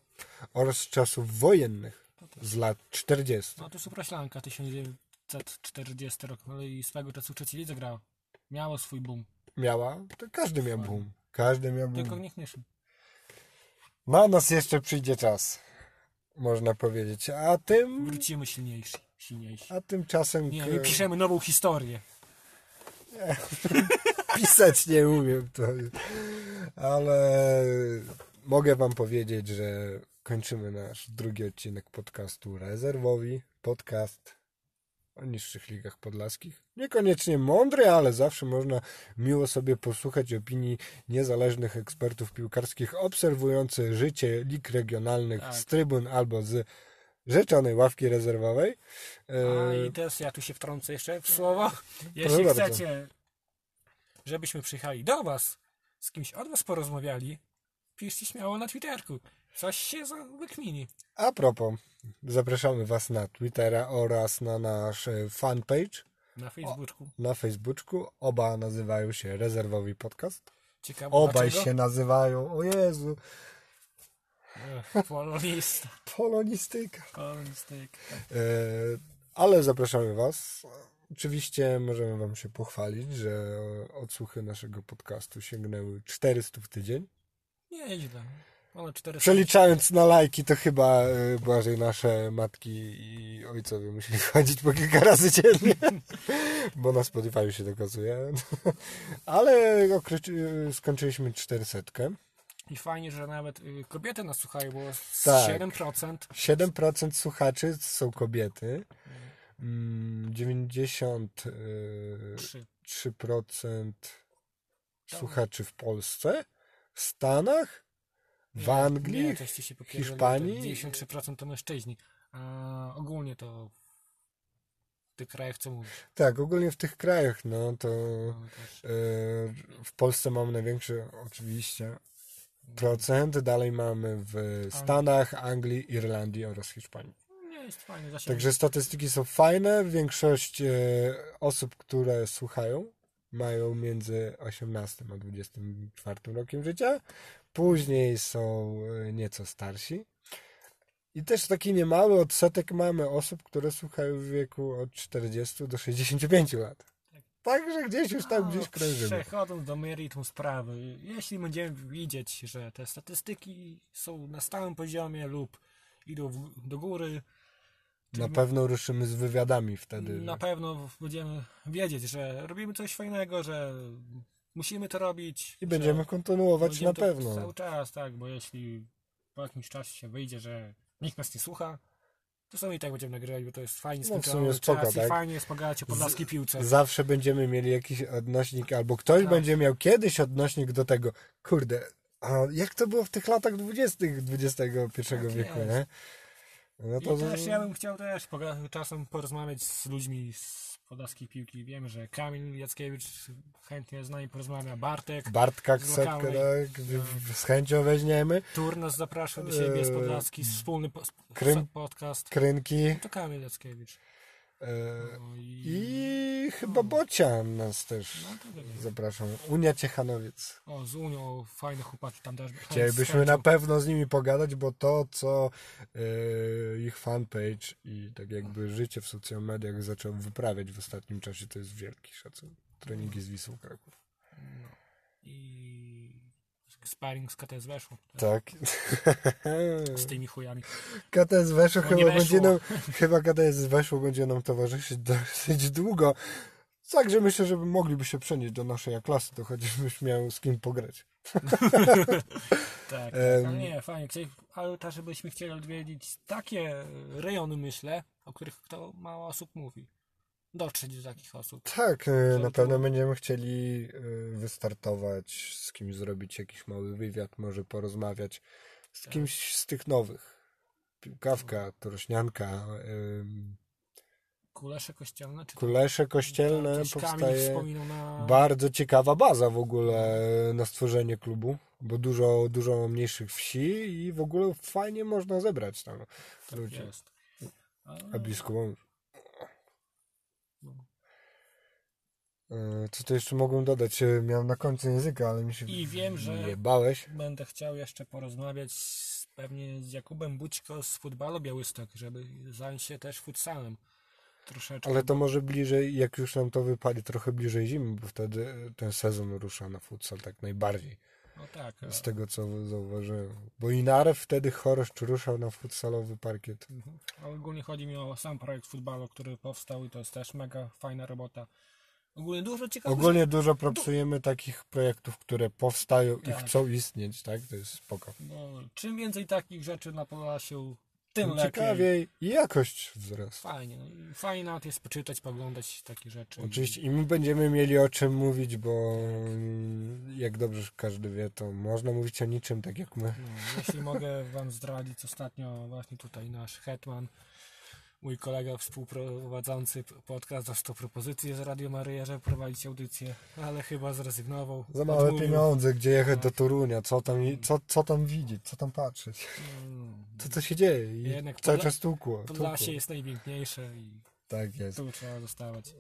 [SPEAKER 1] oraz czasów wojennych z lat 40.
[SPEAKER 2] No to Supraślanka 1940 rok, no i swego czasu w trzeciej lidze grała. Miało swój boom,
[SPEAKER 1] Miała, to każdy miał boom. Każdy miał
[SPEAKER 2] tylko
[SPEAKER 1] boom.
[SPEAKER 2] niech nie szedł.
[SPEAKER 1] Na nas jeszcze przyjdzie czas, można powiedzieć. A tym,
[SPEAKER 2] Wrócimy silniejsi, silniejsi.
[SPEAKER 1] a tymczasem
[SPEAKER 2] Nie,
[SPEAKER 1] k-
[SPEAKER 2] my piszemy nową historię.
[SPEAKER 1] pisać nie umiem, to, ale mogę wam powiedzieć, że kończymy nasz drugi odcinek podcastu rezerwowi. Podcast o niższych ligach podlaskich. Niekoniecznie mądry, ale zawsze można miło sobie posłuchać opinii niezależnych ekspertów piłkarskich obserwujących życie lig regionalnych
[SPEAKER 2] Tak.
[SPEAKER 1] z trybun albo z rzeczonej ławki rezerwowej.
[SPEAKER 2] A
[SPEAKER 1] E,
[SPEAKER 2] i teraz ja tu się wtrącę jeszcze w słowo.
[SPEAKER 1] Proszę
[SPEAKER 2] Jeśli
[SPEAKER 1] bardzo.
[SPEAKER 2] chcecie, żebyśmy przyjechali do Was, z kimś od Was porozmawiali, piszcie śmiało na Twitterku. Coś się za- wykmini.
[SPEAKER 1] A propos, zapraszamy Was na Twittera oraz na nasz e, fanpage
[SPEAKER 2] Na Facebooku.
[SPEAKER 1] na Facebooku. Oba nazywają się Rezerwowi Podcast.
[SPEAKER 2] Ciekawe
[SPEAKER 1] Obaj
[SPEAKER 2] dlaczego?
[SPEAKER 1] się nazywają, o Jezu,
[SPEAKER 2] Ech, Polonista.
[SPEAKER 1] polonistyka.
[SPEAKER 2] Polonistyk.
[SPEAKER 1] E, ale zapraszamy Was. Oczywiście możemy Wam się pochwalić, że odsłuchy naszego podcastu sięgnęły 400 w tydzień.
[SPEAKER 2] Nieźle. Mamy 400.
[SPEAKER 1] Przeliczając na lajki, to chyba e, Błażej nasze matki i ojcowie musieli chodzić po kilka razy dziennie, bo na Spotify się dokazuje. Ale okreś- skończyliśmy 400.
[SPEAKER 2] I fajnie, że nawet y, kobiety nas słuchają, bo z
[SPEAKER 1] Tak.
[SPEAKER 2] 7%.
[SPEAKER 1] 7% słuchaczy są kobiety, mm, 93%
[SPEAKER 2] 3.
[SPEAKER 1] słuchaczy w Polsce, w Stanach, w Anglii.
[SPEAKER 2] Nie, toście się popierali,
[SPEAKER 1] Hiszpanii?
[SPEAKER 2] to 93% to mężczyźni. A ogólnie to w tych krajach co mówisz.
[SPEAKER 1] Tak, ogólnie w tych krajach, no to...
[SPEAKER 2] No, też.
[SPEAKER 1] E, W Polsce mamy największy oczywiście procent, dalej mamy w Stanach, Anglii, Irlandii oraz Hiszpanii.
[SPEAKER 2] Nie jest fajnie zasięg.
[SPEAKER 1] Także statystyki są fajne, większość e, osób, które yy, słuchają mają między 18 a 24 rokiem życia. Później są e, nieco starsi. I też taki niemały odsetek mamy osób, które słuchają w wieku od 40 do 65 lat. Także gdzieś już tam gdzieś krążymy.
[SPEAKER 2] Przechodząc do meritum sprawy, jeśli będziemy widzieć, że te statystyki są na stałym poziomie lub idą w, do góry,
[SPEAKER 1] Na pewno ruszymy z wywiadami wtedy. no.
[SPEAKER 2] na pewno będziemy wiedzieć, że robimy coś fajnego, że musimy to robić.
[SPEAKER 1] I będziemy kontynuować
[SPEAKER 2] Będziemy
[SPEAKER 1] na
[SPEAKER 2] to Cały
[SPEAKER 1] pewno.
[SPEAKER 2] czas, tak, bo jeśli po jakimś czasie się wyjdzie, że nikt nas nie słucha, to sami i tak będziemy nagrywać, bo to jest
[SPEAKER 1] No,
[SPEAKER 2] fajnie
[SPEAKER 1] w
[SPEAKER 2] spędzony
[SPEAKER 1] sumie
[SPEAKER 2] czas
[SPEAKER 1] spoko,
[SPEAKER 2] i
[SPEAKER 1] tak.
[SPEAKER 2] fajnie jest pogadać o podlaskiej piłce.
[SPEAKER 1] Zawsze będziemy mieli jakiś odnośnik, albo ktoś
[SPEAKER 2] Tak.
[SPEAKER 1] będzie miał kiedyś odnośnik do tego. Kurde, a jak to było w tych latach 20. XXI
[SPEAKER 2] Tak
[SPEAKER 1] wieku,
[SPEAKER 2] jest.
[SPEAKER 1] nie? No
[SPEAKER 2] I też ja bym chciał też poga- czasem porozmawiać z ludźmi z podlaskiej piłki. Wiem, że Kamil Jackiewicz chętnie z nami porozmawia, Bartek,
[SPEAKER 1] Bartka
[SPEAKER 2] z
[SPEAKER 1] Ksepkę,
[SPEAKER 2] lokalnej.
[SPEAKER 1] tak, w- w- z chęcią weźmiemy. e,
[SPEAKER 2] Tur nas zaprasza do siebie z Podlaski, wspólny po-
[SPEAKER 1] Krym-
[SPEAKER 2] podcast.
[SPEAKER 1] Krynki
[SPEAKER 2] To Kamil Jackiewicz.
[SPEAKER 1] e,
[SPEAKER 2] No
[SPEAKER 1] i chyba Bocian nas też
[SPEAKER 2] No, to wiem.
[SPEAKER 1] zapraszam. Unia Ciechanowiec.
[SPEAKER 2] O, z Unią, fajne chłopaki tam też.
[SPEAKER 1] Chcielibyśmy na pewno z nimi pogadać, bo to, co e, ich fanpage i tak jakby życie w social mediach zaczął wyprawiać w ostatnim czasie, to jest wielki szacunek. Treningi z Wisłą Kraków.
[SPEAKER 2] I sparring z KTS weszło.
[SPEAKER 1] Tak.
[SPEAKER 2] Z tymi chujami.
[SPEAKER 1] KTS weszło,
[SPEAKER 2] No nie
[SPEAKER 1] chyba, będzie
[SPEAKER 2] weszło.
[SPEAKER 1] nam, chyba KTS weszło będzie nam towarzyszyć dosyć długo. Także myślę, że mogliby się przenieść do naszej klasy, to choćbyś miał z kim pograć.
[SPEAKER 2] Tak,
[SPEAKER 1] Em.
[SPEAKER 2] ale nie, fajnie. Chcieli, ale też byśmy chcieli odwiedzić takie rejony, myślę, o których to mało osób mówi. Dotrzeć do takich osób.
[SPEAKER 1] Tak, e, na
[SPEAKER 2] to-
[SPEAKER 1] pewno będziemy chcieli e, wystartować, z kimś zrobić jakiś mały wywiad, może porozmawiać z
[SPEAKER 2] Tak.
[SPEAKER 1] kimś z tych nowych. Piłkawka, torośnianka, em,
[SPEAKER 2] Kulesze kościelne, czy
[SPEAKER 1] kulesze kościelne
[SPEAKER 2] Tak. Gdzieś Kamil
[SPEAKER 1] powstaje.
[SPEAKER 2] wspominał na...
[SPEAKER 1] Bardzo ciekawa baza w ogóle na stworzenie klubu, bo dużo, dużo mniejszych wsi i w ogóle fajnie można zebrać tam ludzi.
[SPEAKER 2] Tak Jest. Ale
[SPEAKER 1] A blisko mam.
[SPEAKER 2] No.
[SPEAKER 1] E, Co to jeszcze mogłem dodać? E, Miałem na końcu języka, ale mi się
[SPEAKER 2] I wiem, że-
[SPEAKER 1] nie bałeś.
[SPEAKER 2] Będę chciał jeszcze porozmawiać z, pewnie z Jakubem Bućko z futbalu Białystok, żeby zająć się też futsalem. Troszeczkę.
[SPEAKER 1] Ale to może bliżej, jak już nam to wypali, trochę bliżej zimy, bo wtedy e, ten sezon rusza na futsal tak najbardziej.
[SPEAKER 2] No tak.
[SPEAKER 1] Z tego co zauważyłem. Bo Inarew wtedy choroszcz ruszał na futsalowy parkiet.
[SPEAKER 2] Mhm. A Ogólnie chodzi mi o sam projekt futbalu, który powstał i to jest też mega fajna robota. Ogólnie dużo ciekawych
[SPEAKER 1] Ogólnie dużo propsujemy takich projektów, które powstają i
[SPEAKER 2] Tak.
[SPEAKER 1] chcą istnieć, tak? To jest spoko.
[SPEAKER 2] No, czym więcej takich rzeczy na Podlasiu, tym lepiej.
[SPEAKER 1] Ciekawiej i jakość wzrasta.
[SPEAKER 2] Fajnie. No, i fajnie nawet jest poczytać, poglądać takie rzeczy.
[SPEAKER 1] Oczywiście i my będziemy mieli o czym mówić, bo mm, jak dobrze każdy wie, to można mówić o niczym tak jak my.
[SPEAKER 2] No, jeśli mogę Wam zdradzić, ostatnio właśnie tutaj nasz Hetman, mój kolega współprowadzący p- podcast dostał propozycję z Radio Maryja, żeby prowadzić audycję, ale chyba zrezygnował.
[SPEAKER 1] Za Tak. małe
[SPEAKER 2] Odmówił.
[SPEAKER 1] No, pieniądze, gdzie jechać do Torunia, co tam, co, co tam widzieć, co tam patrzeć,
[SPEAKER 2] Mm,
[SPEAKER 1] co to się dzieje i
[SPEAKER 2] Jednak
[SPEAKER 1] cały
[SPEAKER 2] Podla-
[SPEAKER 1] czas tłukło. tłukło.
[SPEAKER 2] Podlasie jest najpiękniejsze i
[SPEAKER 1] Tak jest.
[SPEAKER 2] tu trzeba zostawać.
[SPEAKER 1] Yy,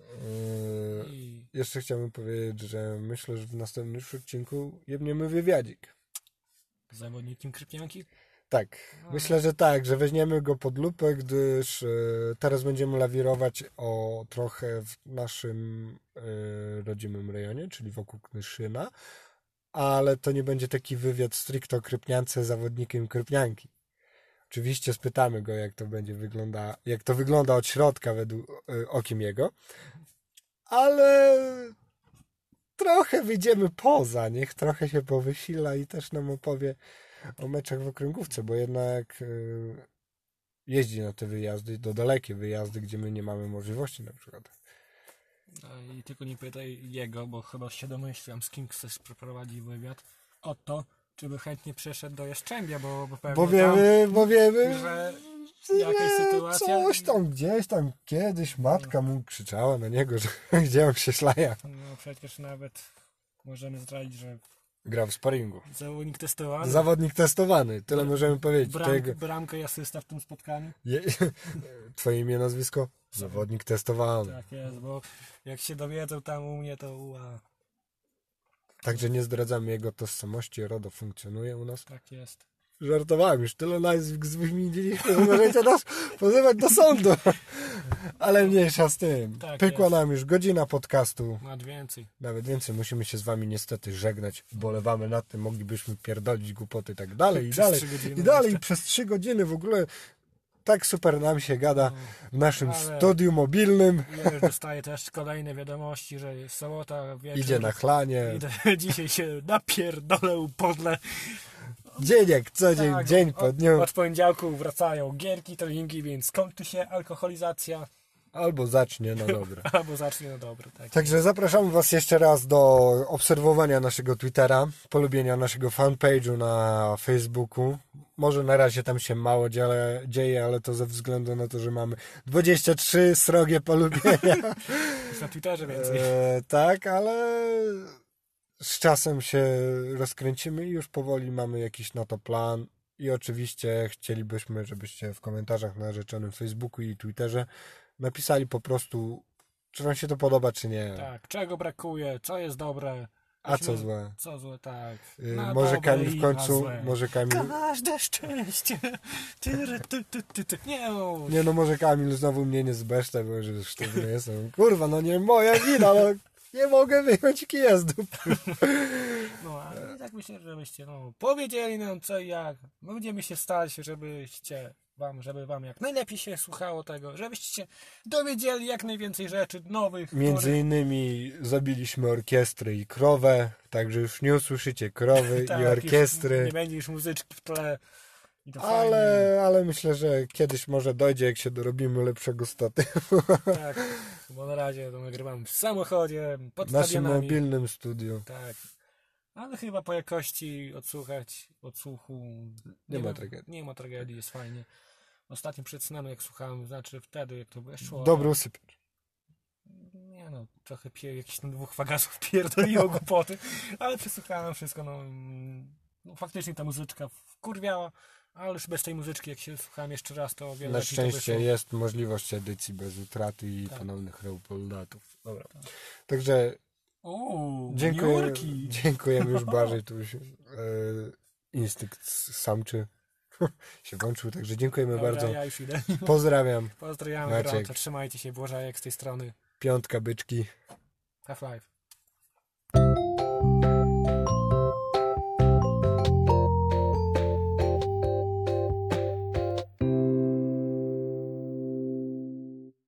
[SPEAKER 2] I
[SPEAKER 1] jeszcze chciałbym powiedzieć, że myślę, że w następnym odcinku jebniemy wywiadzik.
[SPEAKER 2] zawodnikiem Krypianki?
[SPEAKER 1] Tak, myślę, że tak, że weźmiemy go pod lupę, gdyż e, teraz będziemy lawirować o trochę w naszym e, rodzimym rejonie, czyli wokół Knyszyna, ale to nie będzie taki wywiad stricte o krypniance z zawodnikiem krypnianki. Oczywiście spytamy go, jak to będzie wygląda, jak to wygląda od środka według e, okiem jego, ale trochę wyjdziemy poza, niech trochę się powysila i też nam opowie o meczach w okręgówce, bo jednak y, jeździ na te wyjazdy, do dalekie wyjazdy, gdzie my nie mamy możliwości na przykład.
[SPEAKER 2] No I tylko nie pytaj jego, bo chyba się domyślam, z kim chcesz przeprowadzić wywiad, o to, czy by chętnie przeszedł do Jastrzębia, bo, bo pewnie
[SPEAKER 1] Bo
[SPEAKER 2] tam...
[SPEAKER 1] wiemy, bo wiemy,
[SPEAKER 2] że
[SPEAKER 1] że
[SPEAKER 2] jakaś sytuacja-
[SPEAKER 1] coś tam gdzieś tam kiedyś matka mu krzyczała na niego, że gdzie on się szlaja.
[SPEAKER 2] No przecież nawet możemy zdradzić, że
[SPEAKER 1] Gra w sparingu.
[SPEAKER 2] Zawodnik testowany.
[SPEAKER 1] Zawodnik testowany, tyle możemy powiedzieć. Tego-
[SPEAKER 2] Bram, bramkę i asysta w tym spotkaniu.
[SPEAKER 1] Je... Twoje imię, nazwisko? Zawodnik testowany.
[SPEAKER 2] Tak jest, bo jak się dowiedzą tam u mnie, to ua,
[SPEAKER 1] Także nie zdradzamy jego tożsamości, RODO funkcjonuje u nas.
[SPEAKER 2] tak jest.
[SPEAKER 1] Żartowałem, już tyle nazwisk wymieniliśmy, że możecie nas pozywać do sądu. Ale mniejsza z tym.
[SPEAKER 2] Tak
[SPEAKER 1] Pykła
[SPEAKER 2] jest.
[SPEAKER 1] nam już godzina podcastu.
[SPEAKER 2] Nad więcej.
[SPEAKER 1] Nawet więcej musimy się z wami niestety żegnać. Bolewamy nad tym, moglibyśmy pierdolić głupoty i tak dalej, i
[SPEAKER 2] Przez
[SPEAKER 1] dalej,
[SPEAKER 2] trzy godziny
[SPEAKER 1] i dalej.
[SPEAKER 2] jeszcze.
[SPEAKER 1] Przez trzy godziny w ogóle tak super nam się gada w naszym
[SPEAKER 2] No, Ale-
[SPEAKER 1] studiu mobilnym.
[SPEAKER 2] Ja już dostaję też kolejne wiadomości, że jest sobota, wieczór.
[SPEAKER 1] Idzie na chlanie.
[SPEAKER 2] Idę, dzisiaj się napierdolę, upodlę.
[SPEAKER 1] Dzień jak co dzień,
[SPEAKER 2] Tak,
[SPEAKER 1] dzień
[SPEAKER 2] o-
[SPEAKER 1] po dniu.
[SPEAKER 2] Od poniedziałku wracają gierki, treningi, więc kończy się alkoholizacja
[SPEAKER 1] Albo zacznie no na dobre.
[SPEAKER 2] albo zacznie na dobre. Tak.
[SPEAKER 1] Także zapraszam Was jeszcze raz do obserwowania naszego Twittera, polubienia naszego fanpage'u na Facebooku. Może na razie tam się mało dziele, dzieje, ale to ze względu na to, że mamy 23 srogie polubienia.
[SPEAKER 2] Jest na Twitterze więcej.
[SPEAKER 1] E, tak, ale z czasem się rozkręcimy i już powoli mamy jakiś na to plan. I oczywiście chcielibyśmy, żebyście w komentarzach na rzeczonym Facebooku i Twitterze napisali po prostu, czy Wam się to podoba, czy nie.
[SPEAKER 2] Tak, czego brakuje, co jest dobre.
[SPEAKER 1] A co złe?
[SPEAKER 2] Co złe, tak.
[SPEAKER 1] Y,
[SPEAKER 2] Na
[SPEAKER 1] może
[SPEAKER 2] dobre
[SPEAKER 1] Kamil
[SPEAKER 2] i
[SPEAKER 1] w
[SPEAKER 2] na
[SPEAKER 1] końcu,
[SPEAKER 2] złe.
[SPEAKER 1] może Kamil,
[SPEAKER 2] Każde szczęście. Ty, ty, ty, ty, ty. Nie, no.
[SPEAKER 1] nie no może Kamil znowu mnie nie zbeszta, bo że sztywny jestem. Kurwa, no nie moja wina, no nie mogę wyjąć kija z dupy.
[SPEAKER 2] no ale i tak myślę, żebyście no, powiedzieli nam co i jak. My będziemy się starać, żebyście wam, żeby wam jak najlepiej się słuchało tego, żebyście się dowiedzieli jak najwięcej rzeczy nowych.
[SPEAKER 1] Między innymi zabiliśmy orkiestry i krowę, także już nie usłyszycie krowy
[SPEAKER 2] Tak,
[SPEAKER 1] i
[SPEAKER 2] już
[SPEAKER 1] orkiestry.
[SPEAKER 2] Nie będzie już muzyczki w tle. I to fajnie.
[SPEAKER 1] Ale, ale myślę, że kiedyś może dojdzie, jak się dorobimy lepszego statywu
[SPEAKER 2] Tak, bo na razie to nagrywam w samochodzie, pod
[SPEAKER 1] w naszym
[SPEAKER 2] stadionami.
[SPEAKER 1] mobilnym studiu.
[SPEAKER 2] Tak. Ale chyba po jakości odsłuchać, odsłuchu.
[SPEAKER 1] Nie ma tragedii.
[SPEAKER 2] Nie ma tragedii, jest fajnie. Ostatnio przed snem, jak słuchałem, znaczy wtedy, jak to weszło.
[SPEAKER 1] Dobry usyp.
[SPEAKER 2] Nie no, trochę pie, jakiś tam dwóch fagasów pierdoliło głupoty, ale przesłuchałem wszystko, no, mm, no faktycznie ta muzyczka wkurwiała, ale już bez tej muzyczki, jak się słuchałem jeszcze raz, to o wiele
[SPEAKER 1] Na
[SPEAKER 2] lepiej to
[SPEAKER 1] szczęście
[SPEAKER 2] wyszło.
[SPEAKER 1] jest możliwość edycji bez utraty i
[SPEAKER 2] Tak.
[SPEAKER 1] ponownych reupoldatów. Dobra. Także
[SPEAKER 2] Uuu,
[SPEAKER 1] Dziękuję,
[SPEAKER 2] jurki.
[SPEAKER 1] dziękujemy już bardziej. Tu już, e, instynkt samczy się włączył, także dziękujemy
[SPEAKER 2] Dobra,
[SPEAKER 1] bardzo.
[SPEAKER 2] ja już idę.
[SPEAKER 1] Pozdrawiam.
[SPEAKER 2] Pozdrawiamy
[SPEAKER 1] Maciek.
[SPEAKER 2] gorąco, trzymajcie się, Błażejek z tej strony.
[SPEAKER 1] Piątka byczki.
[SPEAKER 2] Half-Life.